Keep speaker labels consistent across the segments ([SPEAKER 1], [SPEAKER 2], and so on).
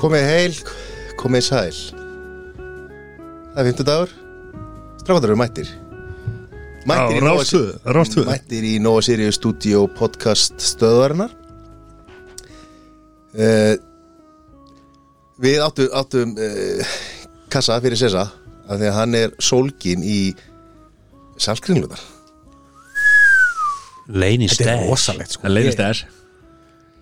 [SPEAKER 1] Komið heil, komið sæl Það er 50 dagur Strákandur eru mættir
[SPEAKER 2] Já,
[SPEAKER 1] Nóa-
[SPEAKER 2] rástuðu, rástuðu.
[SPEAKER 1] Mættir í Nóa Sirius Studio podcast stöðvarinnar uh, Við áttum, áttum uh, kassa fyrir Sessa af því að hann er sólgin í salkringlunar
[SPEAKER 3] Leini stæð
[SPEAKER 4] Þetta er rosalegt sko
[SPEAKER 2] Það leiðist þess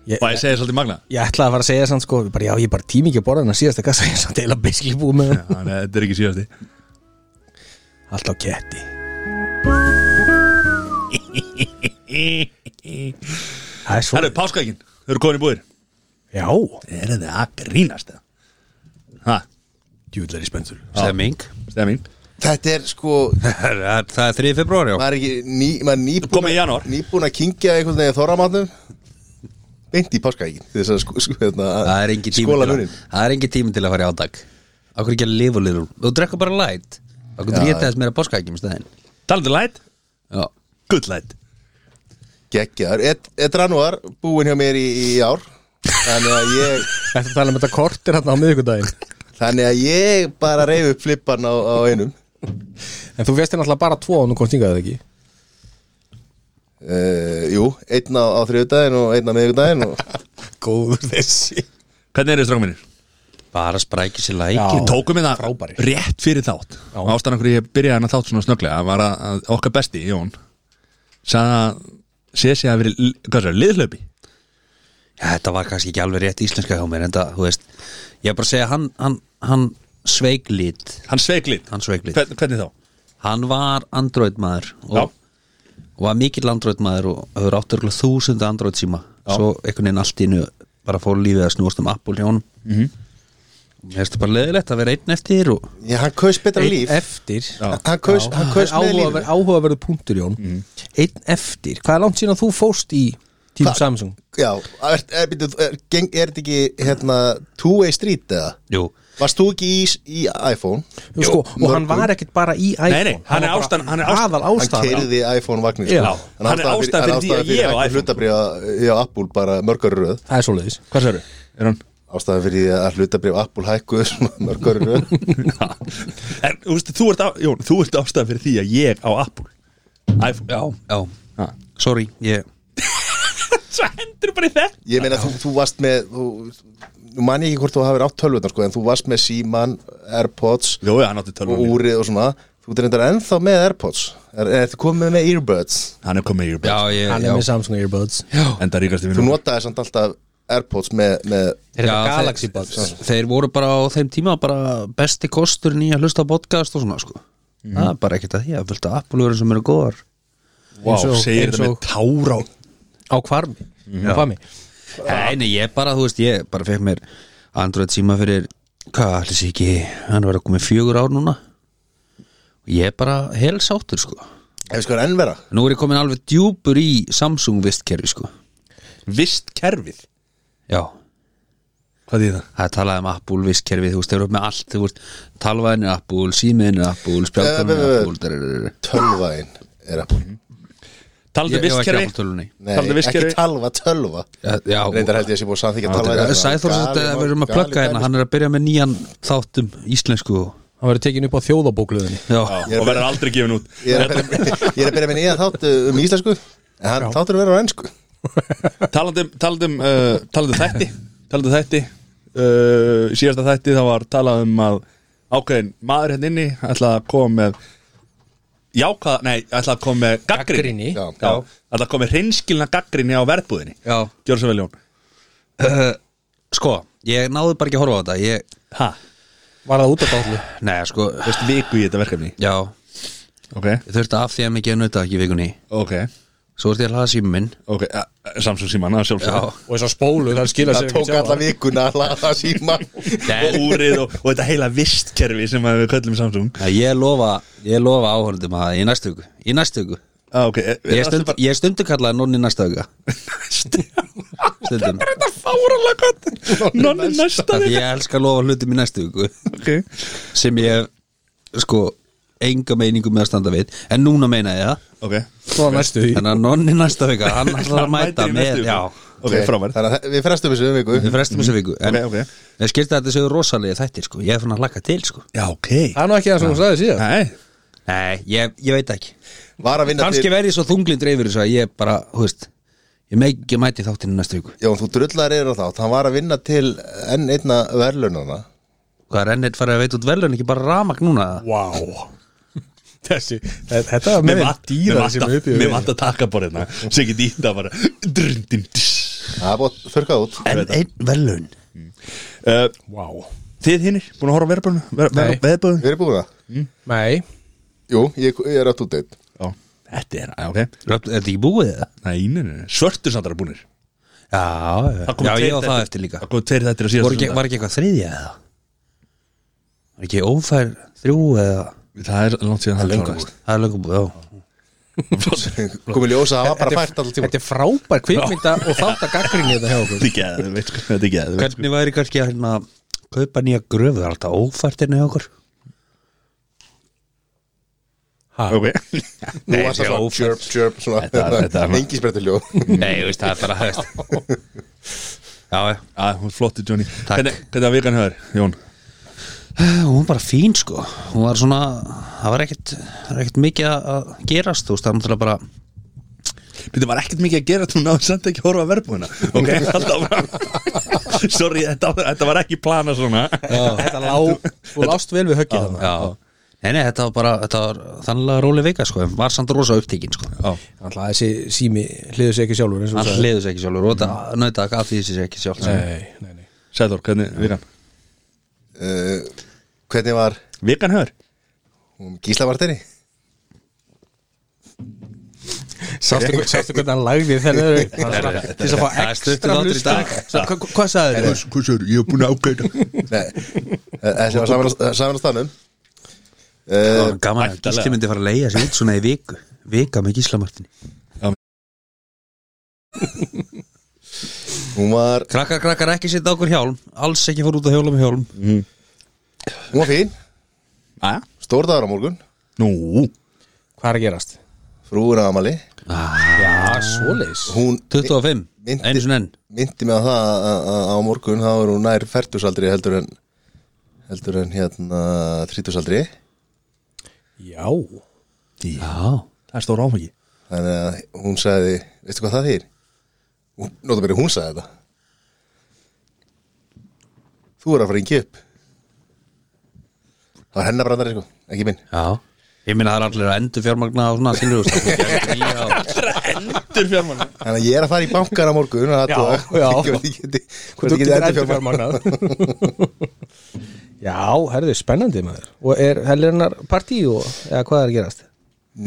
[SPEAKER 4] Ég,
[SPEAKER 2] Og ég
[SPEAKER 4] ég,
[SPEAKER 2] segi svolítið magna
[SPEAKER 4] ég ætlaði að fara að segja sann sko bara, Já, ég bara tími ekki að borða hennar síðasta kassa Ég er samt eila beisli búið með hann
[SPEAKER 2] Þannig að þetta er ekki síðasti
[SPEAKER 4] Allt á ketti Það er svo
[SPEAKER 2] Herru, páskaegin Þau eru komin í búðir
[SPEAKER 4] Já,
[SPEAKER 2] Er þetta að grínast það? Ha,
[SPEAKER 4] djúðlega í spensur
[SPEAKER 3] Stemming
[SPEAKER 2] stæða mín
[SPEAKER 1] Þetta er sko,
[SPEAKER 3] Það er- það er 3. februar, já
[SPEAKER 1] maður er ekki ný, maður er nýbúin
[SPEAKER 2] Komið í janúar.
[SPEAKER 1] Nýbúin að kingja einhvern veginn þorramatnum Beint í páskaækin Þess að sko, sko, hérna,
[SPEAKER 3] Það er engin tími
[SPEAKER 1] skóla
[SPEAKER 3] til að
[SPEAKER 1] munin
[SPEAKER 3] Það er engin tími til að fara í átak Akkur ekki að lifa liður Þú drekka bara light Akkur
[SPEAKER 1] Já,
[SPEAKER 3] geta þess meira páskaækjum stæðin
[SPEAKER 2] Talandi light,
[SPEAKER 3] Já
[SPEAKER 2] good light
[SPEAKER 1] Gekkjaður, er dranuar búin hjá mér í, í ár Þannig að ég
[SPEAKER 4] Þetta tala um þetta kortir hérna á miðvikudaginn
[SPEAKER 1] Þannig að ég bara reyf upp flippan á, á einum
[SPEAKER 4] En þú veist hérna alltaf bara tvo og nú komst hingað eða ekki
[SPEAKER 1] uh, Jú, einn á, á þriðudaginn og einn á miðvikudaginn og
[SPEAKER 4] Góður þessi
[SPEAKER 2] Hvernig er þið strákum mínir?
[SPEAKER 3] Bara sprækja sér
[SPEAKER 4] Já.
[SPEAKER 3] lækin
[SPEAKER 2] Við tókum við það
[SPEAKER 4] frábærir.
[SPEAKER 2] rétt fyrir þátt Og ástæðan okkur ég byrjaði hann að þátt svona snögglega Var að, að okkar besti, Jón Sæða að Sessi að verið, hvað sér, liðlöpi
[SPEAKER 3] Þetta var kannski ekki alveg rétt íslenska hjá mér En það, þú veist Ég er bara að segja, hann, hann, hann sveik lit
[SPEAKER 2] Hann sveik lit
[SPEAKER 3] Hann sveik lit.
[SPEAKER 2] Hvern, Hvernig þá?
[SPEAKER 3] Hann var Android maður
[SPEAKER 2] Já.
[SPEAKER 3] og, og var mikill Android maður og hefur átt örgulega þúsund Android síma
[SPEAKER 2] Já.
[SPEAKER 3] Svo einhvern veginn allt í innu bara fór lífið að snúast um Apple hjá honum mm
[SPEAKER 2] Mhm.
[SPEAKER 3] -hmm. Mér finnst bara leðilegt að vera einn eftir og
[SPEAKER 1] Já, hann kaus betra líf
[SPEAKER 4] eftir
[SPEAKER 1] Hann kaus, hann kaus með líf
[SPEAKER 4] áhugaverð, áhugaverðu punktur Jón
[SPEAKER 3] Mm.
[SPEAKER 4] Einn eftir, hvað er langt síðan þú fóst í tím
[SPEAKER 1] Hva-
[SPEAKER 4] Samsung?
[SPEAKER 1] Já, er, er, er, er, geng- er þetta ekki hérna, two-way street eða?
[SPEAKER 3] Jú,
[SPEAKER 1] Varst þú ekki í, í iPhone?
[SPEAKER 4] Jú, sko, og hann var ekkert bara í iPhone
[SPEAKER 2] Nei, nei, hann er
[SPEAKER 4] var bara
[SPEAKER 2] ástæðan- hann er ástæðan-
[SPEAKER 4] aðal
[SPEAKER 1] hann
[SPEAKER 4] ástæðan
[SPEAKER 1] keiriði iPhone sko. vagnir
[SPEAKER 4] Já.
[SPEAKER 2] Hann er ástæðan fyrir því að ég er á iPhone.
[SPEAKER 1] hlutabrið hjá Apple bara mörgar í röð
[SPEAKER 4] Það er svoleiðis, hvað sér þau?
[SPEAKER 2] Er hann?
[SPEAKER 1] ástæðan fyrir því að hlutabrið Apple hækkuð svona mörgar í röð
[SPEAKER 2] Já. en þú veist, þú ert, á, Jón, þú ert ástæðan fyrir því að ég á Apple iPhone, já
[SPEAKER 3] já,
[SPEAKER 2] Ha.
[SPEAKER 3] sorry ég,
[SPEAKER 2] Svo hendur bara í þetta
[SPEAKER 1] ég meina þú, þú varst með þú, nú man ég ekki hvort þú hafið átt tölvunar sko, en þú varst með Seaman, Airpods
[SPEAKER 2] Jó, já, hann átti
[SPEAKER 1] og
[SPEAKER 2] tölvun
[SPEAKER 1] úrið og svona þú reyndar ennþá með Airpods er, er þetta komið með Earbuds
[SPEAKER 2] Hann er komið í Europe
[SPEAKER 3] já, ég,
[SPEAKER 4] Hann
[SPEAKER 3] já.
[SPEAKER 4] er með Samsung Earbuds
[SPEAKER 2] En það ríkast yfir
[SPEAKER 1] þú notaði samt alltaf Airpods með, með
[SPEAKER 4] Er þetta
[SPEAKER 3] Já,
[SPEAKER 4] Galaxy
[SPEAKER 3] þeir-
[SPEAKER 4] Buds?
[SPEAKER 3] Þeir voru bara á þeim tíma bara besti kostur nýja hlusta á podcast og svona sko
[SPEAKER 4] Mhm.
[SPEAKER 3] Það er bara ekkert að því að fylgta Apple-verðin sem eru góðar
[SPEAKER 2] Vá,
[SPEAKER 4] eins og-
[SPEAKER 2] segir
[SPEAKER 4] eins
[SPEAKER 2] þetta með
[SPEAKER 4] og-
[SPEAKER 2] tárá
[SPEAKER 4] Á hvarmi, á hvarmi
[SPEAKER 3] Mhm. Nei, nei, ég bara, þú veist, ég bara fekk mér Android síma fyrir, hvað allir sé ekki hann var að koma fjögur ár núna og ég er bara helsáttur sko,
[SPEAKER 1] ef við sko er ennvera
[SPEAKER 3] nú er ég komin alveg djúpur í Samsung vistkerfi sko
[SPEAKER 2] Vist kerfið
[SPEAKER 3] já,
[SPEAKER 2] Hvað er það?
[SPEAKER 3] það er talað um Apple vistkerfi, þú veist, þeir eru upp með allt þú veist, talvæðin er Apple, símiðin er Apple spjálkunum er
[SPEAKER 1] Eh, eh, eh.
[SPEAKER 3] Apple dar, dar, dar.
[SPEAKER 1] tölvaðin er Apple
[SPEAKER 2] Talandi
[SPEAKER 3] ég, ég var ekki
[SPEAKER 2] vistkerfi
[SPEAKER 3] Apple tölunni
[SPEAKER 1] Nei,
[SPEAKER 2] Talandi
[SPEAKER 1] ekki
[SPEAKER 2] vistkerfi
[SPEAKER 1] talva, tölva
[SPEAKER 3] Já, já.
[SPEAKER 1] reyndar held ég að sé búið að hérna. samþykja talva
[SPEAKER 3] Sæþór, þetta er verið um að plugga hérna hann er að byrja með nýjan þáttum íslensku og-
[SPEAKER 4] Hann verður tekin upp á þjóðabókluðinni
[SPEAKER 3] já,
[SPEAKER 2] Og verður aldrei gefin út
[SPEAKER 1] Ég er að byrja, ég er að byrja með nýja þátt uh, um íslensku En hann þáttur verður á ennsku
[SPEAKER 2] Talandum, talandum, uh, talandum þætti Talandum þætti uh, í Síðasta þætti þá var talað um að Ákveðin maður hérna inni ætla að koma með Jákvað, nei, ætla að koma með gaggrinni
[SPEAKER 4] Gagnrýni.
[SPEAKER 1] Já.
[SPEAKER 2] Já, ætla að koma með hreinskilna gaggrinni á verðbúðinni
[SPEAKER 3] já.
[SPEAKER 2] Gjörðu svo vel Jón
[SPEAKER 3] sko, ég náði bara ekki að horfa á þetta ég,
[SPEAKER 2] Ha,
[SPEAKER 4] Var það út af dállu?
[SPEAKER 3] Nei, sko,
[SPEAKER 2] veist viku í þetta verkefni
[SPEAKER 3] já
[SPEAKER 2] Ok,
[SPEAKER 3] Ég þurfti af því að mikið að nauta ekki í vikunni
[SPEAKER 2] ok,
[SPEAKER 3] Svo ertu ég að hlaða símum minn
[SPEAKER 2] ok eh, Samsung síman, það er sjálfsög
[SPEAKER 4] Og þess að spólu, það skilja
[SPEAKER 1] Það
[SPEAKER 4] sér
[SPEAKER 1] tók alla vikuna að laða síma
[SPEAKER 2] og úrið og, og þetta heila vistkerfi sem að við köllum Samsung
[SPEAKER 3] Nei, Ég lofa, ég lofa áhörndum að í næstu viku Í næstu viku
[SPEAKER 2] ah, okay. eh,
[SPEAKER 3] Ég, stund, ég stundu kallaði nonni næsta vika Stundum
[SPEAKER 2] Þetta er fáralega gott Nonni næsta
[SPEAKER 3] Því ég elska að lofa hlutum í næstu viku
[SPEAKER 2] okay.
[SPEAKER 3] Sem ég, sko, enga meiningu með að standa við En núna meina ég það
[SPEAKER 2] ok
[SPEAKER 4] Svo næstu því
[SPEAKER 3] Þannig að nonni næsta vika, hann ætlar að
[SPEAKER 2] Hann mætir
[SPEAKER 3] mæta
[SPEAKER 2] í næstu
[SPEAKER 3] með
[SPEAKER 2] viku.
[SPEAKER 3] Já,
[SPEAKER 2] ok, frábær
[SPEAKER 1] Þannig að þa- við frestum þessu um viku
[SPEAKER 3] Við frestum þessu viku En
[SPEAKER 2] Ok, ok.
[SPEAKER 3] ég skilst að þetta séu rosalegi þættir sko Ég er fann að hlakka til sko
[SPEAKER 2] Já, ok
[SPEAKER 4] Það er nú ekki það sem hún sagði síðan
[SPEAKER 2] Nei,
[SPEAKER 3] Nei, ég, ég veit ekki
[SPEAKER 1] Var að vinna
[SPEAKER 3] Kanski
[SPEAKER 1] til
[SPEAKER 3] verði ég svo þunglindur yfir þessu að ég bara, hú veist Ég með ekki mæti þáttinu næstu viku
[SPEAKER 1] Jón, þú drullar yfir á þátt Hann var að vinna til enn einna verðlunana
[SPEAKER 3] Hvað er ennett farið að veita út velun ekki bara ramak núna
[SPEAKER 4] Vá Þessi, þetta var með
[SPEAKER 2] mér
[SPEAKER 4] þeim dýra sem við uppi
[SPEAKER 2] Mér vant að taka bara hérna Sér ekki dýta bara Drundin uh,
[SPEAKER 1] Það er búið að þurrka út
[SPEAKER 3] En einn velun
[SPEAKER 4] Vá
[SPEAKER 2] Mm. Eh, Þið hinir, búin að horfa
[SPEAKER 4] Nei.
[SPEAKER 2] verðböðun Verðböðun
[SPEAKER 1] Við erum búin að
[SPEAKER 4] Nei
[SPEAKER 1] Jú, ég, ég er að þú deitt
[SPEAKER 2] Þetta er, já, ok
[SPEAKER 3] Er þetta ekki búið það?
[SPEAKER 2] Nei, nei, nei, nei. svörtu samt er búinir
[SPEAKER 3] Já, já, já ég á það eftir líka
[SPEAKER 2] Það komið tveir þættir að
[SPEAKER 3] Voru ekki,
[SPEAKER 2] síðast um
[SPEAKER 3] Var ekki eitthvað þriðja eða? Var ekki ófær þrjú eða
[SPEAKER 2] Það er langt síðan það
[SPEAKER 3] Það er lögum búið, já
[SPEAKER 2] klárast.
[SPEAKER 1] Komið ljósa, það var bara fært alltaf tíma
[SPEAKER 4] Þetta er frábær kvikmynda og þátt að gaggrinni þetta hjá okkur
[SPEAKER 2] Þetta er geðveikt, sko. Þetta er geðveikt, sko.
[SPEAKER 3] Hvernig væri kannski að hérna kaupa nýja gröfu, það er alltaf ófært hérna hjá okkur
[SPEAKER 2] Ok.
[SPEAKER 1] Nú var það svona chirp, chirp
[SPEAKER 2] Þetta- þetta-
[SPEAKER 1] Svona, engi sprettu ljó
[SPEAKER 3] Nei, veist, það er bara hægt Já, já,
[SPEAKER 2] Já, hún er flotti Johnny
[SPEAKER 3] Takk.
[SPEAKER 2] Hvernig hvernig að vikan höfður, Jón?
[SPEAKER 3] hún var bara fín sko Hún var svona, það var ekkert, það var ekkert mikið að gerast, þú veist, það er náttúrulega bara
[SPEAKER 2] Þetta var ekkert mikið að gera þú náðu samt ekki að horfa að verðbúina Ok, alltaf Sorry, þetta, þetta var ekki plana svona
[SPEAKER 4] Þetta lá Þú lást vel við höggið þarna
[SPEAKER 3] Já, nei, nei, þetta var bara, þetta var þannlega róli veika sko, en var samt rosa upptíkin sko
[SPEAKER 2] Já,
[SPEAKER 4] Þannig að þessi sími hliður sér ekki sjálfur eins og
[SPEAKER 3] Hann
[SPEAKER 4] þú sagðir.
[SPEAKER 3] hliður sér ekki sjálfur og þetta nöðið að því sér ekki sjálf
[SPEAKER 4] Nei, nei, nei
[SPEAKER 2] Sæður, hvernig vikan?
[SPEAKER 1] uh, Hvernig var
[SPEAKER 2] Vikan höfður?
[SPEAKER 1] um, Gísla Martini?
[SPEAKER 4] Sástu hvern- sástu hvernig hann lagði þennan upp? Hann svona- til þess að fá
[SPEAKER 3] Það er stuttur
[SPEAKER 4] ekstra
[SPEAKER 3] þáttur í
[SPEAKER 4] hlusta
[SPEAKER 3] dag.
[SPEAKER 4] Svo, hva- hva- Hvað sagði þér?
[SPEAKER 2] Hvað sér, ég hef búin að ágæta
[SPEAKER 1] Nei, þessi Eh, var saman á- saman á stannum uh,
[SPEAKER 3] Gaman Eh, að
[SPEAKER 2] Ættalega.
[SPEAKER 3] Gísli myndi fara að leiða sér út svona í viku Vika með Gíslamartin
[SPEAKER 1] Hún var,
[SPEAKER 3] Krakkar, krakkar, ekki setja okkur hjálm Alls ekki fór út að hjóla með hjálm
[SPEAKER 1] hún var fín
[SPEAKER 2] Æja,
[SPEAKER 1] Stór dagur á morgun
[SPEAKER 2] nú
[SPEAKER 4] Hvað er að gerast?
[SPEAKER 1] Frúur á Amali
[SPEAKER 4] Já, svoleiðis
[SPEAKER 1] Hún
[SPEAKER 3] 25,
[SPEAKER 1] Myndi-
[SPEAKER 3] einu sinni enn
[SPEAKER 1] myndi mig á það að- að- að á morgun þá er hún nær færtusaldri heldur en heldur en hérna þrítusaldri
[SPEAKER 4] Já
[SPEAKER 3] Já,
[SPEAKER 2] Það er stór áfengi
[SPEAKER 1] þannig að hún sagði, veistu hvað það þýr? Nóta mér hún sagði þetta Þú er að fara yngi upp Það var hennar brandari sko, ekki minn
[SPEAKER 3] já Ég meina það er allir að endur fjármagna og svona skilur þú veist.
[SPEAKER 2] Þetta er fjármann
[SPEAKER 1] Þannig að ég er að fara í bankar á morgun og
[SPEAKER 4] Já,
[SPEAKER 1] athuga
[SPEAKER 4] já.
[SPEAKER 1] Hvort ég geti, hvort
[SPEAKER 4] Þú
[SPEAKER 1] ég geti
[SPEAKER 4] getur
[SPEAKER 1] endur
[SPEAKER 4] endur fjármagnað Já, herðu, spennandi maður Og er helgarinnar partí og eða hvað er að gerast?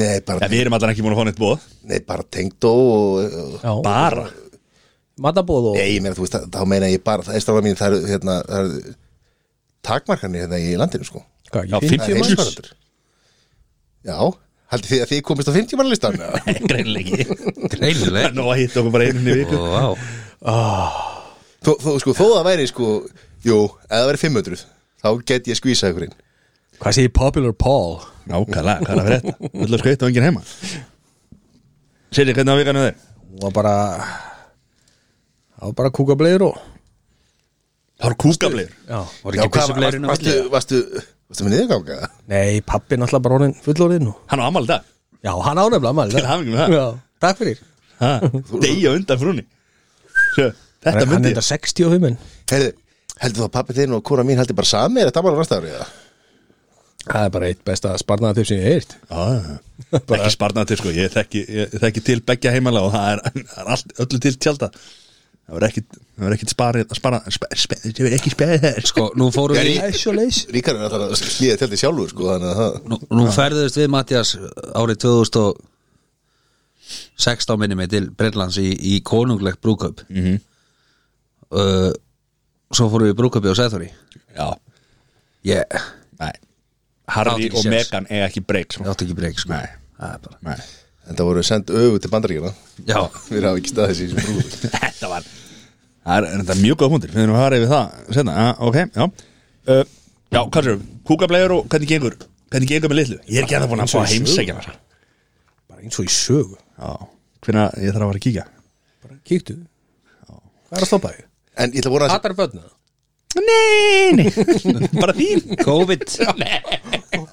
[SPEAKER 1] Nei, bara,
[SPEAKER 2] Við erum allan ekki búin að fá neitt bóð
[SPEAKER 1] nei, bara tengd og, og
[SPEAKER 4] Já,
[SPEAKER 2] Bara
[SPEAKER 4] matabóð og
[SPEAKER 1] Nei, ég meina, þú veist, það- þá meina ég bara, það er stráða mín, það eru, hérna, það eru takmarkanir hérna í landinu, sko.
[SPEAKER 4] hvað,
[SPEAKER 2] Já,
[SPEAKER 4] ekki 50
[SPEAKER 1] Það er
[SPEAKER 2] manns?
[SPEAKER 1] heimsfaraldur. Já, haldið þið að þið komist á 50 manna listan?
[SPEAKER 2] Greinleiki
[SPEAKER 3] Greinileg
[SPEAKER 2] Nú að hitta okkur bara einu í viku
[SPEAKER 3] Ó, vá.
[SPEAKER 1] þó, þó, sko, þó það væri, sko, jú, ef það væri 500, þá get ég skvísað ykkur inn.
[SPEAKER 4] Hvað segir Popular Paul?
[SPEAKER 2] Nákvæmlega, hvað er að frétta? Öllu skreitt og enginn heima Sérri, hvernig að vikan höfður?
[SPEAKER 4] Hún var bara Það var bara kúkableiður og
[SPEAKER 2] Það eru kúkablir
[SPEAKER 4] Já
[SPEAKER 3] Voru ekki byssubleirinu
[SPEAKER 1] varstu, varstu, varstu, varstu með niðurganga?
[SPEAKER 4] Nei, pappi náttúrulega bara orðin fullorðin og
[SPEAKER 2] Hann á amal dag
[SPEAKER 4] Já, hann ánefnilega maður
[SPEAKER 2] Til hamingju með það.
[SPEAKER 4] Já, takk fyrir
[SPEAKER 2] Ha, Deyja undan frúni Sjö, Þetta
[SPEAKER 4] Hann- Hann
[SPEAKER 2] myndi
[SPEAKER 4] er
[SPEAKER 2] ég
[SPEAKER 4] þetta 65 en
[SPEAKER 1] Heyrðu, heldur þú að pappi þinn og kora mín heldur bara sami, er þetta bara næsta ári, eða?
[SPEAKER 4] Það er bara eitt besta sparnaða sem ég heirt
[SPEAKER 2] Ah, Ekki sparnað til sko Ég þekki, ég þekki til beggja heimala og það er, það er allt, öllu til tjálta Það verður ekkit, það verður ekkit sparið spara, spe, spe, Það verður ekki sparið þær
[SPEAKER 3] Sko, nú fórum við
[SPEAKER 4] Það er svo leys
[SPEAKER 1] Ríkar er alltaf að hlýða til því sjálfur, sko, þannig að það...
[SPEAKER 3] Nú, nú ferðuðist við Mattias árið 2016 minni mig til Breitlands í, í konungleg brúköp mm
[SPEAKER 2] Mhm.
[SPEAKER 3] -hmm. uh, Svo fórum við í brúköpi á Sæþóri
[SPEAKER 2] Já,
[SPEAKER 3] Ég
[SPEAKER 2] nei
[SPEAKER 3] Það
[SPEAKER 2] Harry
[SPEAKER 3] átti ekki
[SPEAKER 2] og
[SPEAKER 3] séns.
[SPEAKER 2] Megan eiga ekki breyk sko.
[SPEAKER 3] átti ekki breyk sko.
[SPEAKER 2] Nei.
[SPEAKER 3] Það er bara-
[SPEAKER 2] Nei.
[SPEAKER 1] En það voru sendt öfu til bandaríkjana.
[SPEAKER 3] Já,
[SPEAKER 1] Við hafa ekki staðið sér sem brúður.
[SPEAKER 2] Þetta var Það er, þetta er mjög góð hundir, við erum að fara yfir það Senna, ja, ok, já uh, Já, hvað sér, kúkablegur og hvernig gengur Hvernig gengur með litlu? Ég er ekki að það búin að fá að heimsækja hann
[SPEAKER 4] Bara eins og í sögu
[SPEAKER 2] Já, hvernig ég þarf að fara að kíkja
[SPEAKER 4] Bara kíktu
[SPEAKER 2] Já,
[SPEAKER 4] Hvað er að stoppa því?
[SPEAKER 1] En ég ætla voru að
[SPEAKER 4] Hattar börna
[SPEAKER 2] Nei, nei, bara þín
[SPEAKER 3] COVID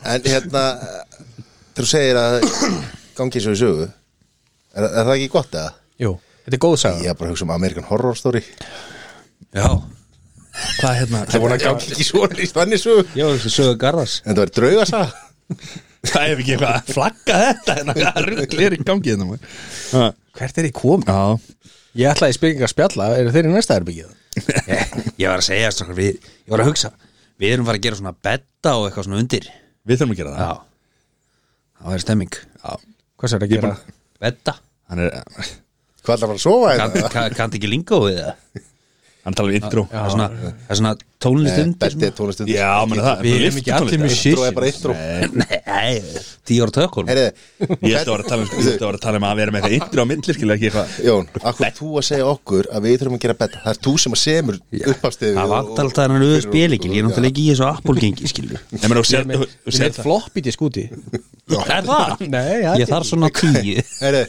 [SPEAKER 1] En hérna Þegar þú segir að gangi eins og í sögu Er, er það ekki gott eða?
[SPEAKER 4] Jú, þetta er góð saga
[SPEAKER 1] Ég er bara að hugsa um American Horror Story
[SPEAKER 3] Já,
[SPEAKER 2] Hvað er hérna?
[SPEAKER 1] Það voru að gangi ekki svona í stanni sögu
[SPEAKER 3] ég var þessi sögur garðas
[SPEAKER 1] En það var drauga sá
[SPEAKER 2] Það er ekki eitthvað að flagga þetta hérna, Hvað rugl er í gangi hérna maður? Ha,
[SPEAKER 4] Hvert er ég komið?
[SPEAKER 2] Já,
[SPEAKER 4] Ég ætlaði í spekinga spjalla, eru þeir í næsta erbyggið?
[SPEAKER 3] Eh, Ég var að segja strókar, við, ég var að hugsa Við erum fara að gera svona betta og eitthvað svona undir Já,
[SPEAKER 2] við þurfum að gera það
[SPEAKER 3] það er stemming
[SPEAKER 2] Já,
[SPEAKER 4] Hvað sér að gera?
[SPEAKER 3] Betta
[SPEAKER 2] hann er
[SPEAKER 1] Hvað ætla bara að sofa
[SPEAKER 3] Kannti
[SPEAKER 1] hérna?
[SPEAKER 3] kann, kann ekki lingó við það
[SPEAKER 2] Hann talar um intro
[SPEAKER 3] Það er svona, það er svona
[SPEAKER 2] Eh,
[SPEAKER 3] tónlist
[SPEAKER 1] Nei,
[SPEAKER 3] undir
[SPEAKER 1] Bettið
[SPEAKER 3] svona.
[SPEAKER 1] Eh, er tónlistund
[SPEAKER 2] Já, menn það
[SPEAKER 4] Við erum ekki allir með
[SPEAKER 1] Intro er bara
[SPEAKER 4] shit
[SPEAKER 1] intro
[SPEAKER 2] eh.
[SPEAKER 3] Nei, tíu ára tökul
[SPEAKER 1] Heyriði
[SPEAKER 2] Ég ætti að vera að tala um, ég ætti að vera að tala um að vera með eitthvað intro á myndli skilja ekki eitthvað
[SPEAKER 1] Jón, akkur þú að segja okkur að við þurfum að gera betta Það er þú sem að semur uppafstöðu
[SPEAKER 3] Það vant alltaf hennar auðvitað spilíkil Ég er náttúrulega ekki í þessu appulgengi, skilur
[SPEAKER 2] Nei, menn, og sér,
[SPEAKER 4] Ég
[SPEAKER 2] og sér
[SPEAKER 4] með floppy disk úti
[SPEAKER 3] Það er það
[SPEAKER 4] Nei, það
[SPEAKER 3] Ég þarf svona tíu
[SPEAKER 1] Heyriði,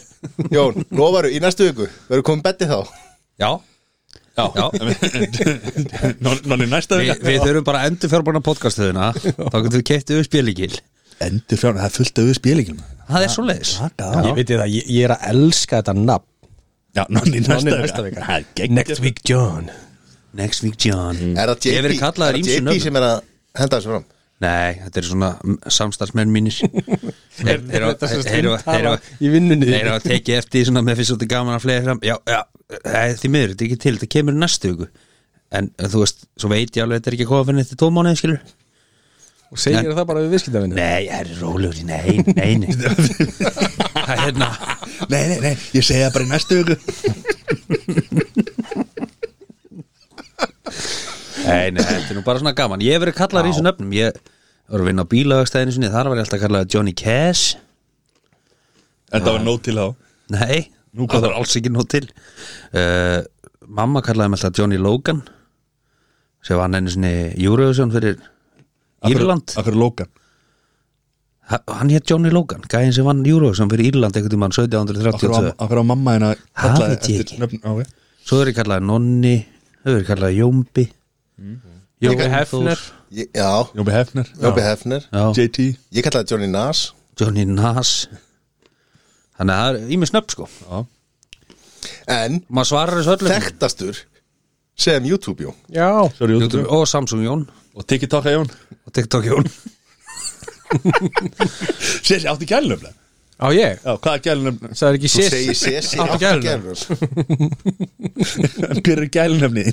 [SPEAKER 1] Jón, lofaru í næstu viku Verður komið bettið þá
[SPEAKER 3] Já,
[SPEAKER 2] Já,
[SPEAKER 3] Já.
[SPEAKER 2] Nón- Nonni næsta
[SPEAKER 3] Vi,
[SPEAKER 2] vika
[SPEAKER 3] við þurfum bara að endur fjárbarna podcastöðuna Þá getum við keitt auðvitað spilíkil
[SPEAKER 2] Endur fjárna, það er fullt af spilíkjum
[SPEAKER 3] Það er svo leiðis
[SPEAKER 4] Ég veit það, ég, ég er að elska þetta nafn
[SPEAKER 2] Já, nonni
[SPEAKER 4] Nonni
[SPEAKER 2] næsta
[SPEAKER 4] næsta vika.
[SPEAKER 2] Það er gegn
[SPEAKER 4] Next week John
[SPEAKER 3] Next week John
[SPEAKER 1] Er það
[SPEAKER 3] Ég hef
[SPEAKER 1] JP,
[SPEAKER 3] verið
[SPEAKER 1] er
[SPEAKER 3] kallaður
[SPEAKER 1] það
[SPEAKER 3] ýmsu
[SPEAKER 1] JP
[SPEAKER 3] nöfnum
[SPEAKER 1] sem er að henda þessu fram
[SPEAKER 3] Nei, þetta er svona mm, samstarfsmenn mínir Þeir þeir eru
[SPEAKER 4] Þetta sem
[SPEAKER 3] þeir eru- þeir
[SPEAKER 4] stundtala
[SPEAKER 3] eru-
[SPEAKER 4] í vinnunni
[SPEAKER 3] þeir eru að tekið eftir því svona með fyrst svolítið gaman að flega fram Já, já, nei, því miður, þetta er ekki til, þetta kemur í næstu viku En en þú veist, svo veit ég alveg að þetta er ekki að koma fyrir þetta tómánuði, skilur
[SPEAKER 4] Og segir það bara við viðskiptafinni
[SPEAKER 3] Nei, það er rólegur, nei, nei, nei Það er hérna
[SPEAKER 2] Nei, nei, nei, ég segja bara í næstu viku
[SPEAKER 3] Nei, nei, þetta er nú bara svona gaman Ég hef verið kallar í þessu nöfnum Ég var að vinna á bílavegstæðinu sinni Þar var ég alltaf kallað Johnny Cash
[SPEAKER 2] Þetta var nót til þá
[SPEAKER 3] Nei,
[SPEAKER 2] Nú
[SPEAKER 3] nú
[SPEAKER 2] hvað?
[SPEAKER 3] það var alls ekki nóg til uh, Mamma kallaði mig alltaf Johnny Logan sem var hann einu sinni Eurovision fyrir Írland
[SPEAKER 2] Akkur lókan
[SPEAKER 3] Ha- Hann hétt Johnny Logan, gæðin sem vann Eurovision fyrir Írland einhvern tímann 1732
[SPEAKER 2] Akkur á mamma hennar
[SPEAKER 3] Það veit ég ekki. Svo er ég kallaði Nonni Þau eru kallaði Jómbi Jómbi Hefner
[SPEAKER 1] Ég- Já,
[SPEAKER 2] Jóbi Hefner
[SPEAKER 1] Jóbi Hefner
[SPEAKER 3] Já,
[SPEAKER 2] JT
[SPEAKER 1] Ég kallaði Johnny Nas
[SPEAKER 3] Johnny Nas Þannig að það er í mig snöpp sko
[SPEAKER 2] Já
[SPEAKER 1] En
[SPEAKER 3] Maður svarar þessu öllum
[SPEAKER 1] þekktastur sem YouTube Jón
[SPEAKER 4] Já
[SPEAKER 2] Sorry,
[SPEAKER 3] YouTube
[SPEAKER 2] YouTube
[SPEAKER 3] og Samsung Jón
[SPEAKER 2] Og TikTok að Jón
[SPEAKER 3] og TikTok Jón
[SPEAKER 2] Sér sér átti gælunöfna
[SPEAKER 4] Á ég
[SPEAKER 2] Já, hvað er gælunöfna?
[SPEAKER 4] Það er ekki
[SPEAKER 1] Þú
[SPEAKER 4] sér
[SPEAKER 1] segir Sesi
[SPEAKER 4] Áttu gælunöfn.
[SPEAKER 2] Hver er gælunöfni?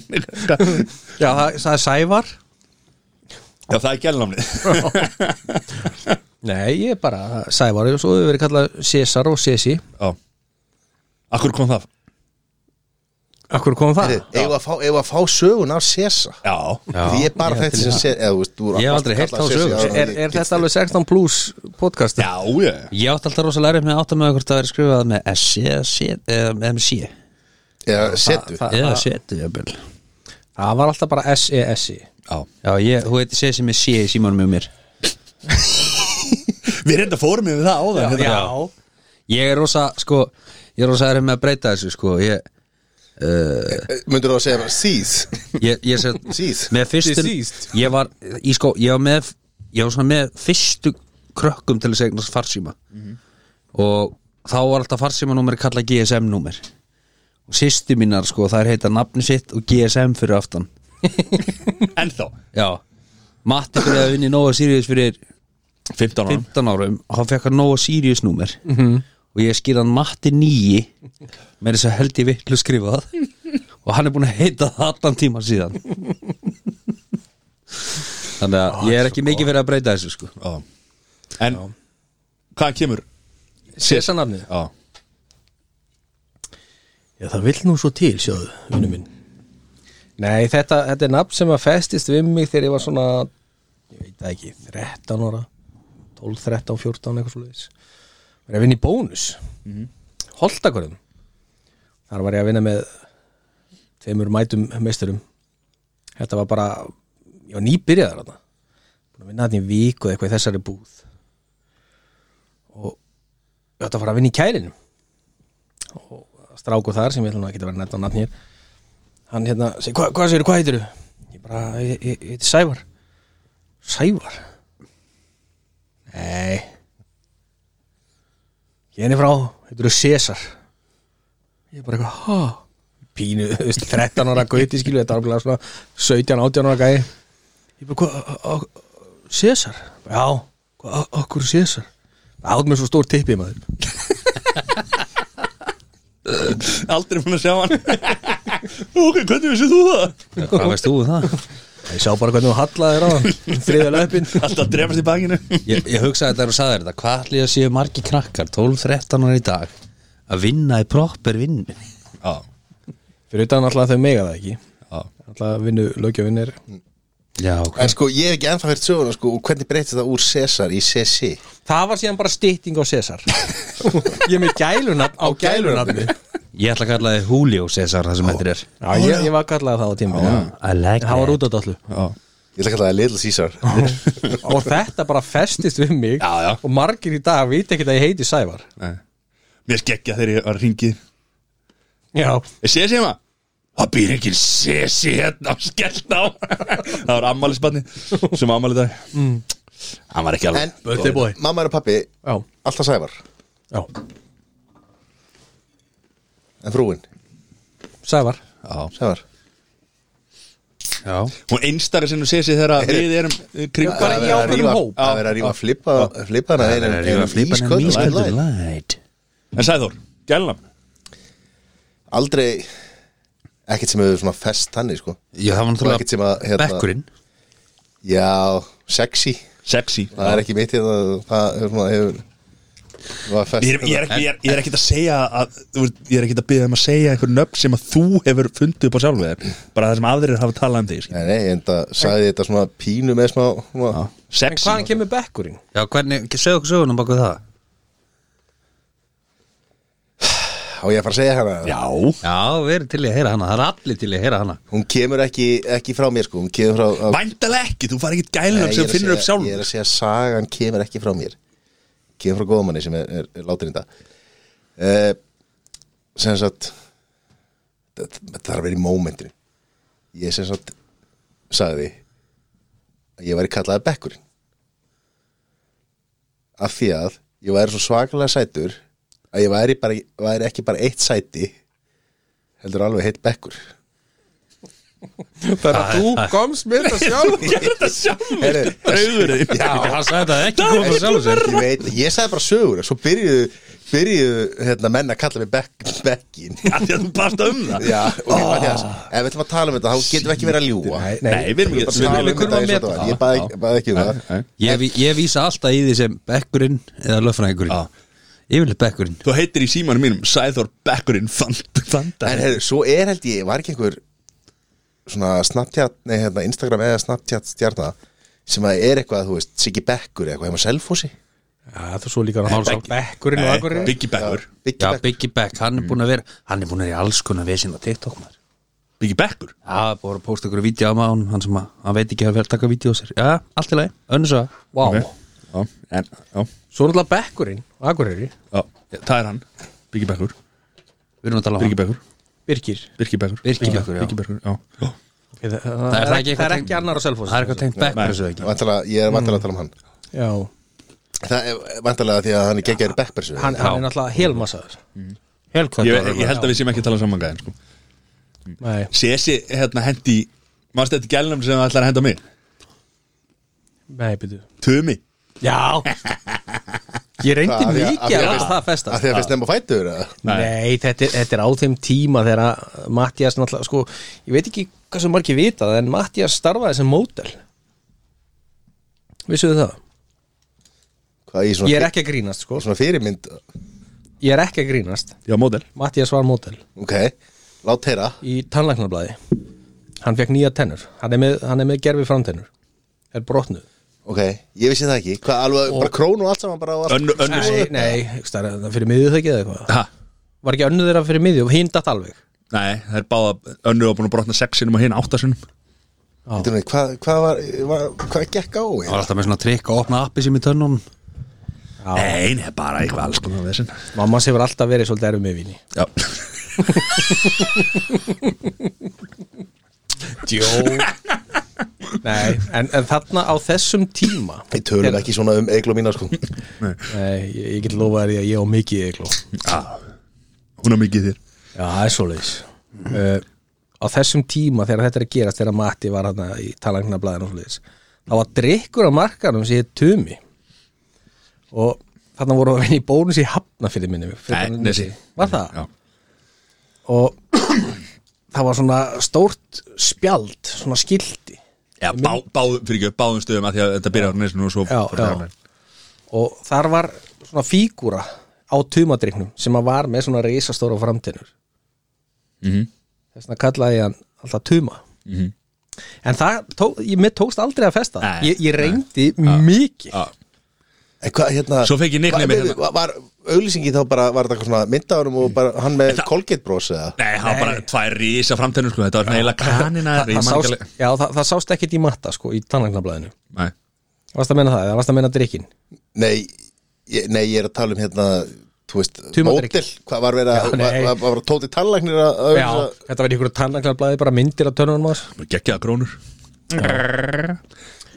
[SPEAKER 4] Já, það, það er Sævar
[SPEAKER 2] Já, það er gælunöfni
[SPEAKER 4] Nei, ég er bara Sævar og svo hefur verið kallað César og Sesi
[SPEAKER 2] Já Akkur kom það?
[SPEAKER 4] Akkur kom það?
[SPEAKER 1] Eða að fá, eigum við að fá sögun af Sesa
[SPEAKER 2] Já
[SPEAKER 1] Því ég er bara þekkt sem Sesa Eða þú veist, þú
[SPEAKER 3] Ég hef aldrei heyrt þá sögu.
[SPEAKER 4] Er, er þetta alveg 16 plus podcast?
[SPEAKER 2] Já, já
[SPEAKER 3] Ég átti alltaf rosa lærið með að átta með hvort það er skrifað með SC eða C- E, eða MC
[SPEAKER 1] Eða setu
[SPEAKER 4] það-
[SPEAKER 3] eða setu jafnvel
[SPEAKER 4] Það var alltaf bara E S-E-S-I
[SPEAKER 2] Já
[SPEAKER 3] Já, ég, þú heiti Sesi með C í símanum með mér
[SPEAKER 2] Við reynda fórum yfir það áðan hérna.
[SPEAKER 3] Ég er rosa, sko, ég er rosa lærið með að breyta þessu, sko Ég,
[SPEAKER 1] Mundur þú að segja Seas
[SPEAKER 3] ég, ég set,
[SPEAKER 1] Seas
[SPEAKER 3] með fyrstu
[SPEAKER 4] Deceased.
[SPEAKER 3] Ég var, í sko, ég var með ég var svona með fyrstu krökkum til að segna farsíma og þá var alltaf farsímanúmer kallað GSM-númer og sýsti mínar, sko, það er heita nafni sitt og GSM fyrir aftan
[SPEAKER 2] Ennþá
[SPEAKER 3] Já Matti byrjaði að vinna í Nova Sirius fyrir
[SPEAKER 2] 15 ára
[SPEAKER 3] 15 árum og hann fekk hann Nova Sirius númer
[SPEAKER 4] Mhm.
[SPEAKER 3] og ég skýr hann Matti 9 með þess að held ég vitlu skrifað og hann er búin að heita það allan tíma síðan Þannig að ég er ekki mikið fyrir að breyta þessu sko
[SPEAKER 2] Já. En Hvaðan kemur?
[SPEAKER 4] César nafnið
[SPEAKER 2] Já
[SPEAKER 4] Já, það vill nú svo til, sjáðu, vinnu minn Nei, þetta, þetta er nafn sem að festist við mig þegar ég var svona ég veit það ekki, 13 ára 12, 13, 14, eitthvað svo leiðis var ég að vinna í bónus mm -hmm. þar var ég að vinna með tveimur mætum meisturum þetta var bara ég var nýbyrjaðar þarna búin að vinna þarna í viku eða eitthvað í þessari búð og ég átti að fara að vinna í kælinum stráku þar sem ég ætla nú ekki að vera netta á nafn hér hann hérna, segi, hva, hvað segir, hvað heitir þú? Ég bara, ég, ég, ég heiti Sævar Sævar? Nei Hérna frá, heitir þú César Ég bara eitthvað, ha? Pínu, þú veist, 13 ára gauti skilu, þetta er alveg svona 17, 18 ára gæi Ég bara, hvað, á- á- César? Já, hvað, á- á hverju César? Átt mér svo stór tippið maður
[SPEAKER 2] Aldrei fann að sjá hann Ok, hvernig vissið þú það?
[SPEAKER 3] Hvað veist þú um það?
[SPEAKER 4] Ég sá bara hvernig þú hallaði þér á hann Þriðja löpin
[SPEAKER 2] Alltaf drefast í bakinu
[SPEAKER 3] Ég, ég hugsaði þetta og sagði þér þetta Hvað ætli að séu margi krakkar 12-13 ára í dag að vinna í proper vinn
[SPEAKER 2] Já,
[SPEAKER 4] Fyrir utan alltaf þau mega það ekki
[SPEAKER 2] já
[SPEAKER 4] Alltaf vinnu lögjöfinn er
[SPEAKER 3] Já, ok
[SPEAKER 1] En sko, ég hef ekki ennþá hægt söguna sko, og hvernig breytist það úr César í CC
[SPEAKER 4] Það var síðan bara stytting á César Ég er með gælunafn á gælunafni
[SPEAKER 3] Ég ætla að kalla þið Julio César það sem þetta er
[SPEAKER 4] Já, ég, ég var kallað það á tíma
[SPEAKER 3] I like
[SPEAKER 4] Það var
[SPEAKER 3] it.
[SPEAKER 4] út á dollu
[SPEAKER 1] Ég ætla að kalla það Little Caesar
[SPEAKER 4] Og þetta bara festist við mig
[SPEAKER 2] Já, já.
[SPEAKER 4] Og margir í dag vita ekki að ég heiti Sævar
[SPEAKER 2] Nei. Mér skeggja þegar ég var ringið
[SPEAKER 4] Já
[SPEAKER 2] Ég sé sem að hérna? Það býr ekki sessi hérna Skellt á Það var ammælisbarni Sem ammæli dag mm. Hann var ekki alveg
[SPEAKER 1] En mamma er og pappi,
[SPEAKER 4] Já,
[SPEAKER 1] alltaf Sævar
[SPEAKER 4] já.
[SPEAKER 1] En frúin,
[SPEAKER 4] Sævar
[SPEAKER 2] Já.
[SPEAKER 1] Sævar
[SPEAKER 3] Já
[SPEAKER 2] Hún einstakar sinni sessi þegar við erum eh,
[SPEAKER 4] Bara
[SPEAKER 2] Kringar
[SPEAKER 1] Það
[SPEAKER 4] í
[SPEAKER 1] er að
[SPEAKER 4] ákveðnum
[SPEAKER 1] rífa-
[SPEAKER 4] hóp.
[SPEAKER 1] Það er að rífa flipa Flipana
[SPEAKER 3] Það er að rífa flipan en
[SPEAKER 1] ísköldu
[SPEAKER 3] mísköldur light
[SPEAKER 2] En Sæður, gælna
[SPEAKER 1] Aldrei Ekkert sem hefur svona fest hannig sko
[SPEAKER 3] Já, það
[SPEAKER 1] Og
[SPEAKER 3] var
[SPEAKER 1] ekkert
[SPEAKER 3] náttúrulega
[SPEAKER 1] sem að hérna,
[SPEAKER 3] bekkurinn
[SPEAKER 1] Já, sexy
[SPEAKER 2] Sexy
[SPEAKER 1] Það er ekki mitt hérna Það hefur svona hefur var fest hérna.
[SPEAKER 2] Ég er, ég, er, ekki- ég, er, ég er ekkert að segja að, þú veist, Ég er ekkert að byggja um að segja einhver nöfn sem að þú hefur fundið upp á sjálfu þér Bara það sem aðrir hafa talað um þig skilur.
[SPEAKER 1] Nei, nei, en það sagði þetta svona pínu með smá svona,
[SPEAKER 4] En
[SPEAKER 2] Sexy
[SPEAKER 4] hvaðan kemur bekkurinn?
[SPEAKER 3] Já, hvernig, segðu okkur sögunum baku það
[SPEAKER 1] Á ég að fara að segja hana
[SPEAKER 2] Já
[SPEAKER 3] Já, við erum til í að heyra hana, það er allir til í að heyra hana
[SPEAKER 1] Hún kemur ekki, ekki frá mér sko Hún kemur frá af-
[SPEAKER 2] Væntalega ekki, þú fari ekkert
[SPEAKER 1] Nei,
[SPEAKER 2] gælna
[SPEAKER 1] ég er
[SPEAKER 2] sem
[SPEAKER 1] að
[SPEAKER 2] finnur
[SPEAKER 1] segja-
[SPEAKER 2] upp sjálfur
[SPEAKER 1] Ég er að segja að sagan kemur ekki frá mér Kemur frá góðmanni sem er, er, er látin í dag uh, Sem sagt Þetta þetta þarf að vera í mómentinu Ég sem sagt Sagði Að ég væri kallaði bekkurinn Af því að Ég væri svo svakalega sætur Að ég væri, bara, væri ekki bara eitt sæti Heldur alveg heitt bekkur
[SPEAKER 4] Þannig að þú komst með það sjálf
[SPEAKER 2] Gerðu þetta sjálfur
[SPEAKER 1] Heyrðu.
[SPEAKER 2] Rauður þig
[SPEAKER 3] hann sagði þetta ekki
[SPEAKER 2] Það er
[SPEAKER 3] koma sjálf sér
[SPEAKER 1] ég veit, ég sagði bara sögur svo byrjuðu, byrjuðu hérna, menn að kalla mig bekk, bekkin
[SPEAKER 2] Af því að þú barst um það
[SPEAKER 1] já, og ég bara þess ef við ætlum að tala um þetta, þá getum við ekki verið að ljúa
[SPEAKER 4] Nei,
[SPEAKER 2] Nei, við erum
[SPEAKER 1] við
[SPEAKER 2] ekki
[SPEAKER 1] bara
[SPEAKER 2] við erum
[SPEAKER 1] tala um
[SPEAKER 2] ekki-
[SPEAKER 1] þetta eins og þetta var ég bað ekki- bað ekki um það
[SPEAKER 2] Nei.
[SPEAKER 3] Ég, ví- ég vísa alltaf í því sem bekkurinn eða
[SPEAKER 2] Já.
[SPEAKER 3] löffræðingurinn Yfirlega bekkurinn
[SPEAKER 2] Þú heitir í símanum mínum Sæþór Bekkurinn Fanta Fanta
[SPEAKER 1] en heyrðu, svo er held ég, var ekki einhver svona Snapchat, nei hérna Instagram eða Snapchat stjarnar sem að er eitthvað, þú veist, Siggi Bekkur eða eitthvað heim á Selfossi,
[SPEAKER 4] Já, þú svo líka
[SPEAKER 3] Málsá.
[SPEAKER 4] hann Bekkurinn og akkurinn
[SPEAKER 2] Biggi Bekkur
[SPEAKER 1] Biggi
[SPEAKER 3] Já,
[SPEAKER 1] Bekkur
[SPEAKER 3] Biggie Beck, hann er búin að vera Hann er búin að vera í alls konar vesinn á TikTok maður
[SPEAKER 2] Biggi Bekkur
[SPEAKER 3] Já, það er búin að posta ykkur vídeo á maður Hann sem að, hann veit ekki að vera að taka vídeo á sér Já, allt í lagi, önnur svo
[SPEAKER 4] Vá
[SPEAKER 2] Já, en, já,
[SPEAKER 4] Svo er alltaf bekkurinn og akkurinn
[SPEAKER 2] já Það er hann Biggi Bekkur
[SPEAKER 3] Við erum að tala um
[SPEAKER 2] Biggi
[SPEAKER 3] hann
[SPEAKER 2] Bekkur
[SPEAKER 4] Birkir
[SPEAKER 2] Birki Bekkur
[SPEAKER 3] Birki Bekkur, já.
[SPEAKER 2] Birki Bekkur, já Já.
[SPEAKER 4] Það
[SPEAKER 3] er
[SPEAKER 4] er
[SPEAKER 3] það
[SPEAKER 4] ekki,
[SPEAKER 3] ekki eitthvað tengt-
[SPEAKER 4] annar á selfos
[SPEAKER 3] Það er eitthvað tengt Beck
[SPEAKER 2] Nei.
[SPEAKER 3] þessu ekki
[SPEAKER 1] Væntanlega- ég er vantilega að tala um hann
[SPEAKER 4] Já,
[SPEAKER 1] það er vantilega því að hann er geggjaður Bekkbersu
[SPEAKER 4] hann, hann er náttúrulega helmassaður
[SPEAKER 3] Helkvæmt
[SPEAKER 2] ég, ég held að við séum ekki að tala saman gæðin sko.
[SPEAKER 4] Nei,
[SPEAKER 2] Sesi hérna hendi Mástu þetta gælnum sem það ætlar að henda á mig
[SPEAKER 4] nei, byrju
[SPEAKER 2] Tumi
[SPEAKER 4] Já Ég reyndi
[SPEAKER 1] Hvað, af því að- af því
[SPEAKER 4] mikið
[SPEAKER 1] að
[SPEAKER 4] að
[SPEAKER 1] fyrst-
[SPEAKER 4] láta það
[SPEAKER 1] að
[SPEAKER 4] festa
[SPEAKER 1] því að finnst nefn á fætur eða?
[SPEAKER 4] Nei, þetta er, þetta er á þeim tíma þegar að Mattias náttúrulega, sko, ég veit ekki hvað sem margir vita það, en Mattias starfaði sem mótel Vissuðu það?
[SPEAKER 1] Hvað, í svona-
[SPEAKER 4] Ég er ekki að grínast, sko
[SPEAKER 1] svona fyrirmynd
[SPEAKER 4] Ég er ekki að grínast,
[SPEAKER 2] Já, mótel
[SPEAKER 4] Mattias var mótel
[SPEAKER 1] ok, lát heyra
[SPEAKER 4] í tannlæknarblæði hann fekk nýja tennur hann er með, hann er með gerfi framtennur er brotnuð
[SPEAKER 1] Ok, ég vissi það ekki Hvað, alveg, bara krón og allt saman bara og allt
[SPEAKER 2] Önnu, önnu
[SPEAKER 4] nei, nei, stærra, það fyrir miðju það ekki eða eitthvað
[SPEAKER 2] Ha?
[SPEAKER 4] var ekki önnu þeirra fyrir miðju og hinn datt alveg
[SPEAKER 2] Nei, það er báða Önnu var búin að brotna sexinum og hinn áttasinum
[SPEAKER 1] Bíddu nú, Hvað, hvað var, var, hvað gekk á
[SPEAKER 3] Það var alltaf með svona trikk að opna appi sem í tönnum
[SPEAKER 2] Nei, nei, bara eitthvað alls konar vesen
[SPEAKER 4] mammas hefur alltaf verið svolítið erfið með vini
[SPEAKER 2] Já
[SPEAKER 4] Jó Nei, en, en þarna á þessum tíma
[SPEAKER 1] Við tölum ekki svona um eiglu mína sko
[SPEAKER 4] Nei, ég, ég get lofað því að ég á mikið egló
[SPEAKER 2] Hún er mikið þér
[SPEAKER 4] Já, það er svoleiðis uh, Á þessum tíma þegar þetta er að gerast þegar Matti var hann í talangnablaðinu og svoleiðis þá var drikkur á markanum sem hétt Tumi og þarna voru að vinna í bónus í hafna fyrir minni fyrir
[SPEAKER 2] Nei,
[SPEAKER 4] utan
[SPEAKER 2] Nesi.
[SPEAKER 4] Var það?
[SPEAKER 2] Já.
[SPEAKER 4] Og það var svona stórt spjald svona skildi
[SPEAKER 2] Já, bá, bá, fyrir ekki, báðum stöðum að því að þetta byrjar á nesinu og svo
[SPEAKER 4] já,
[SPEAKER 2] fór það á
[SPEAKER 4] já.
[SPEAKER 2] Nes.
[SPEAKER 4] og þar var svona fígúra á tumadryknum sem að var með svona risastóra framtinnur
[SPEAKER 2] Mhm.
[SPEAKER 4] þess vegna kallaði ég hann alltaf tuma
[SPEAKER 2] Mhm.
[SPEAKER 4] en það, tó, ég, mér tókst aldrei að festa það
[SPEAKER 2] Nei,
[SPEAKER 4] ég, ég reyndi mikið
[SPEAKER 2] Já.
[SPEAKER 1] En hvað hérna
[SPEAKER 2] Svo fekk ég nickname
[SPEAKER 1] var,
[SPEAKER 2] hérna.
[SPEAKER 1] var, var auglýsingi þá bara, var þetta eitthvað svona myndaðurum og bara hann með Colgate bros eða
[SPEAKER 2] Nei, það var bara tvær rísa framtennur sko, þetta var neila kanina
[SPEAKER 4] það, það, sást, já, það, það sást ekkit í matta sko, í tannagnablaðinu
[SPEAKER 2] Nei,
[SPEAKER 4] varst að menna það, eða varst að menna drykkin
[SPEAKER 1] Nei, ég, nei, ég er að tala um hérna Þú veist,
[SPEAKER 4] Tumadrykk.
[SPEAKER 1] mótil Hvað var verið að,
[SPEAKER 4] Já,
[SPEAKER 1] var,
[SPEAKER 4] nei.
[SPEAKER 1] var, var tóti tallagnir að
[SPEAKER 4] já,
[SPEAKER 1] auglýsa
[SPEAKER 4] þetta var í ykkur tannagnablaði bara myndir af törnunum ás
[SPEAKER 2] bara geggjaða krónur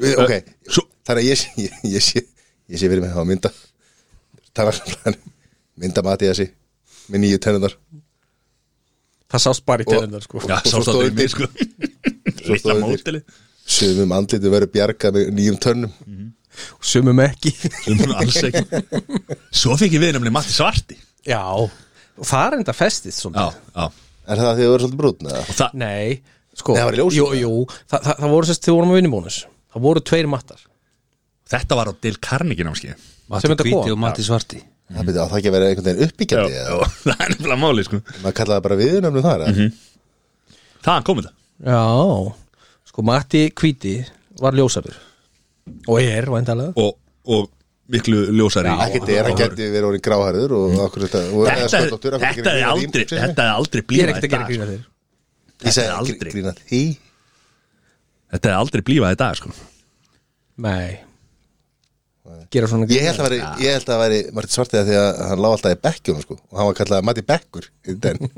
[SPEAKER 1] Við- Ok,
[SPEAKER 2] Svo,
[SPEAKER 1] þannig að ég, sé- ég, ég sé Ég sé verið með það að mynda Tallagnarblæðinu Mynda mati þessi Með nýju tennunar
[SPEAKER 4] það sást bara í
[SPEAKER 1] Og-
[SPEAKER 4] törnunum sko.
[SPEAKER 2] já,
[SPEAKER 1] og svo
[SPEAKER 2] sást það
[SPEAKER 1] stóð
[SPEAKER 2] í mig
[SPEAKER 1] undir.
[SPEAKER 2] sko
[SPEAKER 1] Svo
[SPEAKER 2] Lilla
[SPEAKER 1] stóð undir.
[SPEAKER 2] mótili
[SPEAKER 1] Sumum andlitu verið bjargað með nýjum tönnum
[SPEAKER 4] sumum ekki
[SPEAKER 2] Sumur Um alls ekki Svo fekk ég við nefnilega Matti Svarti
[SPEAKER 4] já, og það er enda festist svona
[SPEAKER 2] Já, já
[SPEAKER 1] Er það því að vera svolítið brútn eða?
[SPEAKER 2] Og það,
[SPEAKER 4] Nei, sko
[SPEAKER 1] Nei, það var í ljósinu,
[SPEAKER 4] jú,
[SPEAKER 1] eða?
[SPEAKER 4] jú, það, það, það voru sérst, þið vorum að vinnubónus Það voru tveir mattar
[SPEAKER 2] þetta var á Dale Carnegie námskeið
[SPEAKER 4] Sem
[SPEAKER 3] Matti
[SPEAKER 4] þetta
[SPEAKER 3] Hvíti
[SPEAKER 4] kom?
[SPEAKER 3] og Matti Svarti
[SPEAKER 1] Það byrja að það ekki að vera einhvern veginn
[SPEAKER 2] Já,
[SPEAKER 1] uppbyggjandi
[SPEAKER 2] Mhm. já,
[SPEAKER 1] eða?
[SPEAKER 2] það er nefnilega máli sko
[SPEAKER 1] Maður kallaði bara viðunöfnum þar mm
[SPEAKER 2] Mhm. Það kom þetta
[SPEAKER 4] Já, sko Matti Kvíti var ljósarur Og er, væntalega
[SPEAKER 2] Og, og miklu ljósari
[SPEAKER 1] Ekkert er að geti verið orðin gráhæruður og okkur þetta og- eða
[SPEAKER 2] Mhm. Þetta,
[SPEAKER 1] sköllóttur, af hverju
[SPEAKER 2] þetta
[SPEAKER 1] gerir
[SPEAKER 2] er
[SPEAKER 1] grín að því, segir
[SPEAKER 2] aldrei Þetta er aldrei
[SPEAKER 4] Ég
[SPEAKER 2] blífa
[SPEAKER 4] er ekkert að gera grína þér
[SPEAKER 1] Ég segi
[SPEAKER 2] Þetta er aldrei.
[SPEAKER 1] aldrei Grína því
[SPEAKER 2] Þetta er aldrei blífa í dag sko
[SPEAKER 4] Nei Gera svona
[SPEAKER 1] Ég held að veri, ég held að veri Martin Svartið að því að hann lá alltaf í bekkjum sko, og hann var kallað Matti Bekkur í den.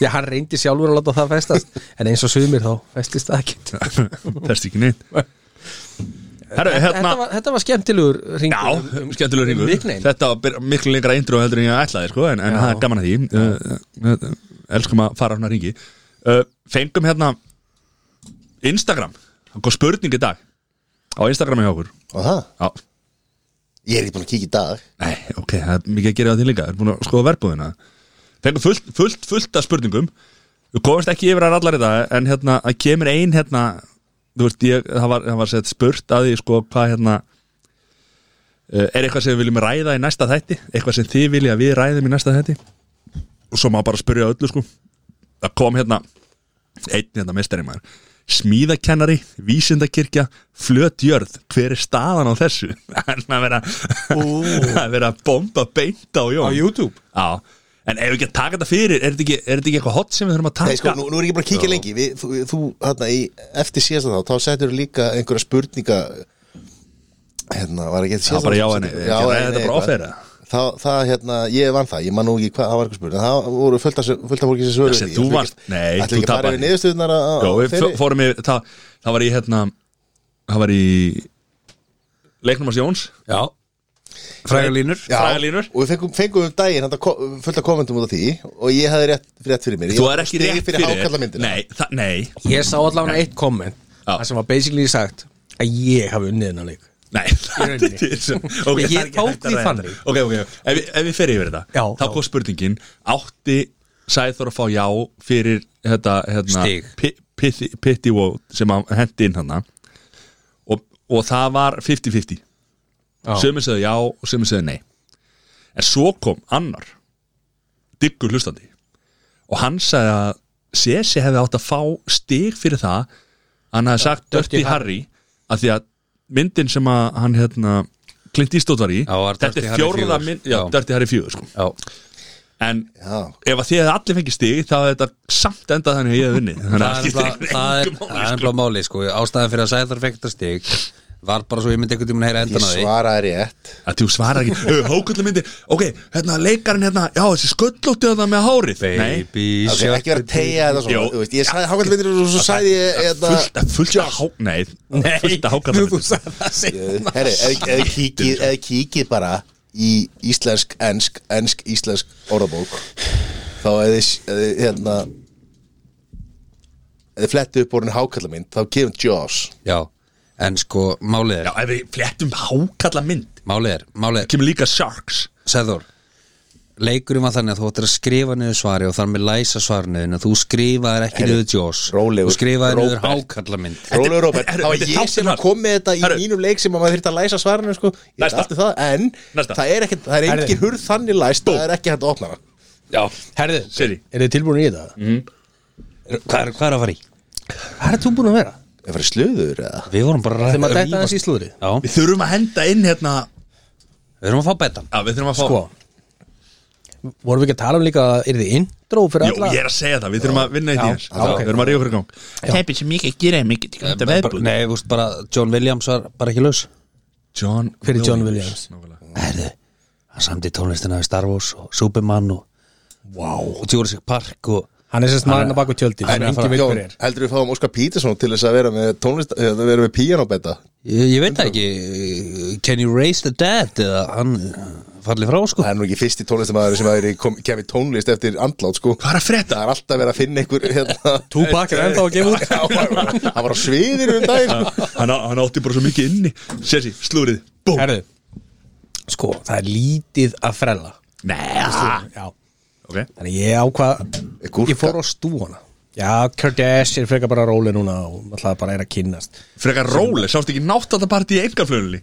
[SPEAKER 4] Já, hann reyndi sjálfur að láta það festast En eins og sumir þá festist það ekki
[SPEAKER 2] Hérna- Þess ekki neitt Herru,
[SPEAKER 4] þetta,
[SPEAKER 2] hérna
[SPEAKER 4] var, þetta var skemmtilegur ringur
[SPEAKER 2] Já, skemmtilegur ringur
[SPEAKER 4] Nickname
[SPEAKER 2] Þetta var byr- miklu lengra intro heldur en ég ætlaði sko, en, en
[SPEAKER 4] Já.
[SPEAKER 2] það er gaman að því uh, uh, Elskum að fara hann að ringi uh, Fengum hérna Instagram Það kom spurning í dag Á Instagrami hjá okkur
[SPEAKER 1] og það,
[SPEAKER 2] Já,
[SPEAKER 1] ég er ekki búin að kíkja í dag
[SPEAKER 2] nei, ok, það er mikið að gera á því líka Það er búin að skoða verbúðina Fengum fullt, fullt, fullt af spurningum Við komumst ekki yfir að allar þetta En hérna, það kemur ein hérna Þú veist, ég, það var, það var sett spurt að því sko, hvað hérna Uh, er eitthvað sem við viljum ræða í næsta þætti eitthvað sem þið vilja að við ræðum í næsta þætti og svo má bara spyrja öllu sko það kom hérna einn hérna mestari maður smíðakennari, vísindakirkja flötjörð, hver er staðan á þessu en að vera að vera að bomba beint á Jón
[SPEAKER 4] YouTube
[SPEAKER 2] Já, en ef við ekki að taka þetta fyrir er þetta ekki, er þetta ekki eitthvað hot sem við þurfum að taka
[SPEAKER 1] Nei, sko, nú, nú er ég bara að kíkja lengi Við, þú, þú hérna, í, eftir síðast þá, þá settur líka einhverja spurninga hérna, var ekki
[SPEAKER 2] Já, bara já en nei, já,
[SPEAKER 1] en
[SPEAKER 2] þetta
[SPEAKER 1] nei,
[SPEAKER 2] bara
[SPEAKER 1] eitthvað.
[SPEAKER 2] ofera
[SPEAKER 1] Þá, það, hérna, ég vann það, ég man nú ekki hvað, það var eitthvað spurning það voru fullt af, fullt af fólki sem svöru
[SPEAKER 2] Þessi, þú varst- nei,
[SPEAKER 1] Ætli
[SPEAKER 2] þú
[SPEAKER 1] ekki að fara
[SPEAKER 2] tapaðir.
[SPEAKER 1] yfir niðurstöðunar á- á-
[SPEAKER 2] Já, við
[SPEAKER 1] þeirri?
[SPEAKER 2] f- fórum yfir, það, það var í hérna, það var í leiknum hans Jóns
[SPEAKER 3] Já Fræga línur
[SPEAKER 1] Já,
[SPEAKER 2] frægar línur.
[SPEAKER 1] og við fengum, fengum um daginn handa, ko- fullt af kommentum út af því og ég hafði rétt, rétt fyrir mér Ég
[SPEAKER 2] Þú
[SPEAKER 1] var
[SPEAKER 2] er ekki
[SPEAKER 1] stig
[SPEAKER 2] rétt
[SPEAKER 1] fyrir
[SPEAKER 2] fyrir
[SPEAKER 1] ákallamyndina
[SPEAKER 2] Nei, það, nei,
[SPEAKER 4] Ég sá allavega eitt komment
[SPEAKER 2] Já.
[SPEAKER 4] Það sem var basically sagt Að ég hafi unnið hennar leik
[SPEAKER 2] nei það er
[SPEAKER 4] rauninni. Sko,
[SPEAKER 2] til sem- ok,
[SPEAKER 4] Ég
[SPEAKER 2] það er ekki
[SPEAKER 4] tók
[SPEAKER 2] hægt að
[SPEAKER 4] því
[SPEAKER 2] ræða
[SPEAKER 4] þannig.
[SPEAKER 2] þetta. Ok, ok, ef, við- ef við fyrir yfir þetta
[SPEAKER 4] Já,
[SPEAKER 2] Þá
[SPEAKER 4] já.
[SPEAKER 2] kom spurningin, átti Sæþór að fá já fyrir þetta, hérna
[SPEAKER 3] Stig.
[SPEAKER 2] pi- pithi- Pitti Wow sem hann hendi inn hann og, og það var 50-50
[SPEAKER 4] Já.
[SPEAKER 2] Sumir segðu já og sumir segðu nei En svo kom annar Diggur hlustandi Og hann sagði að Sesi hefði átt að fá stig fyrir það Hann hefði sagt
[SPEAKER 4] Dirty
[SPEAKER 2] Dirty Harry Af því að myndin sem að hann hérna Clint Eastwood var í
[SPEAKER 3] Já, var
[SPEAKER 2] Þetta
[SPEAKER 3] Dirty
[SPEAKER 2] er
[SPEAKER 3] Harry
[SPEAKER 2] fjórða
[SPEAKER 3] fjögur.
[SPEAKER 2] mynd Já,
[SPEAKER 3] Já.
[SPEAKER 2] Dirty Harry 4 sko.
[SPEAKER 3] Já
[SPEAKER 2] En
[SPEAKER 1] Já,
[SPEAKER 2] ef að þið hefði allir fengið stig Þá hefði þetta samt endað þannig að ég hefði unni Þannig að
[SPEAKER 3] Það er
[SPEAKER 2] skiptir
[SPEAKER 3] nefnilega- það er
[SPEAKER 2] engu máli,
[SPEAKER 3] það
[SPEAKER 2] sko.
[SPEAKER 3] er nefnilega máli sko Ástæðan fyrir að Sæðar fekk þetta stig var bara svo ég myndi einhvern tímann heyra
[SPEAKER 1] Ég
[SPEAKER 3] endan á því
[SPEAKER 1] svaraði rétt
[SPEAKER 2] að þú svarar ekki, hókullu myndi ok, hérna leikarinn hérna, já þessi sköllótti þetta með hárið Nei,
[SPEAKER 3] Baby
[SPEAKER 1] Ok,
[SPEAKER 3] shark
[SPEAKER 1] ekki verið að tegja þetta
[SPEAKER 2] Jó.
[SPEAKER 1] svona Þú veist, ég sagði hákvæmdmyndir og svo sagði ég hérna,
[SPEAKER 2] fullt, fullt að há, nei, fullt að hákallar
[SPEAKER 3] Þú sagði það seinna.
[SPEAKER 1] Eh, Herri, eða- eða kíkið- eða kíkið bara í íslensk, ensk, ensk, íslensk orðabók þá eða eða, hérna eða fletti upp orðin hákallamynd þá kemur Jaws
[SPEAKER 3] Já, en sko málið
[SPEAKER 2] já,
[SPEAKER 3] er,
[SPEAKER 2] ef við flettum hákallar mynd
[SPEAKER 3] málið er, málið er
[SPEAKER 2] kemur líka sharks
[SPEAKER 3] Sæður, leikurinn var þannig að þú ættir að skrifa niður svari og þar með læsa svarinu þínu. þú skrifaðir ekki niður Jaws
[SPEAKER 1] rólegur,
[SPEAKER 3] þú skrifaðir niður
[SPEAKER 1] Róbert.
[SPEAKER 3] hákallamynd
[SPEAKER 1] Rólegur Róbert, það
[SPEAKER 2] herru,
[SPEAKER 1] var
[SPEAKER 2] þetta er
[SPEAKER 1] ég sem
[SPEAKER 2] þátturnar.
[SPEAKER 1] kom með þetta í
[SPEAKER 2] Herru.
[SPEAKER 1] mínum leik sem að maður þurfti að læsa svarinu sko. ég veit
[SPEAKER 2] Næsta.
[SPEAKER 1] alltaf það, en
[SPEAKER 2] Næsta.
[SPEAKER 1] það er, ekkert, það er engin hurð þannig læst það er ekki hægt að opna hana
[SPEAKER 2] já,
[SPEAKER 4] Herðu,
[SPEAKER 2] Siri.
[SPEAKER 4] er þið tilbúin í þetta?
[SPEAKER 3] Hvað er, hvað er að fara í?
[SPEAKER 4] Hvað er þú búin að vera?
[SPEAKER 1] Það fyrir sluður eða?
[SPEAKER 3] Við vorum bara
[SPEAKER 4] Þegar maður dæta
[SPEAKER 3] rífast-
[SPEAKER 4] aðeins í slúðri
[SPEAKER 3] Já,
[SPEAKER 2] við þurfum að henda inn hérna
[SPEAKER 3] við erum að fá betan
[SPEAKER 2] já, við þurfum að fá
[SPEAKER 4] Sko Vorum við ekki að tala um líka Er þið intro fyrir
[SPEAKER 2] Jú,
[SPEAKER 4] alla?
[SPEAKER 2] ég er að segja það, við þurfum að vinna í því
[SPEAKER 4] Já,
[SPEAKER 2] þess.
[SPEAKER 4] já, ok.
[SPEAKER 2] Við þurfum að ríða okkur í gang Það er sem mikið að gera, mikið að
[SPEAKER 3] Bara- Nei, þú veist bara, John Williams var bara ekki laus
[SPEAKER 2] John
[SPEAKER 4] Hver er John Williams?
[SPEAKER 2] nákvæmlega.
[SPEAKER 3] Herðu, hann samdi tónlistina við Star Wars og Superman og, wow. og Jurassic Park og
[SPEAKER 4] Hann er sérst maðurinn að baka tjöldi
[SPEAKER 1] En
[SPEAKER 4] Þannig að fara
[SPEAKER 1] Jón, heldur við fáum Óskar Pítursson til þess að vera með tónlist eh, að vera með píanóbetta
[SPEAKER 3] ég, ég veit það ekki Can you raise the dead eða hann farli frá sko
[SPEAKER 1] Það er nú ekki fyrsti tónlistamæður sem er í kom, kemur í tónlist eftir andlát sko
[SPEAKER 2] Hvað er að frétta?
[SPEAKER 1] Það er alltaf verið að finna einhver hérna,
[SPEAKER 4] Tupac er ennþá að gefa út
[SPEAKER 1] Já, hann var- hann var á sviðir um daginn sko.
[SPEAKER 2] hann, á- hann átti bara svo mikið inni Sessi, slúrið, búm
[SPEAKER 4] Herðu Sko, það er lítið að frella
[SPEAKER 2] Nei, ah.
[SPEAKER 4] Já
[SPEAKER 2] ok
[SPEAKER 4] Þannig ég ákvað
[SPEAKER 1] Er gúrka?
[SPEAKER 4] Ég fór á stúana Já, Kardashian frekar bara róli núna og alltaf bara er að kynnast
[SPEAKER 2] Frekar róleg, sástu ekki nátt að það bara í engarflöðunni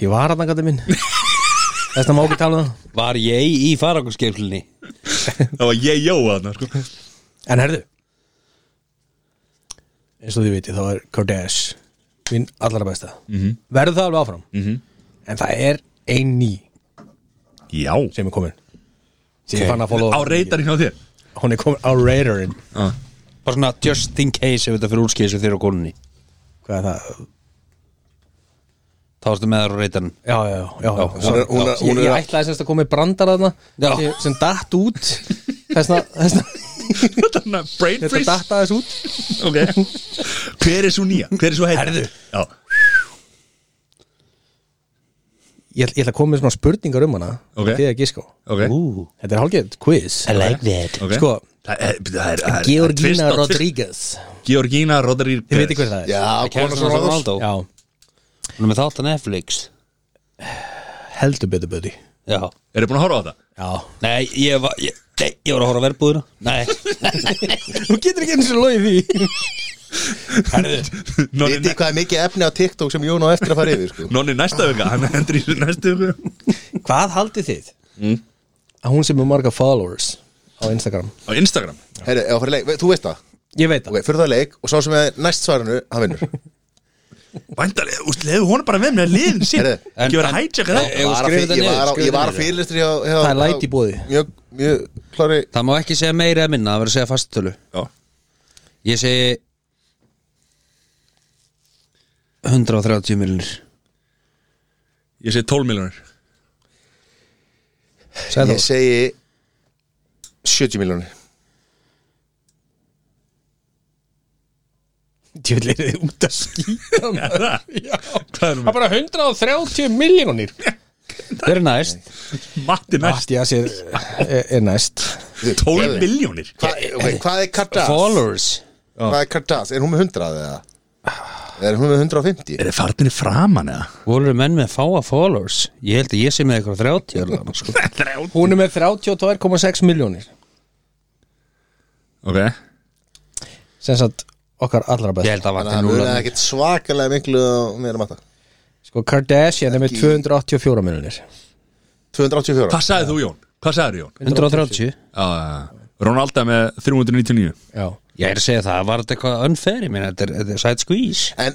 [SPEAKER 4] Ég var að þangað minn Þess að má ekki tala um það
[SPEAKER 3] Var ég í farangurskeilinni
[SPEAKER 2] Það var ég jóa þarna, sko
[SPEAKER 4] En herðu eins og þið viti þá er Kordes minn allra besta -hmm. verður það alveg áfram -hmm. en það er ein ný
[SPEAKER 2] Já
[SPEAKER 4] sem er komin sem ég
[SPEAKER 3] Ok.
[SPEAKER 4] fann að followa
[SPEAKER 2] Á reytarinn hjá þér
[SPEAKER 4] hún er komin á reydarinn
[SPEAKER 3] bara svona just in case ef þetta fyrir útskeiðis og þér á konunni
[SPEAKER 4] hvað er það
[SPEAKER 3] þá erstu með þar á reytan
[SPEAKER 4] já já já, já, já,
[SPEAKER 1] Hún er- hún er- hún er
[SPEAKER 4] ég, ég
[SPEAKER 1] að-
[SPEAKER 4] ætlaði semst að koma í brandar þarna
[SPEAKER 3] Já.
[SPEAKER 4] sem, sem datt út þessna, þessna
[SPEAKER 2] Þarna, Brain
[SPEAKER 4] þetta
[SPEAKER 2] freeze
[SPEAKER 4] datt aðeins út
[SPEAKER 2] Ok Hver er svo nýja? Hver er svo heita?
[SPEAKER 4] Herðu.
[SPEAKER 2] Já,
[SPEAKER 4] ég, ætla- ég ætla að koma með svona spurningar um hana
[SPEAKER 2] Ok.
[SPEAKER 4] þið að gíska á.
[SPEAKER 2] ok
[SPEAKER 3] Ú,
[SPEAKER 4] þetta er hálfgeitt quiz
[SPEAKER 3] I like that
[SPEAKER 2] Ok. eh,
[SPEAKER 4] sko
[SPEAKER 2] Það er, það er, það er tvist á
[SPEAKER 4] Georgina
[SPEAKER 2] tvist.
[SPEAKER 4] Rodríguez
[SPEAKER 2] Georgina Rodríguez
[SPEAKER 4] þið viti hver það er
[SPEAKER 1] Já, konar
[SPEAKER 3] Kæristan
[SPEAKER 1] svona ráðs
[SPEAKER 3] Ronaldo
[SPEAKER 4] já
[SPEAKER 3] Hún er með þátt að Netflix
[SPEAKER 4] heldur betur buddy
[SPEAKER 3] Já
[SPEAKER 2] Eru búin að horfa á það?
[SPEAKER 4] Já
[SPEAKER 3] Nei, ég var, ég, nei, ég var að horfa á verbúðina Nei,
[SPEAKER 4] Þú getur ekki eins og logið því
[SPEAKER 2] Nonni,
[SPEAKER 1] Vitið hvað er mikið efni á TikTok sem Jón á eftir að fara yfir sko.
[SPEAKER 2] nonni næsta vika, hann hendur í þessu næsta vika
[SPEAKER 4] Hvað haldið þið? Að hún sem er marga followers á Instagram
[SPEAKER 2] Á Instagram
[SPEAKER 1] Herri, ef að fara í leik, þú veist það
[SPEAKER 4] Ég veit það
[SPEAKER 1] okay, Fyrir það leik og sá sem er næst svarinu, hann vinnur
[SPEAKER 2] Væntalega, úst, leiðu hún bara við með liðin sín
[SPEAKER 1] Herðu.
[SPEAKER 2] Ekki vera að hijacka það
[SPEAKER 3] Ef þú
[SPEAKER 1] Var að
[SPEAKER 3] skrifir
[SPEAKER 1] fyr- Ég
[SPEAKER 3] þetta
[SPEAKER 1] var á-
[SPEAKER 3] niður,
[SPEAKER 1] ég var
[SPEAKER 3] skrifir
[SPEAKER 1] að fyrirlistri hjá, hjá
[SPEAKER 4] Það er læti í
[SPEAKER 1] hjá-
[SPEAKER 4] boði.
[SPEAKER 1] Mjög, mjög klári
[SPEAKER 3] Það má ekki segja meira eða minna, það verður að segja fasttölu
[SPEAKER 2] Já.
[SPEAKER 3] Ég segi 130 miljonir
[SPEAKER 2] Ég segi 12 miljonir
[SPEAKER 4] Sæður
[SPEAKER 1] Ég segi 70 miljónir
[SPEAKER 4] Djöfnlega þið út að skýta
[SPEAKER 2] Er það? Hvað erum
[SPEAKER 4] Það er bara 130 miljónir
[SPEAKER 3] Það er næst
[SPEAKER 2] við? Matti næst
[SPEAKER 4] Mattias er, er, er næst
[SPEAKER 2] 12 miljónir
[SPEAKER 1] Hva, okay, Hvað er Kardas?
[SPEAKER 3] Followers
[SPEAKER 1] Hvað er Kardas? Er hún með 100 eða? Er hún með 150?
[SPEAKER 2] Er þið farnir í framan eða?
[SPEAKER 3] Volur menn með fáa followers Ég held að ég sé með eitthvað 30 allan, sko.
[SPEAKER 2] 13
[SPEAKER 4] Hún er með 32,6 miljónir
[SPEAKER 2] Ok
[SPEAKER 4] Sem sagt okkar allra
[SPEAKER 3] Ég
[SPEAKER 4] best
[SPEAKER 3] held
[SPEAKER 1] Þannig
[SPEAKER 3] að vakti
[SPEAKER 1] að það
[SPEAKER 3] núna
[SPEAKER 1] munaði ekkert svakalega miklu á meira matta
[SPEAKER 4] Sko Kardashian er með
[SPEAKER 1] Ekki-
[SPEAKER 4] 284 miljónir
[SPEAKER 1] 284
[SPEAKER 2] Hvað sagði þú Jón? Hvað sagði Jón?
[SPEAKER 3] 130
[SPEAKER 2] Uh, Ronalda með 399
[SPEAKER 4] Já
[SPEAKER 3] Ég er að segja það, var þetta eitthvað unfair Ég meina, þetta er, þetta er side squeeze
[SPEAKER 1] En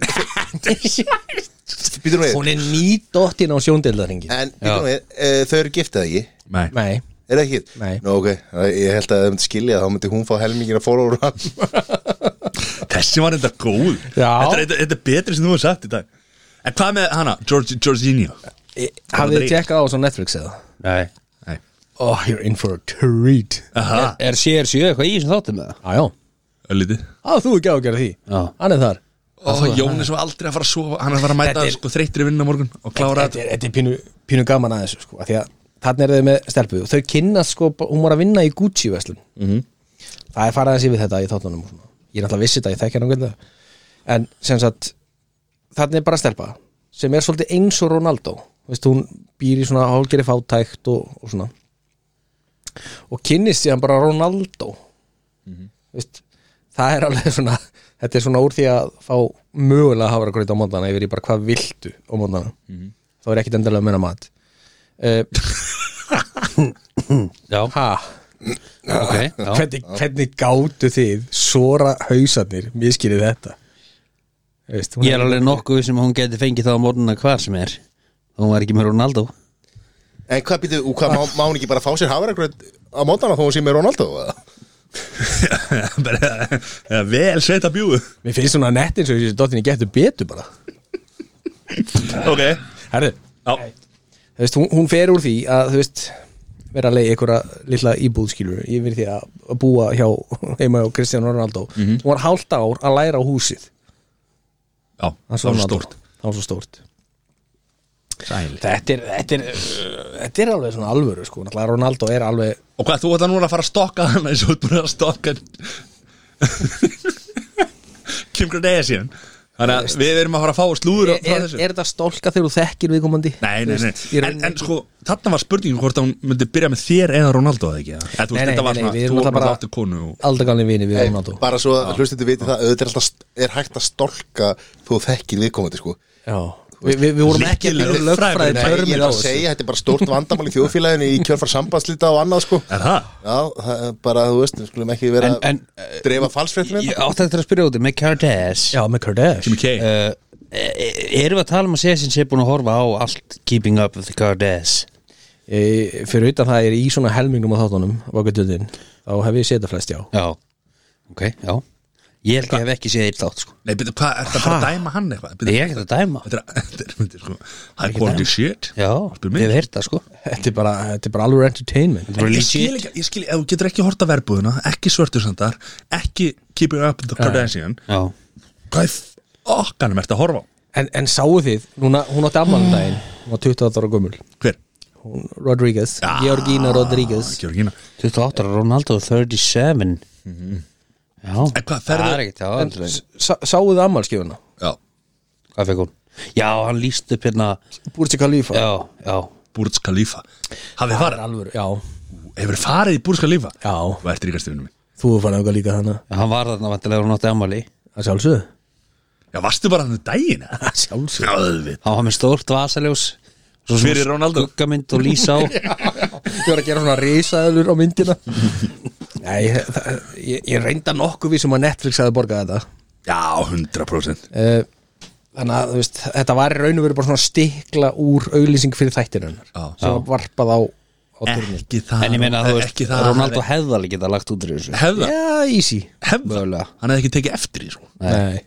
[SPEAKER 1] Býtum við
[SPEAKER 4] Hún er nýdóttin á sjóndeildarhingi
[SPEAKER 1] En býtum við eh, Þau eru giftið ekki
[SPEAKER 2] Nei
[SPEAKER 4] Nei
[SPEAKER 1] Er það ekki? gift?
[SPEAKER 4] Nei.
[SPEAKER 1] Nú ok Ég held að þau myndi skilja Þá myndi hún fá helmingin að fóra úr hann
[SPEAKER 2] Þessi var þetta góð
[SPEAKER 4] Já.
[SPEAKER 2] þetta, er- þetta, þetta er betri sem þú hefur sagt í dag En hvað með hana, Georgi, Georginio?
[SPEAKER 4] Eh, Hafið
[SPEAKER 2] Rodrigo.
[SPEAKER 4] þið tjekkað á þessu á Netflix eða?
[SPEAKER 3] Nei
[SPEAKER 2] Nei
[SPEAKER 4] Oh, you're in for a treat
[SPEAKER 2] Aha,
[SPEAKER 3] Er
[SPEAKER 4] E
[SPEAKER 3] CR7 eitthvað í þessum þáttum með það?
[SPEAKER 4] Jájá,
[SPEAKER 2] öllítið
[SPEAKER 4] á þú ekki á að gera því
[SPEAKER 3] Já.
[SPEAKER 4] Hann er þar
[SPEAKER 2] Ó, Jón er svo aldrei að fara að sofa Hann er að fara að mæta
[SPEAKER 4] Þetta er-
[SPEAKER 2] sko þreyttir í vinnu á morgun Og klára
[SPEAKER 4] Þetta er, þetta er pínu, pínu gaman aðeins sko, að Því að þarna er þau með stelpu og Þau kynnast sko, bara- hún var að vinna í Gucci veslun
[SPEAKER 2] Mhm.
[SPEAKER 4] -hmm. Það er farið aðeins yfir þetta í þáttunum og svona. Ég er náttúrulega vissi þetta, ég þekki hann ágætlega. En sem sagt Þarna er bara stelpa sem er svolítið eins og Ronaldo Veist, Hún býr í svona hálgeri fátækt og, og svona og kynnist síðan bara Ronaldo Veist, það er alveg svona þetta er svona úr því að fá mögulega hafa að gröita á móndana yfir í bara hvað viltu á móndana
[SPEAKER 3] Mhm.
[SPEAKER 4] þá er ekkit endilega að menna mat uh,
[SPEAKER 3] Já,
[SPEAKER 4] ha,
[SPEAKER 3] ok já.
[SPEAKER 4] hvernig, hvernig gátu þið sora hausarnir miskilið þetta Veist, hún
[SPEAKER 3] Ég er alveg nokkuð sem hún geti fengið þá á morgunna hvar sem er Hún var ekki með Ronaldo
[SPEAKER 1] En hvað býtu, og hvað má, má hún ekki bara fá sér hafragröð á mótana þó hún sé með Ronaldo? eða?
[SPEAKER 2] Bara, ja, Vel sveita bjúu
[SPEAKER 4] mér finnst svona nett eins og þessi dottinni getur betur bara
[SPEAKER 2] Ok
[SPEAKER 4] herðu
[SPEAKER 2] Já,
[SPEAKER 4] þú veist, hún, hún fer úr því að þú veist vera að leiði einhverja lilla íbúðskilur yfir því að að búa hjá heima hjá Kristján Ronaldo
[SPEAKER 3] Mhm.
[SPEAKER 4] hún var hálft ár að læra á húsið
[SPEAKER 2] já,
[SPEAKER 4] hans
[SPEAKER 2] það var
[SPEAKER 4] Ronaldo.
[SPEAKER 2] stórt
[SPEAKER 4] það var svo stórt
[SPEAKER 2] Sæl
[SPEAKER 4] þetta er, þetta er, þetta er alveg svona alvöru sko, náttúrulega Ronaldo er alveg
[SPEAKER 2] Og hvað, þú ætlar núna að fara að stokka hana eins og þú ert búin að stokka Kim Kardashian Þannig að við erum að fara að fá slúður
[SPEAKER 4] er,
[SPEAKER 2] frá
[SPEAKER 4] er,
[SPEAKER 2] þessu
[SPEAKER 4] er þetta stólka þegar þú þekkir viðkomandi?
[SPEAKER 2] Nei, nei,
[SPEAKER 4] Þú
[SPEAKER 2] nei,
[SPEAKER 4] veist, ég er-
[SPEAKER 2] en, en sko, þarna var spurningin hvort að hún myndi byrja með þér eða Ronaldo eða ekki, eða? eða þú veist,
[SPEAKER 4] Nei, nei,
[SPEAKER 2] þetta var
[SPEAKER 4] nei,
[SPEAKER 2] svona,
[SPEAKER 4] nei, við
[SPEAKER 2] þú
[SPEAKER 4] erum alltaf
[SPEAKER 2] erum bara
[SPEAKER 4] bara-
[SPEAKER 2] áttu konu og,
[SPEAKER 4] aldagalni vini við Ronaldo
[SPEAKER 1] Bara svo að hlustandi viti það, auðvitað er alltaf er hægt að stólka þú þekkir viðkomandi sko
[SPEAKER 4] Vi, vi, við vorum ekki
[SPEAKER 2] Lykil-
[SPEAKER 4] lögfræði
[SPEAKER 1] Nei, ég
[SPEAKER 4] törmið
[SPEAKER 1] er
[SPEAKER 4] á
[SPEAKER 1] að
[SPEAKER 4] þessu
[SPEAKER 1] segja, þetta er bara stórt vandamál í þjóðfélaginu í kjörfar sambandslita og annað sko
[SPEAKER 2] er það?
[SPEAKER 1] Já, það er bara, þú veist, við skulum ekki vera
[SPEAKER 3] En, en
[SPEAKER 1] að
[SPEAKER 2] eh,
[SPEAKER 1] dreifa falsfréttum
[SPEAKER 3] Ég
[SPEAKER 1] hérna
[SPEAKER 3] átti eftir að spyrja út í með Kardashian
[SPEAKER 4] Já, með Kardash
[SPEAKER 2] Kimi K
[SPEAKER 3] uh, Erum við að tala um að segja sem sé búin að horfa á allt Keeping Up with the Kardashians
[SPEAKER 4] e, fyrir utan það er í svona helmingnum á þáttunum vakutjöldin, þá hef ég setja flest já
[SPEAKER 3] Já, ok, já Ég held ég hef ekki séð eitt þátt sko
[SPEAKER 2] Nei, betur, hvað, ertu að fara að dæma hann eitthvað?
[SPEAKER 3] Ég
[SPEAKER 2] Bíddu,
[SPEAKER 3] er ekkert að dæma
[SPEAKER 2] Þetta er, þetta er, þetta er, sko, það er quality shit
[SPEAKER 3] Já,
[SPEAKER 2] Spyr
[SPEAKER 3] ég
[SPEAKER 2] mig.
[SPEAKER 3] hef heyrt það sko
[SPEAKER 4] þetta er bara, þetta er bara alveg entertainment
[SPEAKER 2] En Ég skil ekki, ég skil, ef þú getur ekki horta verbúðuna, ekki svörtursandar, ekki keeping up
[SPEAKER 4] Eh.
[SPEAKER 2] with the Kardashian,
[SPEAKER 3] Já,
[SPEAKER 2] hvað er okkanum ert að horfa á?
[SPEAKER 4] en, en sáu þið, núna, hún átti afmælum daginn hún var 28 ára gömul
[SPEAKER 2] Hver?
[SPEAKER 4] hún, Rodríguez, Georgina Rodríguez
[SPEAKER 2] Georgina
[SPEAKER 3] 28 ára Ronaldo 37 Mhm. Já,
[SPEAKER 2] En hvað, ferðu-
[SPEAKER 3] það er ekkert já, aldrei.
[SPEAKER 4] Sa, sáu þið afmælskifuna?
[SPEAKER 2] Já,
[SPEAKER 3] Hvað fekk hún? Já, hann líst upp hérna
[SPEAKER 4] Burj Khalifa
[SPEAKER 3] Já, já
[SPEAKER 2] Burj Khalifa Hafið þið
[SPEAKER 4] það er
[SPEAKER 2] farið?
[SPEAKER 4] alveg, já,
[SPEAKER 2] Hefur þið farið í Burj Khalifa?
[SPEAKER 4] já
[SPEAKER 2] Þú ert ríkast vinnum minn
[SPEAKER 4] þú er fann eitthvað líka þannig
[SPEAKER 3] Hann var þarna vantilega hún átti ammali
[SPEAKER 4] að sjálfsögðu
[SPEAKER 2] Já, varstu bara þannig daginn? eða?
[SPEAKER 4] að sjálfsögðu
[SPEAKER 2] Já, auðvitað
[SPEAKER 3] Hann var með stórt vasaljós svo svona
[SPEAKER 2] Fyrir Ronaldo.
[SPEAKER 3] Skuggamynd og lýsa á
[SPEAKER 4] Ég var að gera svona risaðlur á myndina Nei, það, ég, ég reynda nokkuð við sem að Netflix hafi borgað þetta
[SPEAKER 2] Já, 100%
[SPEAKER 4] Eh, Þannig að þú veist, þetta var í raun og verið bara svona stikla úr auglýsing fyrir þættinu hennar
[SPEAKER 2] Já.
[SPEAKER 4] sem var varpað á, á turni
[SPEAKER 2] Ekki það
[SPEAKER 3] En ég meina
[SPEAKER 4] eh,
[SPEAKER 3] þú veist
[SPEAKER 2] Ekki það
[SPEAKER 3] Ronaldo hefði alveg geta lagt út úr þessu
[SPEAKER 2] Hefða
[SPEAKER 4] Já, easy
[SPEAKER 2] Hefða
[SPEAKER 3] Mögulega.
[SPEAKER 2] Hann hefði ekki tekið eftir því sko
[SPEAKER 4] Nei,